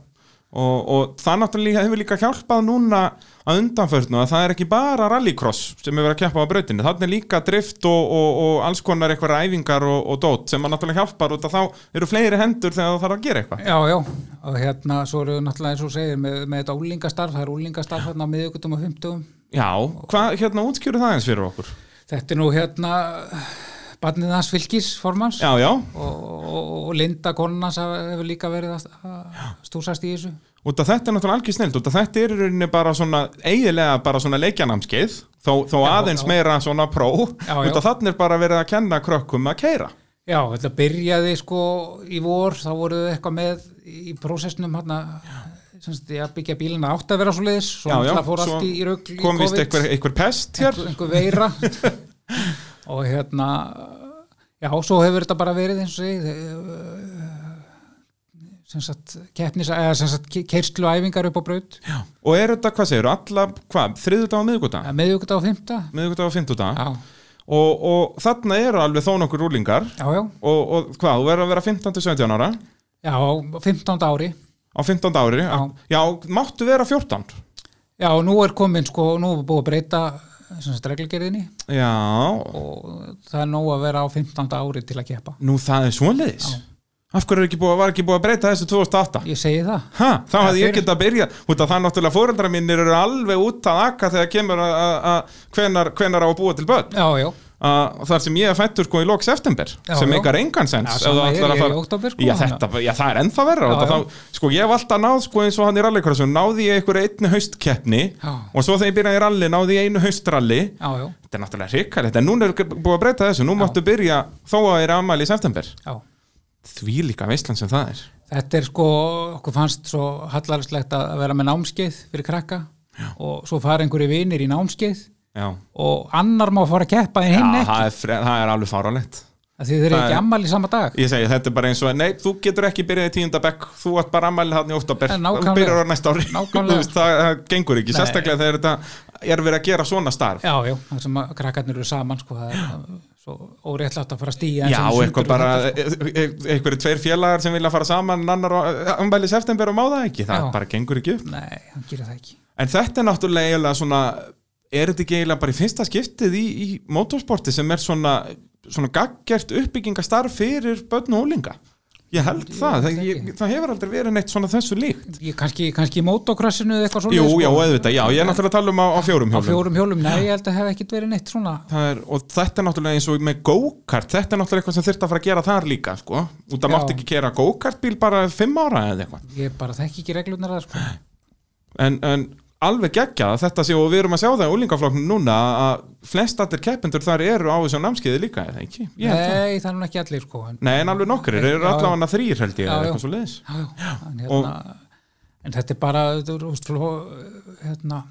S1: og, og það náttúrulega hefur líka hjálpað núna að undanförnu að það er ekki bara rallycross sem hefur verið að keppa á brautinu þannig er líka drift og, og, og alls konar eitthvað ræfingar og, og dót sem að náttúrulega hjálpar út að þá eru fleiri hendur þegar það þarf að gera eitthvað
S2: Já, já, og hérna svo eru náttúrulega eins og þú segir með, með þetta úlingastarf, það er úlingastarf hérna á miðugutum og fymtugum.
S1: Já, hvað, hérna útskjúru það eins fyrir okkur
S2: Þetta er nú hérna barnið hans fylgis formans og,
S1: Já, já,
S2: og, og Linda konan hans hafa- hefur líka verið að- að stúsast í þessu.
S1: Út að þetta er náttúrulega algjör snild, út að þetta er í rauninni bara svona, eiginlega bara svona leikjanamskið, þó, þó aðeins
S2: já.
S1: meira svona pró,
S2: Já,
S1: út að
S2: já.
S1: þannig er bara verið að kenna krökkum að keira.
S2: Já, þetta byrjaði sko í vor, þá voru þau eitthvað með í prósessnum hérna semst, já, byggja bílina átt að vera svo leiðis, svo
S1: Já, já,
S2: náttúrulega fór allt í, í rugl í
S1: kom vist
S2: COVID.
S1: einhver, einhver pest hér,
S2: einhver, einhver
S1: <laughs>
S2: veira og hérna já, svo hefur þetta bara verið eins og ég sem sagt keppnis, eða sem sagt kersluæfingar upp á braut ja,
S1: og er þetta, hvað segir, alla, hvað, þriðudag og miðgudag?
S2: meðugudag og fymta
S1: Miðgudag og fymtudag?
S2: já,
S1: Og, og þarna eru alveg þó nokkur rúlingar,
S2: já, já,
S1: og, og hvað, þú verður að vera 15-17 ára,
S2: já á 15. ári
S1: á 15 ári,
S2: Já.
S1: já, máttu vera 14?
S2: já, og nú er komin sko, nú er búið að breyta sem sagt reglgerðinni
S1: Já,
S2: og það er nóg að vera á 15. ári til að keppa
S1: Nú það er svoleiðis Af hverju er ekki búið, var ekki búið að breyta þessu 2008
S2: ég segi það
S1: Ha, þá
S2: Já,
S1: hefði ég
S2: fyrir-
S1: getað að byrja út að það náttúrulega fóreldra mínir eru alveg út að akka þegar kemur að- að að hvenar, hvenar á að búa til börn
S2: já, já,
S1: að þar sem ég er fættur sko í lok september
S2: Já,
S1: sem
S2: já.
S1: meikar engan sens
S2: Já,
S1: ef
S2: sama
S1: þú ætlar að
S2: er, ég er
S1: fara-
S2: í október, sko,
S1: já,
S2: þannig
S1: þetta, já, það er ennþá verra
S2: Já,
S1: já,
S2: já.
S1: Þá, sko ég hef alltaf náð sko eins og hann í rallycrossu náði ég einhverja einni haustkeppni
S2: Já.
S1: og svo þegar ég byrjaði í rally náði ég einu haustralli
S2: já, já,
S1: þetta er náttúrulega hrikkar þetta en núna er búið að breyta þessu nú máttu byrja þó að það er afmæli í september
S2: já.
S1: því líka veistlan sem það er
S2: Þetta er sko, okkur fannst svo hallarslegt að vera með námskeið fyrir krakka og svo fara einhverju vinir í námskeið
S1: Já,
S2: og annar má fara að keppa en
S1: Já
S2: hinn ekki
S1: það, er, fre- það er alveg fáránlegt
S2: af því þeir eru
S1: það
S2: ekki
S1: er-
S2: ammali sama dag
S1: Ég segi þetta er bara eins og að nei, þú getur ekki byrjað í tíundabekk þú átt bara ammæli hann í óttabekk
S2: En
S1: þú
S2: nákvæmlega.
S1: byrjar á næsta ári
S2: Nákvæmlega.
S1: <laughs> Þú veist, það, það gengur ekki,
S2: Nei.
S1: sérstaklega þegar þetta er verið að gera svona starf
S2: Já, já, það sem að krakkarnir eru saman sko, það er svo óréttlátt að fara að stíja
S1: Já, eitthvað bara, e- e- einhverju tveir félagar sem vilja fara saman en annar ammæli í september og má það ekki það
S2: Já.
S1: bara gengur ekki upp
S2: Nei, hann gerir það ekki
S1: En þetta er náttúrulega eiginlega svona er þetta ekki eiginlega bara í fyrsta skiptið í, í motorsporti sem er svona svona gaggjert uppbyggingastarf fyrir börn og úlinga Ég held það, það, ég, það hefur aldrei verið neitt svona þessu líkt
S2: Ég kannski, kannski í mótokrassinu eða eitthvað
S1: Jú,
S2: svona
S1: já, auðvitað, já, ég er náttúrulega að tala um á, á fjórum
S2: sko á
S1: hjólum
S2: fjórum hjólum, nei, ég held að hef ekkit verið neitt svona
S1: Það er, og þetta er náttúrulega eins og með go-kart þetta er náttúrulega eitthvað sem þurft að fara að gera þar líka sko. út að
S2: Já.
S1: mátt ekki gera go-kart bíl bara fimm ára eða eitthvað
S2: ég bara þekki ekki reglurnar það sko.
S1: en, en alveg geggjað að þetta sé og við erum að sjá það í úlingaflokknum núna að flest allir keppendur þar eru á þessu námskeiði líka eða ekki? <gasps> Ég held það.
S2: Nei, það er nú ekki allir sko, en
S1: Nei, en alveg nokkrir, eru
S2: Já, já.
S1: allavega þrýr held ég
S2: Já,
S1: eða
S2: já.
S1: eitthvað svo leiðis
S2: já, já, en hérna en þetta er bara þetta er, úst, fló, hérna,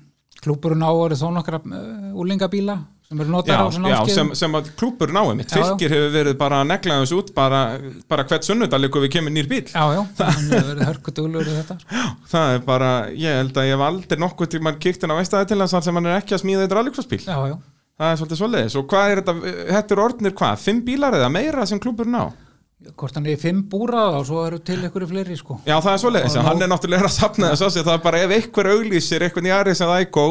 S2: klúburinn á eru þó nokkra uh, úlingabíla sem eru notar
S1: Já,
S2: á svona
S1: já
S2: námskeiðum.
S1: sem, sem að klúpur náum mitt.
S2: Já, já.
S1: Fylgir hefur verið bara að negla þessu út bara, bara hvert sunnudalíku við kemur nýr bíl.
S2: Já, já, þannig að verið hörkuduglur í þetta sko.
S1: Það er bara, ég held að ég hef aldrei nokkuð tímann kíkt inn á veistæði til þess sem hann er ekki að smíða þetta rallycrossbíl.
S2: Já, já,
S1: Það er svolítið svoleiðis. Og hvað er þetta, þetta er orðnir hvað, fimm bílar eða meira sem klúpur ná?
S2: hvort hann er í fimm búra og svo eru til ykkur fleiri sko.
S1: Já, það er svoleiðis.
S2: Og
S1: Já,
S2: nóg-
S1: hann er náttúrulega að safna þess að sér. Það er bara ef einhver auglýsir einhvern í Aris eða Ico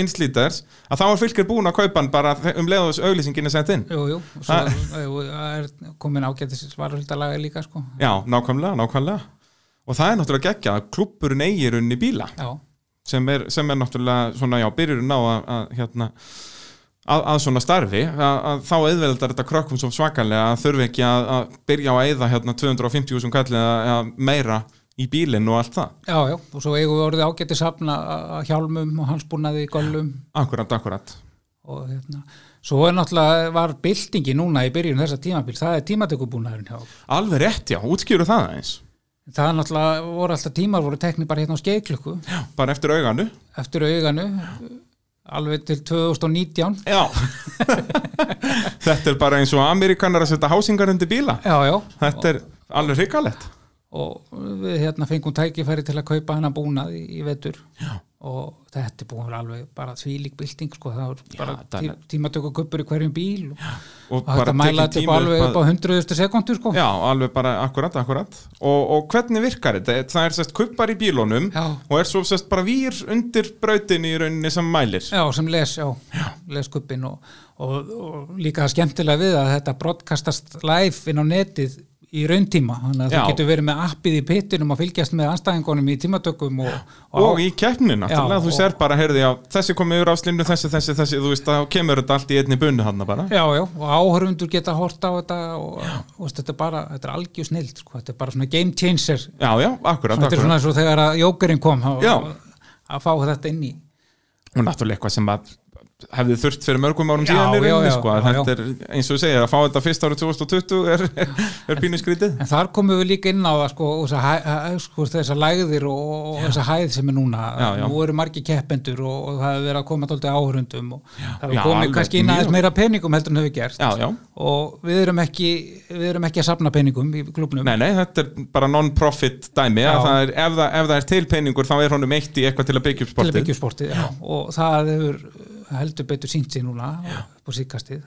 S1: einslítars, eh, að þá er fylgir búin að kaupa hann bara um leiðus auglýsingin er sett inn.
S2: Jú, jú, og svo ah. er komin ágætis svararhildalaga líka sko.
S1: Já, nákvæmlega, nákvæmlega. Og það er náttúrulega geggja að klúpurinn eigir unni bíla
S2: Já,
S1: sem er, sem er náttúrulega svona, já, byrjurinn á að, að hérna að, að svona starfi, að, að þá auðveldar þetta krökkum svo svakalega að þurfi ekki að, að byrja á að eyða hérna 250.000 kall eða eða meira í bílinn og allt það.
S2: já, já, og svo eigum við orðið ágætis hafna að hjálmum og halsbúnaði í gollum
S1: Akkurat, akkurat.
S2: og hérna svo er náttúrulega var byltingi núna í byrjun þessa tímabil, það er tímatökubúnaðurinn hjá okkur.
S1: Alveg rétt, já, útskýru það eins.
S2: það er náttúrulega, voru alltaf tímar voru tekni bara hérna á skeiklukku
S1: Bara eftir auganu.
S2: eftir auganu alveg til 2019
S1: Já. <laughs> þetta er bara eins og Amerikanar að setja hásingar undir bíla.
S2: já, já,
S1: Þetta er alveg hrikalett.
S2: og við hérna fengum tækifæri til að kaupa hennar búnað í, í vetur já. og þetta er búin að vera alveg bara þvílík bylting sko, það er bara
S1: það er-
S2: tí, tímatöku kuppur í hverjum bíl og,
S1: Og
S2: og þetta
S1: bara
S2: mæla
S1: tekin
S2: þetta upp
S1: tími
S2: alveg
S1: upp að-
S2: upp á 100.000 sekundur sko.
S1: Já, alveg bara akkurat, akkurat og, og hvernig virkar þetta? Það er sérst kuppar í bílunum
S2: Já.
S1: og er svo sérst bara vír undir brautinni í rauninni sem mælir
S2: Já, sem les, já, les kuppin og, og, og líka það skemmtilega við að þetta broadcastast live inn á netið í rauntíma, þannig að
S1: Já.
S2: þú getur verið með appið í pittinum og fylgjast með anstæðingunum í tímatökum og,
S1: og í keppninu náttúrulega,
S2: Já,
S1: þú
S2: og-
S1: sér bara heyrði á þessi komið úr áslinu, þessi, þessi, þessi þú veist, þá kemur þetta allt í einni bunni hann bara
S2: Já, já, og áhörfundur geta hort á þetta og, og veist, þetta er bara, þetta er algjör snild sko, þetta er bara svona game changer
S1: Já, já, akkurat,
S2: þetta er
S1: akkurat
S2: svona svo þegar að jókurinn kom að,
S1: Já.
S2: að fá þetta inn í
S1: og náttúrulega eitthvað sem að hefði þurft fyrir mörgum árum
S2: Já,
S1: síðan í
S2: já,
S1: rauninni,
S2: já,
S1: sko, að
S2: já,
S1: þetta er, eins og ég segir, að fá þetta fyrst árið 2020 er, <laughs> er, er pínu skrítið
S2: En þar komum við líka inn á það sko, og þessa hæ- hæ- sko, þessar lægðir og, og þessa hæð sem er núna.
S1: Já, já.
S2: Nú eru margi keppendur og, og það hefur verið að koma tóldi áhörundum og það
S1: Já,
S2: hefur komið
S1: alveg,
S2: kannski inn aðeins
S1: mjög.
S2: meira peningum heldur en hefur gert.
S1: Já, já,
S2: Og við erum, ekki, við erum ekki að safna peningum í klubnum.
S1: nei, nei, þetta er bara non-profit dæmi,
S2: Já.
S1: að það er, ef, það, ef það er til peningur þá er honum eitt í eitthvað til að byggja upp
S2: til að
S1: sportið
S2: byggja upp sportið, já. og það hefur heldur betur sínt sér núna upp á síkastið,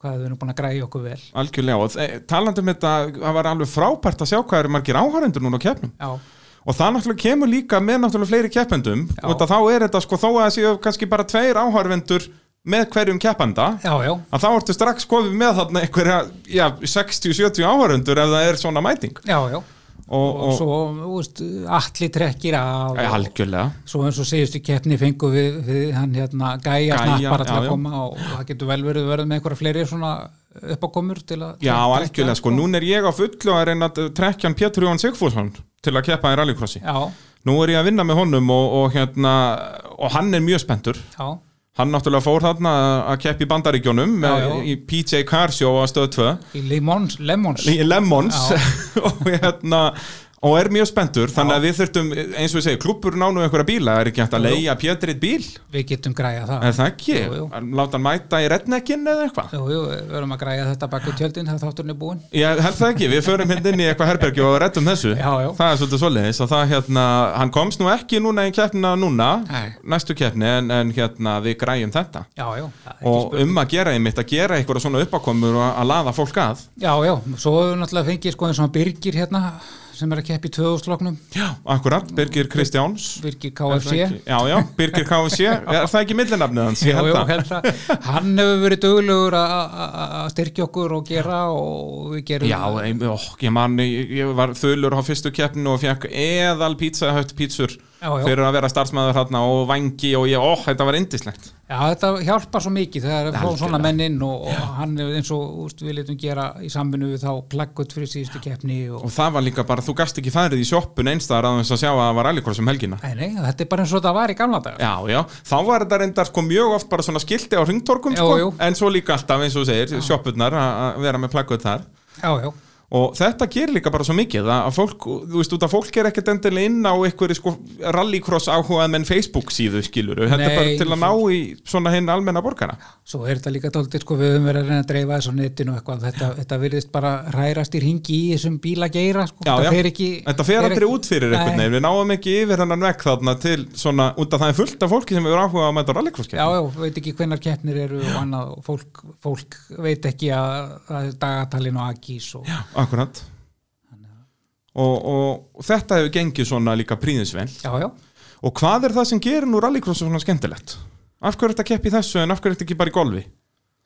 S2: hvað við erum búin að græja okkur vel
S1: Algjörlega, og þe- talandi um þetta það var alveg frábært að sjá hvað eru margir áhærendur núna á keppnum
S2: já,
S1: og það náttúrulega kemur líka með náttúrulega fleiri keppendum
S2: Já.
S1: og þá er þetta sko þó að það séu kannski bara tveir áhærendur með hverjum keppanda
S2: já, já,
S1: að þá ertu strax komið með þarna einhverja já, 60-70 áhærendur ef það er svona mæting
S2: já, já.
S1: og,
S2: og, svo, þú veist, allir trekkir
S1: Æ,
S2: af og-
S1: algjörlega
S2: svo eins og síðustu keppni fengu við, við hann hérna gæja,
S1: Gæja,
S2: snappara til
S1: já,
S2: að
S1: já.
S2: koma og það getur vel verið verið með einhverja fleiri svona uppákomur til að
S1: Já,
S2: til að-
S1: algjörlega, sko, núna er ég á fullu að reyna að trekkja hann Pétur Jóhann Sigfússon til að keppa í rallycrossi.
S2: já,
S1: Nú er ég að vinna með honum og, og hérna, og hann er mjög spenntur
S2: já,
S1: Hann náttúrulega fór þarna að keppi í bandaríkjónum
S2: Já,
S1: eh,
S2: já.
S1: í PJ Carsjó á stöð 2
S2: í Lemons, Lemons.
S1: í Lemons
S2: Já.
S1: <laughs> og, hérna, og er mjög spenntur þannig að við þurftum, eins og ég segi, klúppur nánu einhverja bíla, það er ekki hægt að leia Pétur eitt bíl
S2: við getum græja það
S1: er það ekki?
S2: Jú, jú.
S1: Láta hann mæta í rednekkin eða eitthvað?
S2: Jú, jú, við verðum að græja þetta baku tjöldin þegar þátturinn er búinn
S1: Ég held það ekki, við förum hérna inn í eitthvað herbergi og reddum þessu
S2: Já, já.
S1: Það er svolítið svoleiðis og það hérna, hann komst nú ekki núna í keppnina núna
S2: Nei.
S1: næstu keppni en, en hérna við græjum þetta
S2: Já, já, það er ekki
S1: og um að gera einmitt að gera einhverja svona uppákomur og að laða fólk að
S2: Já, já, svo hefur náttúrulega fengið sko eins og hann Birgir hérna sem er að keppa í 2000-loknum
S1: Já, akkurat, Birgir Kristjáns
S2: Birgir
S1: Er það
S2: KFC
S1: ekki- Já, já, Birgir KFC
S2: <laughs>
S1: Er það ekki millinafnið hans? Ég
S2: Já, hérna.
S1: held
S2: já,
S1: það.
S2: held það. Hann hefur verið duglegur að- að að styrkja okkur og gera og við gerum
S1: Já, ein- ó, ég man, ég ég var þulur á fyrstu keppninu og fekk eðal pizza hött pítsur
S2: Já, já.
S1: fyrir að vera starfsmæður þarna og vangi og ég, ó, þetta var indislegt
S2: Já, þetta hjálpar svo mikið þegar það
S1: Algjörlega.
S2: er svona menn inn og, og hann hefur eins og úst, við letum gera í samvinnu við þá plaggut fyrir síðustu keppni og,
S1: og það var líka bara, þú gast ekki færið í sjoppun einstæðar að þess að sjá að það var allikors um helgina
S2: nei, nei, þetta er bara eins og þetta var í gamla dag.
S1: Já, já, þá var þetta reyndar sko mjög oft bara svona skilti á ringtorkum
S2: Jú,
S1: sko,
S2: jú.
S1: en svo líka alltaf eins og þú segir, sjoppunar að að vera með plakkuð þar
S2: Já, já,
S1: og þetta gerir líka bara svo mikið að að fólk, þú veist, út að fólk er ekkert endilega inn á einhverju sko rallycross áhugað menn Facebook síðu skiluru þetta er
S2: Nei,
S1: bara til að
S2: svo-
S1: ná í svona hinn almenna borgana
S2: Svo er þetta líka dálítið, sko, við höfum verið að reyna að dreifa þessu á netinu og eitthvað, þetta, þetta virðist bara rærast í ringi í þessum bílageira, sko,
S1: Já, já.
S2: þetta fer ekki...
S1: Þetta fer aldrei
S2: ekki-
S1: út fyrir einhvern
S2: Nei.
S1: veginn, við náum ekki yfir hennan vekk þarna til svona, út að það er fullt af fólki sem hefur áhuga á að mæta rallycross
S2: Já, já, veit ekki hvenar keppnir eru og annað, og fólk, fólk veit ekki að, að dagatalin og agís og... Já,
S1: Akkurat og, og þetta hefur gengið svona líka príðisvel
S2: já, já.
S1: og hvað er það sem gerir nú rallycross svona skemmtilegt? Af hverju er þetta að keppa í þessu en af hverju er þetta ekki bara í golfi?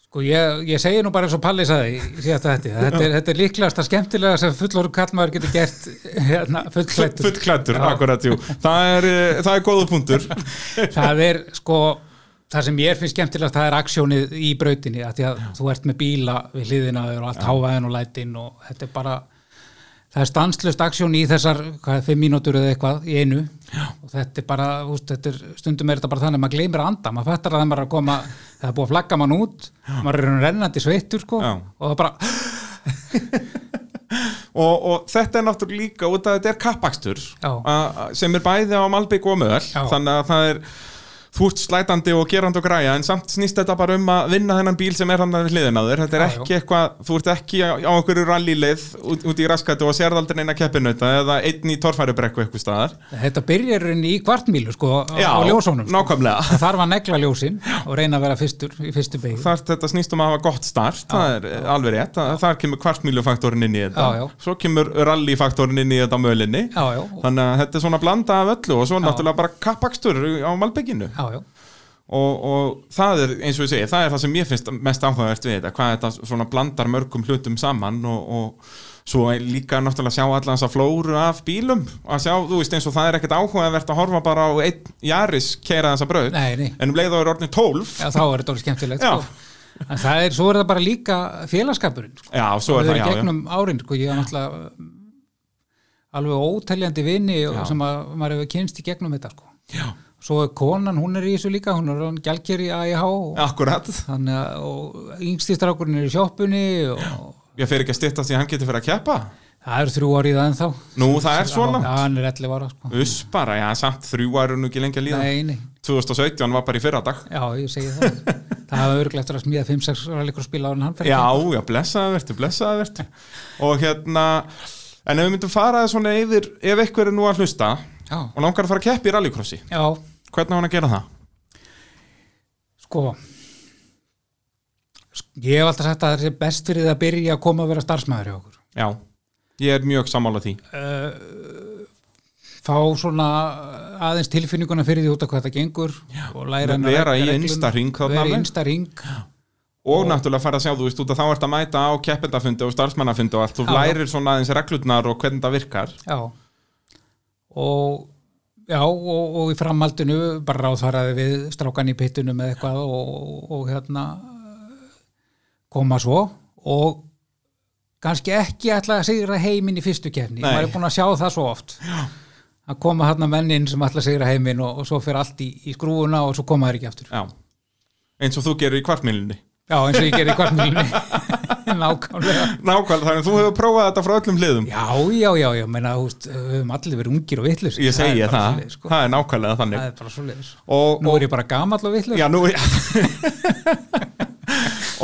S2: Sko ég, ég segi nú bara eins og Palli saði í síðasta þetta, þetta er, þetta er líklegast að skemmtilega sem fullorðu kallmaður getur gert hérna,
S1: <laughs>
S2: fullklættur.
S1: Fullklættur,
S2: Já.
S1: akkurat, jú Það er, eh, það er góða punktur
S2: Það er sko, það sem ég finnst skemmtilegast, það er aksjónið í brautinni, að því að þú ert með bíla við hliðina á þér og allt hávaðin og lætin og þetta er bara, það er stanslust aksjón í þessar, hvað er, fimm mínútur eða eitthvað í einu Já. og þetta er bara, úst, þetta er, stundum er þetta bara þannig að maður gleymir að anda, maður fattar að það maður er að koma, það er búið að flagga mann út, maður er rennandi sveittur sko
S1: Já.
S2: og það bara...
S1: og, og þetta er náttúrulega líka út að þetta er kappakstur
S2: Já.
S1: a- a- sem er bæði á Malbygg og Möðal
S2: Já.
S1: þannig að það er þú ert slætandi og gerandi og græja en samt snýst þetta bara um að vinna þennan bíl sem er hann við hliðin á þér, þetta er
S2: Já, já.
S1: ekki eitthvað þú ert ekki á, á einhverju rallyleið út, út í raskatu og sérð aldrei neina keppinauta eða einn í torfærubrekku eitthvað staðar
S2: Þetta byrjar í rauninni í kvartmílu sko, á-
S1: Já,
S2: á ljósunum sko.
S1: nákvæmlega
S2: Það þarf að negla ljósin og reyna að vera fyrstur í fyrstu beig
S1: Þar, þetta snýst um að hafa gott start, það er eh, alveg rétt, að- þar kemur kvartmílufaktorin inn í þetta,
S2: Já, já.
S1: svo kemur rallyfaktorin inn í þetta á mölinni,
S2: Já, já,
S1: þannig að þetta er svona blanda af öllu og svo
S2: Já.
S1: náttúrulega bara kappakstur á Malbygginu
S2: já, já,
S1: og, og það er eins og ég segi, það er það sem ég finnst mest áhugavert við þetta, hvað þetta svona blandar mörgum hlutum saman og, og svo er líka náttúrulega sjá allan þessa flóru af bílum, að sjá, þú veist eins og það er ekkert áhugavert að horfa bara á einn Jaris keira þessa brauð,
S2: Nei, nei.
S1: en um leið og er orðin 12
S2: já, þá er þetta orðið skemmtilegt
S1: Já.
S2: sko. En það er, svo er það bara líka félagskapurinn sko.
S1: já, svo er það,
S2: Það er í
S1: já, já
S2: gegnum árin sko, ég er náttúrulega um, alveg óteljandi vini og
S1: Já.
S2: sem að maður hefur kynst í gegnum þetta sko. Svo er konan, hún er í þessu líka hún er hann gælgir í AIH og,
S1: akkurat,
S2: þannig að og yngstistrákurinn er í sjoppunni og
S1: ég fer ekki að styttast því að hann getur fyrir að keppa
S2: það eru þrjú árið aðeins þá
S1: nú, það er svona,
S2: Já, hann er 11 ára sko.
S1: us bara, já, samt þrjú eru nú ekki lengi að líða
S2: Nei, nei,
S1: 2017 var bara í fyrradag
S2: já, ég segi það Það hafa örgulegt að smíða 5-6 rallycross bíla ára en hann fer
S1: Já, já, blessaða vertu, blessaða vertu Og hérna En ef við myndum fara svona yfir Ef eitthvað er nú að hlusta
S2: ekki. já,
S1: Og langar að fara að keppi í rallycrossi
S2: já,
S1: Hvernig á hann að gera það?
S2: sko Sk- Ég hef alltaf sagt að það er best fyrir það að byrja að koma að vera starfsmæður hjá okkur
S1: Já, ég er mjög sammála því
S2: Fá svona eh, aðeins tilfinninguna fyrir því út af hvað það gengur og læra hennar
S1: Vera í
S2: reglum,
S1: innsta hring þarna
S2: Vera í
S1: alveg.
S2: innsta ring
S1: Og náttúrulega fara að sjá, þú veist, út að þá ert að mæta á keppendafundi og starfsmannafundi og allt Þú
S2: Já.
S1: lærir svona aðeins reglurnar og hvernig það virkar
S2: Já og já og, og í framhaldinu bara ráðfaraði við strákan í pittunum eða eitthvað og, og, og hérna koma svo og kannski ekki ætla að sigra heiminn í fyrstu kefni,
S1: Nei.
S2: maður er búin að sjá það svo oft já. að koma hérna mennin sem ætla að sigra heiminn og, og svo fyrir allt í, í skrúfuna og svo koma þér ekki aftur já,
S1: Já Eins og þú gerir í kvartmílinni
S2: eins og ég gerði í kvartmílinni <laughs> nákvæmlega
S1: Nákvæmlega, þannig að þú hefur prófað þetta frá öllum hliðum
S2: já, já, já, já, meina, húst, við höfum allir verið ungir og vitlaus
S1: Ég segi
S2: bara
S1: það,
S2: svoleiðis, sko.
S1: það er nákvæmlega þannig
S2: það er bara svo
S1: Og,
S2: Nú er ég bara gamall og vitlega.
S1: Já, nú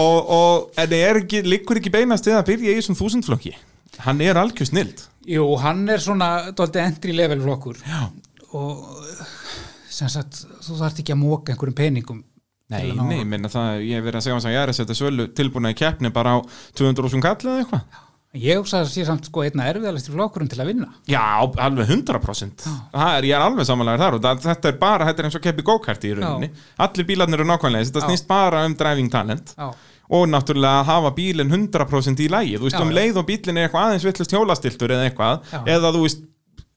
S1: og, og en er ekki, liggur ekki beinast eða byrja í þessum þúsundflokki hann er algjör snild
S2: Jú, hann er svona dóldi entry level flokkur. Já. Og sem sagt, þú þarft ekki að móka einhverjum peningum.
S1: Nei,
S2: til að ná-
S1: nei, minna það, ég hef verið að segja hans að ég er að setja sölu tilbúna í keppni bara á 200.000 kall eða eitthvað
S2: Ég hugsa að sé samt sko einna erfiðalastir flokkurinn til að vinna.
S1: Já, alveg 100% það er, ég er alveg samanlegar þar og það, þetta er bara, þetta er eins og keppi go-karti í rauninni allir bílarnir eru nákvæmlega, eins, þetta
S2: Já.
S1: snýst bara um driving talent
S2: Já.
S1: og náttúrulega að hafa bílinn 100% í lægi þú veist,
S2: Já,
S1: um
S2: já.
S1: leið og bílinn er eitthvað aðeins villust hjólastiltur eða eitthvað,
S2: Já.
S1: eða þú veist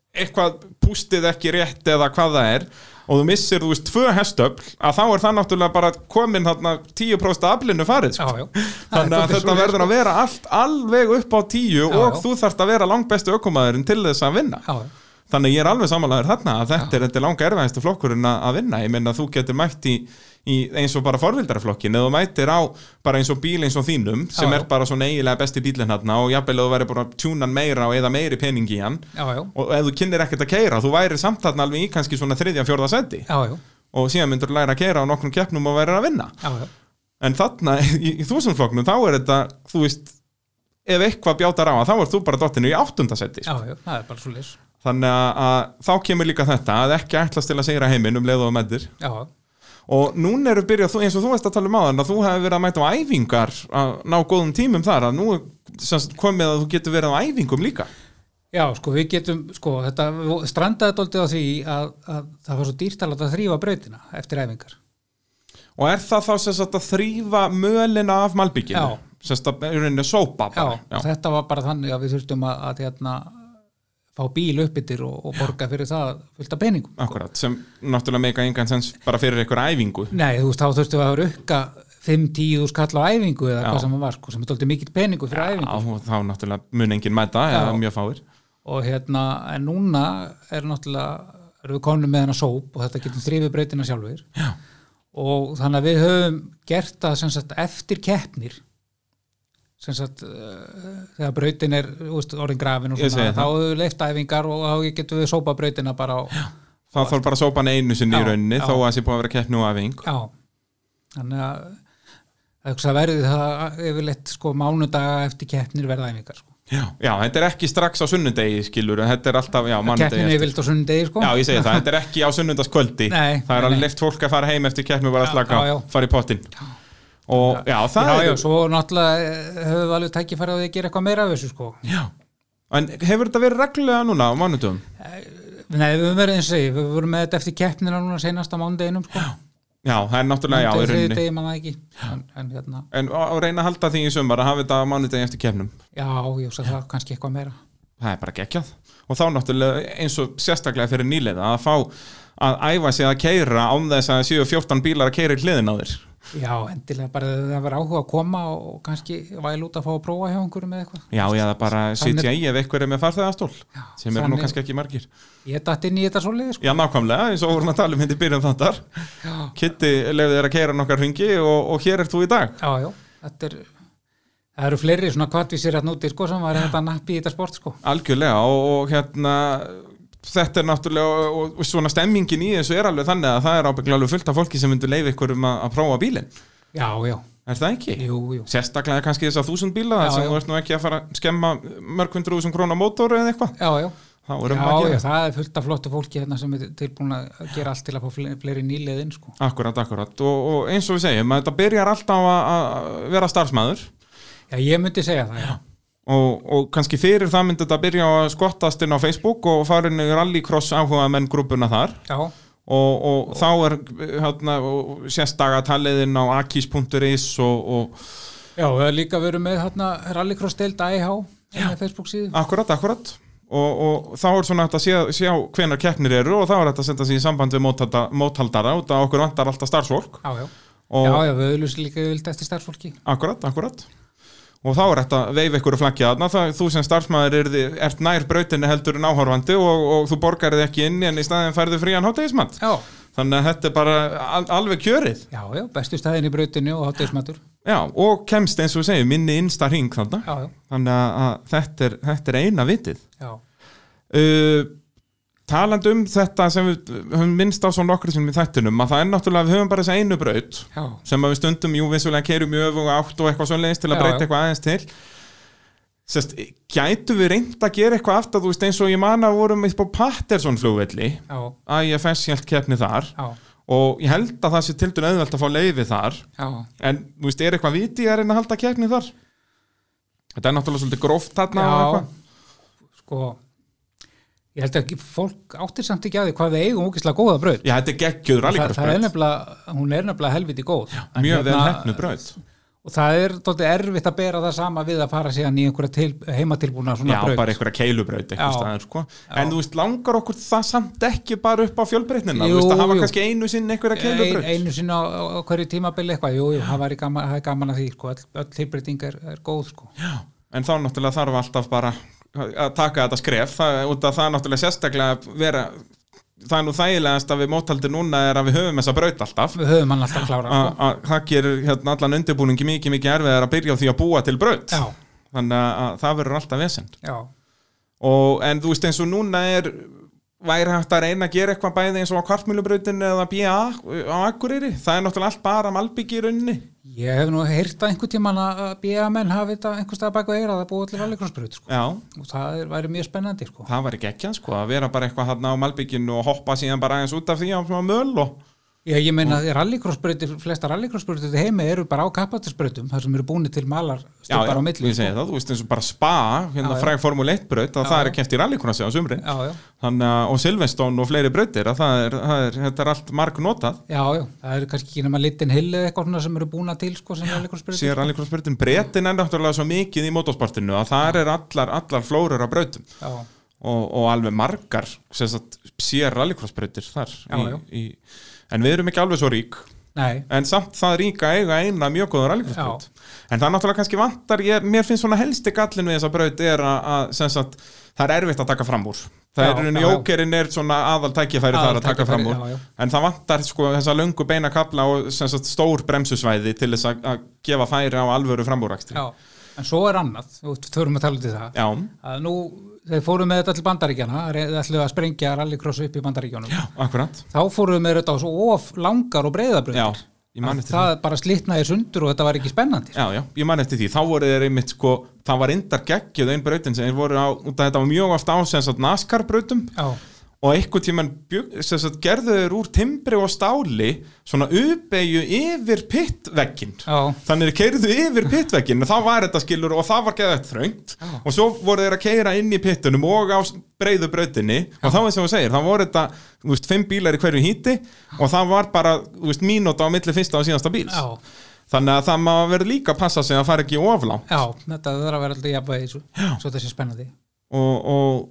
S1: eitthvað pústið ekki rétt eða hvað það er og þú missir, þú veist, tvö hestöfl að þá er það náttúrulega bara komin þarna 10% aflinu farið
S2: Já,
S1: sko.
S2: já.
S1: <laughs> þannig að þetta verður að vera allt alveg upp á 10
S2: Já,
S1: og
S2: sko. já.
S1: þú þarft að vera langbesti ökumaðurinn til þess að vinna
S2: Já, já.
S1: þannig að ég er alveg samanlegaður þarna að þetta er, þetta er langa erfæðistu flokkurinn að að vinna ég menna þú getur mætt í, í eins og bara forvildarflokkin eða þú mættir á bara eins og bíl eins og þínum sem
S2: Já, já.
S1: er bara svona eiginlega besti bílinn þarna og jafnvel ef þú væri búin að tjúna hann meira og eða meiri pening í hann
S2: já, já,
S1: og ef þú kynir ekkert að keira þú væri samt þarna alveg í kannski svona þriðja fjórða seti
S2: já, já,
S1: og síðan myndur þú læra að keira á nokkrum keppnum og væri að vinna
S2: já, já.
S1: en þarna <laughs> í, í þúsundflokknum þá er þetta þú veist ef eitthvað bjátar á að þá er þú bara dottinu í sko. áttundasetti
S2: Já, já, það er bara svo lis
S1: þannig að, að þá kemur líka þetta að ekki ætlast til að segra heiminn um leið og meðir
S2: Já, já,
S1: og núna eru byrjað, þú- eins og þú veist að tala um áðan að þú hefur verið að mæta á æfingar að ná góðum tímum þar að nú er sem sagt komið að þú getur verið á æfingum líka
S2: já, sko, við getum, sko, þetta við strandaði dóltið á því að, að það var svo dýrt að láta þrýfa breytina eftir æfingar.
S1: og er það þá sem sagt að þrýfa mölina af malbygginu
S2: Já.
S1: sem sagt að er rauninni sópa
S2: Já,
S1: bara Já.
S2: þetta var bara þannig að við þurftum að, að hérna, fá bíl uppbyttir og, og borga fyrir það fullt af peningum.
S1: Akkurat, sem náttúrulega meika engan sens bara fyrir ykkur æfingu
S2: Nei, þú veist, þá þurftum við að rukka 5-10 skall á æfingu eða
S1: Já.
S2: hvað sem það var, sko, sem er dóltið mikill peningur fyrir æfingu.
S1: Já, og þá náttúrulega mun enginn mæta eða
S2: Já.
S1: mjög fáir
S2: Og hérna, en núna er náttúrulega, erum við konum með hennar sóp og þetta getum þrýfið breytina sjálfur.
S1: Já,
S2: og þannig að við höfum gert það sem sagt eftir keppnir sem sagt uh, þegar brautin er þú veist, orðin grafin og
S1: Ég
S2: svona
S1: segi
S2: þá
S1: það.
S2: höfum við leift æfingar og þá getum við sópa brautina bara á,
S1: þá þarf bara að sópa hann einu sinni
S2: Já,
S1: í rauninni
S2: já.
S1: þó að það sé búið að vera keppni og æfing
S2: já þannig að það hugsa verði það yfirleitt sko mánudaga eftir keppnir verða æfingar sko.
S1: já. þetta er ekki strax á sunnundegi skilur en þetta er alltaf, já,
S2: keppnir
S1: mannundegi
S2: er yfirleitt á sunnudegi sko
S1: Já, ég segi það, þetta er ekki á sunnundaskvöldi
S2: Nei,
S1: Það er
S2: nei, nei.
S1: alveg leift fólk að fara heim eftir keppni bara að
S2: Já,
S1: slaka á,
S2: já, já.
S1: fara í pottin Og já, það
S2: já,
S1: er
S2: já, svo náttúrulega eh, höfum við alveg tækifæri á því að gera eitthvað meira af þessu sko
S1: Já. En hefur þetta verið reglulega núna á mánudum?
S2: Nei, við höfum verið eins og ég, við vorum með þetta eftir keppnina núna senast á mánudeginum sko já.
S1: Já, það er náttúrulega, já, í
S2: þriði
S1: rauninni
S2: degi maður ekki en, en hérna,
S1: En á- á reyna að halda því í sumar að hafa þetta á mánudegi eftir keppnum
S2: já, ég hugsa það kannski eitthvað meira
S1: það er bara geggjað og þá náttúrulega eins og sérstaklega fyrir nýlega að fá að æfa sig að keira án þess að séu 14 bílar að keira í hliðin á þér
S2: já, endilega bara ef það var áhuga að koma og kannski væl út að fá að prófa hjá einhverjum eða eitthvað
S1: já, eða bara
S2: Þannig-
S1: sitja í ef eitthvað er með farþeðastól
S2: Já,
S1: sem eru nú
S2: þannig-
S1: kannski ekki margir
S2: ég datt inn í þetta svoleiði sko
S1: já, nákvæmlega, eins og vorum að tala um hindi byrjum þáttar
S2: já,
S1: Kitty lefði þér að keira nokkar hringi og, og hér er þú í dag
S2: já, já, þetta er það eru fleiri svona kvartvísir að núti sko sem var þetta nappi í þetta sport sko
S1: algjörlega og, og hérna þetta er náttúrulega og, og svona stemmingin í þessu er alveg þannig að það er ábygglega alveg fullt af fólki sem myndur leiði ykkur um að, að prófa bílinn
S2: já, já,
S1: er það ekki?
S2: jú, jú
S1: sérstaklega kannski þess að þúsund bíla þar
S2: Já,
S1: sem
S2: já.
S1: þú ert nú ekki að fara að skemma mörg hundru þúsund krónar mótor eða eitthvað
S2: já, já,
S1: þá
S2: já,
S1: erum við að
S2: já,
S1: gera
S2: það er fullt af flottu fólki hérna sem er tilbúin að gera allt til að fá fle- fleiri nýliðin sko
S1: akkurat, akkurat og, og eins og við segjum að þetta byrjar alltaf að, að vera starfsmæður
S2: já, ég myndi segja það, já,
S1: og, og kannski fyrir það myndi þetta byrja að skottast inn á Facebook og farin í rallycross áhuga menn grúpuna þar
S2: já,
S1: og, og þá er hérna, og sést dagataliðin á akis.is og, og
S2: já, við höfum líka verið með hérna rallycross deild E AIH með Facebook síðu
S1: akkurat, akkurat og, og þá er svona hægt að sjá, sjá hvenar keppnir eru og þá er hægt að senda sig í samband við móthalda- móthaldara út að okkur vantar alltaf starfsfólk
S2: Já, já.
S1: og
S2: já, já, við auðlusum líka vilt eftir starfsfólki.
S1: akkurat, akkurat og þá er hægt að veifa ykkur og flaggja þarna það, þú sem starfsmæður er, ert nær brautinni heldur en áhorfandi og, og þú borgar þið ekki inn en í staðin færðu frían hátegismat
S2: Já.
S1: þannig að þetta er bara al, alveg kjörið
S2: Já, já, bestu staðin í brautinu og háttegismatur.
S1: já, og kemst eins og við segjum minni innsta hring þarna
S2: Já, já,
S1: þannig að, að þetta, er, þetta er eina vitið
S2: já,
S1: uh, taland um þetta sem við höfum minnst á svo nokkur sem við þættinum að það er náttúrulega við höfum bara þessa einu braut
S2: já,
S1: sem að við stundum jú vissulega kerum í öfuga átt og eitthvað svoleiðis til að
S2: Já,
S1: breyta
S2: já.
S1: eitthvað aðeins til Sest, gætu við reynd að gera eitthvað aftur þú veist eins og ég man að við vorum upp á Patterson flugvelli
S2: já,
S1: IFS hjælt keppni þar
S2: já,
S1: og ég held að það sé til dælu auðvelt að fá leiði þar
S2: já.
S1: en þú veist, er eitthvað viti að reyna að halda keppni þar þetta er náttúrulega svolítið gróft þarna og
S2: já.
S1: eitthvað.
S2: Sko, ég held ekki, fólk áttir samt ekki að því hvað við eigum ógislega góða braut.
S1: Já, þetta er geggjöð
S2: það, það er
S1: rallycrossbraut
S2: nefnilega, hérna- hún er nefnilega helviti góð. Já,
S1: Mjög vel hefnu braut
S2: Og það er dóttið erfitt að bera það sama við að fara síðan í einhverja til, heimatilbúna svona
S1: Já,
S2: braut.
S1: bara einhverja keilubraut eitthvað
S2: Já.
S1: staðar, sko. En þú veist, langar okkur það samt ekki bara upp á fjölbreytnina Þú
S2: Jú,
S1: veist, að hafa
S2: jú.
S1: kannski einu sinn einhverja
S2: Ein,
S1: keilubraut
S2: einu sinna á, á hverju tímabili eitthvað, jú, jú, það væri gaman, það er gaman að því, sko, öll, öll tilbreyting er, er góð, sko.
S1: En þá náttúrulega þarf alltaf bara að taka þetta skref það, út af það er náttúrulega sérstaklega að vera, það er nú þægilegast að við móthaldi núna er að við höfum þessa braut alltaf
S2: við höfum hann alltaf klára
S1: að að það gerir hérna, allan undirbúningi mikið mikið erfiðar að byrja á því að búa til braut
S2: sko. já,
S1: þannig að- að það verður alltaf vesend
S2: já,
S1: og en þú veist eins og núna er væri hægt að reyna að gera eitthvað bæði eins og á kvartmjölubrautin eða BA á Akureyri, það er náttúrulega allt bara malbyggi í rauninni
S2: ég hef nú heyrt að einhvern tíman að BA menn hafi þetta einhvers staðar bak við eira að það búið allir rallycrossbraut sko.
S1: já,
S2: og það er, væri mjög spennandi sko.
S1: það var ekki ekki að sko að vera bara eitthvað hann á malbygginu og hoppa síðan bara aðeins út af því á svona möl og
S2: Já, ég meina að rallycrossbrautir, flesta rallycrossbrautir heimi eru bara á kappatisbrautum þar sem eru búinir til malar stöpar á milli sko.
S1: ég segi það, þú veist eins og bara spa hérna
S2: Já, já.
S1: fræg Formule 1 braut að
S2: Já,
S1: það
S2: já.
S1: er kemst í rallykuna sig á sumri
S2: Já, já,
S1: Þannig að, og Silveston og fleiri brautir að það er, það er, þetta er allt marg notað
S2: já, já, það eru kannski ekki nema litin hill eða eitthvað svona sem eru búna til sko sem rallycrossbrautir
S1: sér rallycrossbrautin breytin er náttúrulega svo mikið í motorsportinu að það er allar, allar flórar af brautum
S2: Já,
S1: og, og alveg margar sem sagt, sér rallycrossbrautir þar
S2: Já, já.
S1: Í, í, en við erum ekki alveg svo rík
S2: nei,
S1: en samt það ríka eiga eina mjög góða rallycrossbraut en það náttúrulega kannski vantar ég, mér finnst svona helsti gallin við þessa braut er að, að sem sagt, það er erfitt að taka fram úr það
S2: Já,
S1: er unni
S2: já, já.
S1: ókerinn er svona aðaltækifæri þar að taka
S2: Aðaltækifæri,
S1: fram úr
S2: já, já.
S1: en það vantar sko þessa löngu beina kapla og sem sagt, stór bremsusvæði til þess að, að gefa færi á alvöru framúrakstri
S2: já En svo er annað, þú veist, þurfum að tala um til það
S1: já,
S2: að nú, þeir fóru með þetta til bandaríkjana þeir ætluðu að sprengja rallycross upp í bandaríkjanum
S1: akkurat
S2: þá fóru með þetta á svo of langar og
S1: já,
S2: breiðabrautir
S1: ég man
S2: Að
S1: eftir því.
S2: það bara slitnaði sundur og þetta var ekki spennandi
S1: Já, já, ég man eftir því, þá voru þeir einmitt sko, það var indar geggjöð einn brautin sem þeir voru á, út að þetta var mjög oft á sem sagt NASCAR brautum
S2: Já,
S1: og einhvern tímann bjugg- sem sagt, gerðu þeir úr timbri og stáli svona uppeyju yfir pittveggin
S2: já,
S1: þannig þeir keirðu yfir pittveggin og þá var þetta skilur og það var geðað þröngt
S2: Já.
S1: og svo voru þeir að keira inn í pittunum og á s- breiðu brautinni og þá eins og þú segir, þá voru þetta þú veist, fimm bílar í hverju híti og það var bara, þú veist, mínúta á milli fyrsta og síðasta bíls
S2: já,
S1: þannig að það má verið líka að passa sig að fara ekki oflá
S2: já, þetta þarf að vera alltaf jafnvægi í þessu, svo þetta sé spennandi
S1: og, og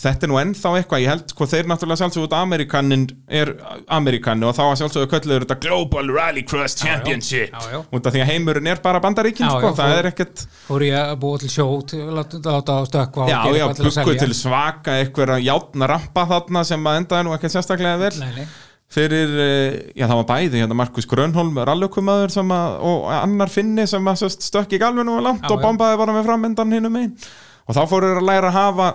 S1: þetta er nú ennþá eitthvað ég held hvað þeir náttúrulega sjálfsög út Amerikanin er Amerikani og þá að sjálfsögðu kölluður þetta Global Rallycross Championship
S2: Já, já.
S1: út af því að heimurinn er bara bandaríkin
S2: Já,
S1: sko,
S2: já,
S1: það
S2: þú-
S1: er ekkert
S2: fór ég að búa til sjó til að láta láta það stökkva og
S1: já,
S2: gera
S1: já,
S2: eitthvað til að
S1: byggu
S2: selja.
S1: til svaka eitthvað játna rampa þarna sem að endaði nú ekkert sérstaklega vel
S2: nei, nei,
S1: fyrir, eh, já það var bæði hérna Markus Grönholm, rallukumæður sem að, og annar finni sem að sest, stökk í galvinu og langt
S2: Já,
S1: og
S2: já.
S1: bombaði bara með framöndan hinn um einn og þá fóru þeir að læra að hafa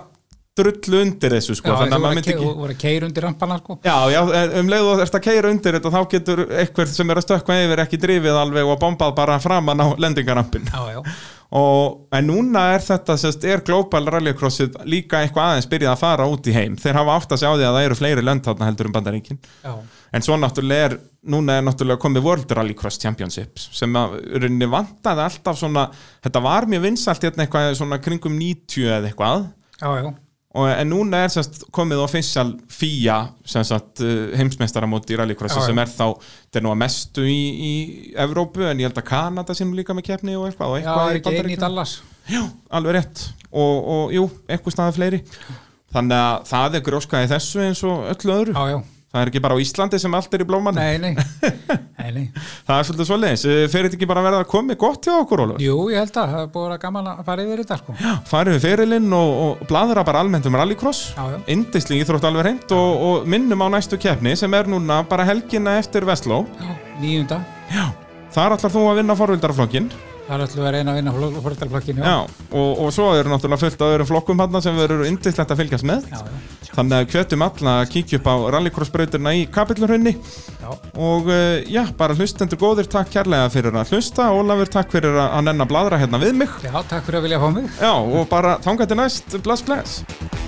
S1: drullu undir þessu sko,
S2: já,
S1: þannig að
S2: þú voru
S1: maður
S2: að
S1: myndi
S2: ke-
S1: ekki
S2: þú voru að keira undir rampana sko
S1: Já, já, en um leið og þérst að keira undir þetta þá getur eitthvað sem er að stökkva yfir ekki drifið alveg og bombað bara framan á lendingarampin
S2: já, já,
S1: og, en núna er þetta, sérst, er Global Rallycrossið líka eitthvað aðeins byrjað að fara út í heim þeir hafa átt að sjá því að það eru fleiri lönd þarna heldur um bandaríkin
S2: já,
S1: En svo náttúrulega er, núna er náttúrulega komið World Rallycross Championship sem að rauninni vantaði alltaf svona, þetta var mjög vinsalt hérna eitthvað svona kringum 90 eða eitthvað
S2: já, já,
S1: og, en núna er semst komið official FIA sem sagt uh, heimsmeistaramóti í rallycrossi
S2: Já, já.
S1: sem er þá, þetta er nú að mestu í, í Evrópu en ég held að Kanada sem líka með keppni og eitthvað og
S2: já,
S1: eitthvað
S2: er ekki einn í Dallas
S1: Já, alveg rétt og, og jú, eitthvað staðar fleiri þannig að það er gróskaði þessu eins og öllu öðru
S2: já, já,
S1: það er ekki bara á Íslandi sem allt er í blóman
S2: nei, nei nei, nei,
S1: Það er svolítið svoleiðis, Eh, fer þetta ekki bara að verða að komi gott hjá okkur, Ólfur?
S2: jú, ég held að það er búið að vera gaman að fara yfir þetta sko já,
S1: Farið við ferilinn og, og bladra bara almennt um rallycross
S2: Já, já.
S1: Indisli íþrótt alveg hreint og, og minnum á næstu keppni sem er núna bara helgina eftir Vestló
S2: nýjunda,
S1: Já Þar ætlar þú að vinna forvildarflokkin
S2: það er alltaf að reyna að vinna fórhaldarflokkinu, já,
S1: Já, og, og svo eru náttúrulega fullt á öðrum flokkum hann sem verður indislegt að fylgjast með
S2: já, já,
S1: Þannig að hvetjum alla að kíkja upp á rallycrossbrautina í kapillurhunni
S2: já,
S1: og eh, já, bara hlustendur góðir, takk kærlega fyrir að hlusta Ólafur, takk fyrir að að nenn að bladra hérna við mig
S2: já, takk fyrir að vilja fá mig
S1: Já, og bara þangað til næst, bless bless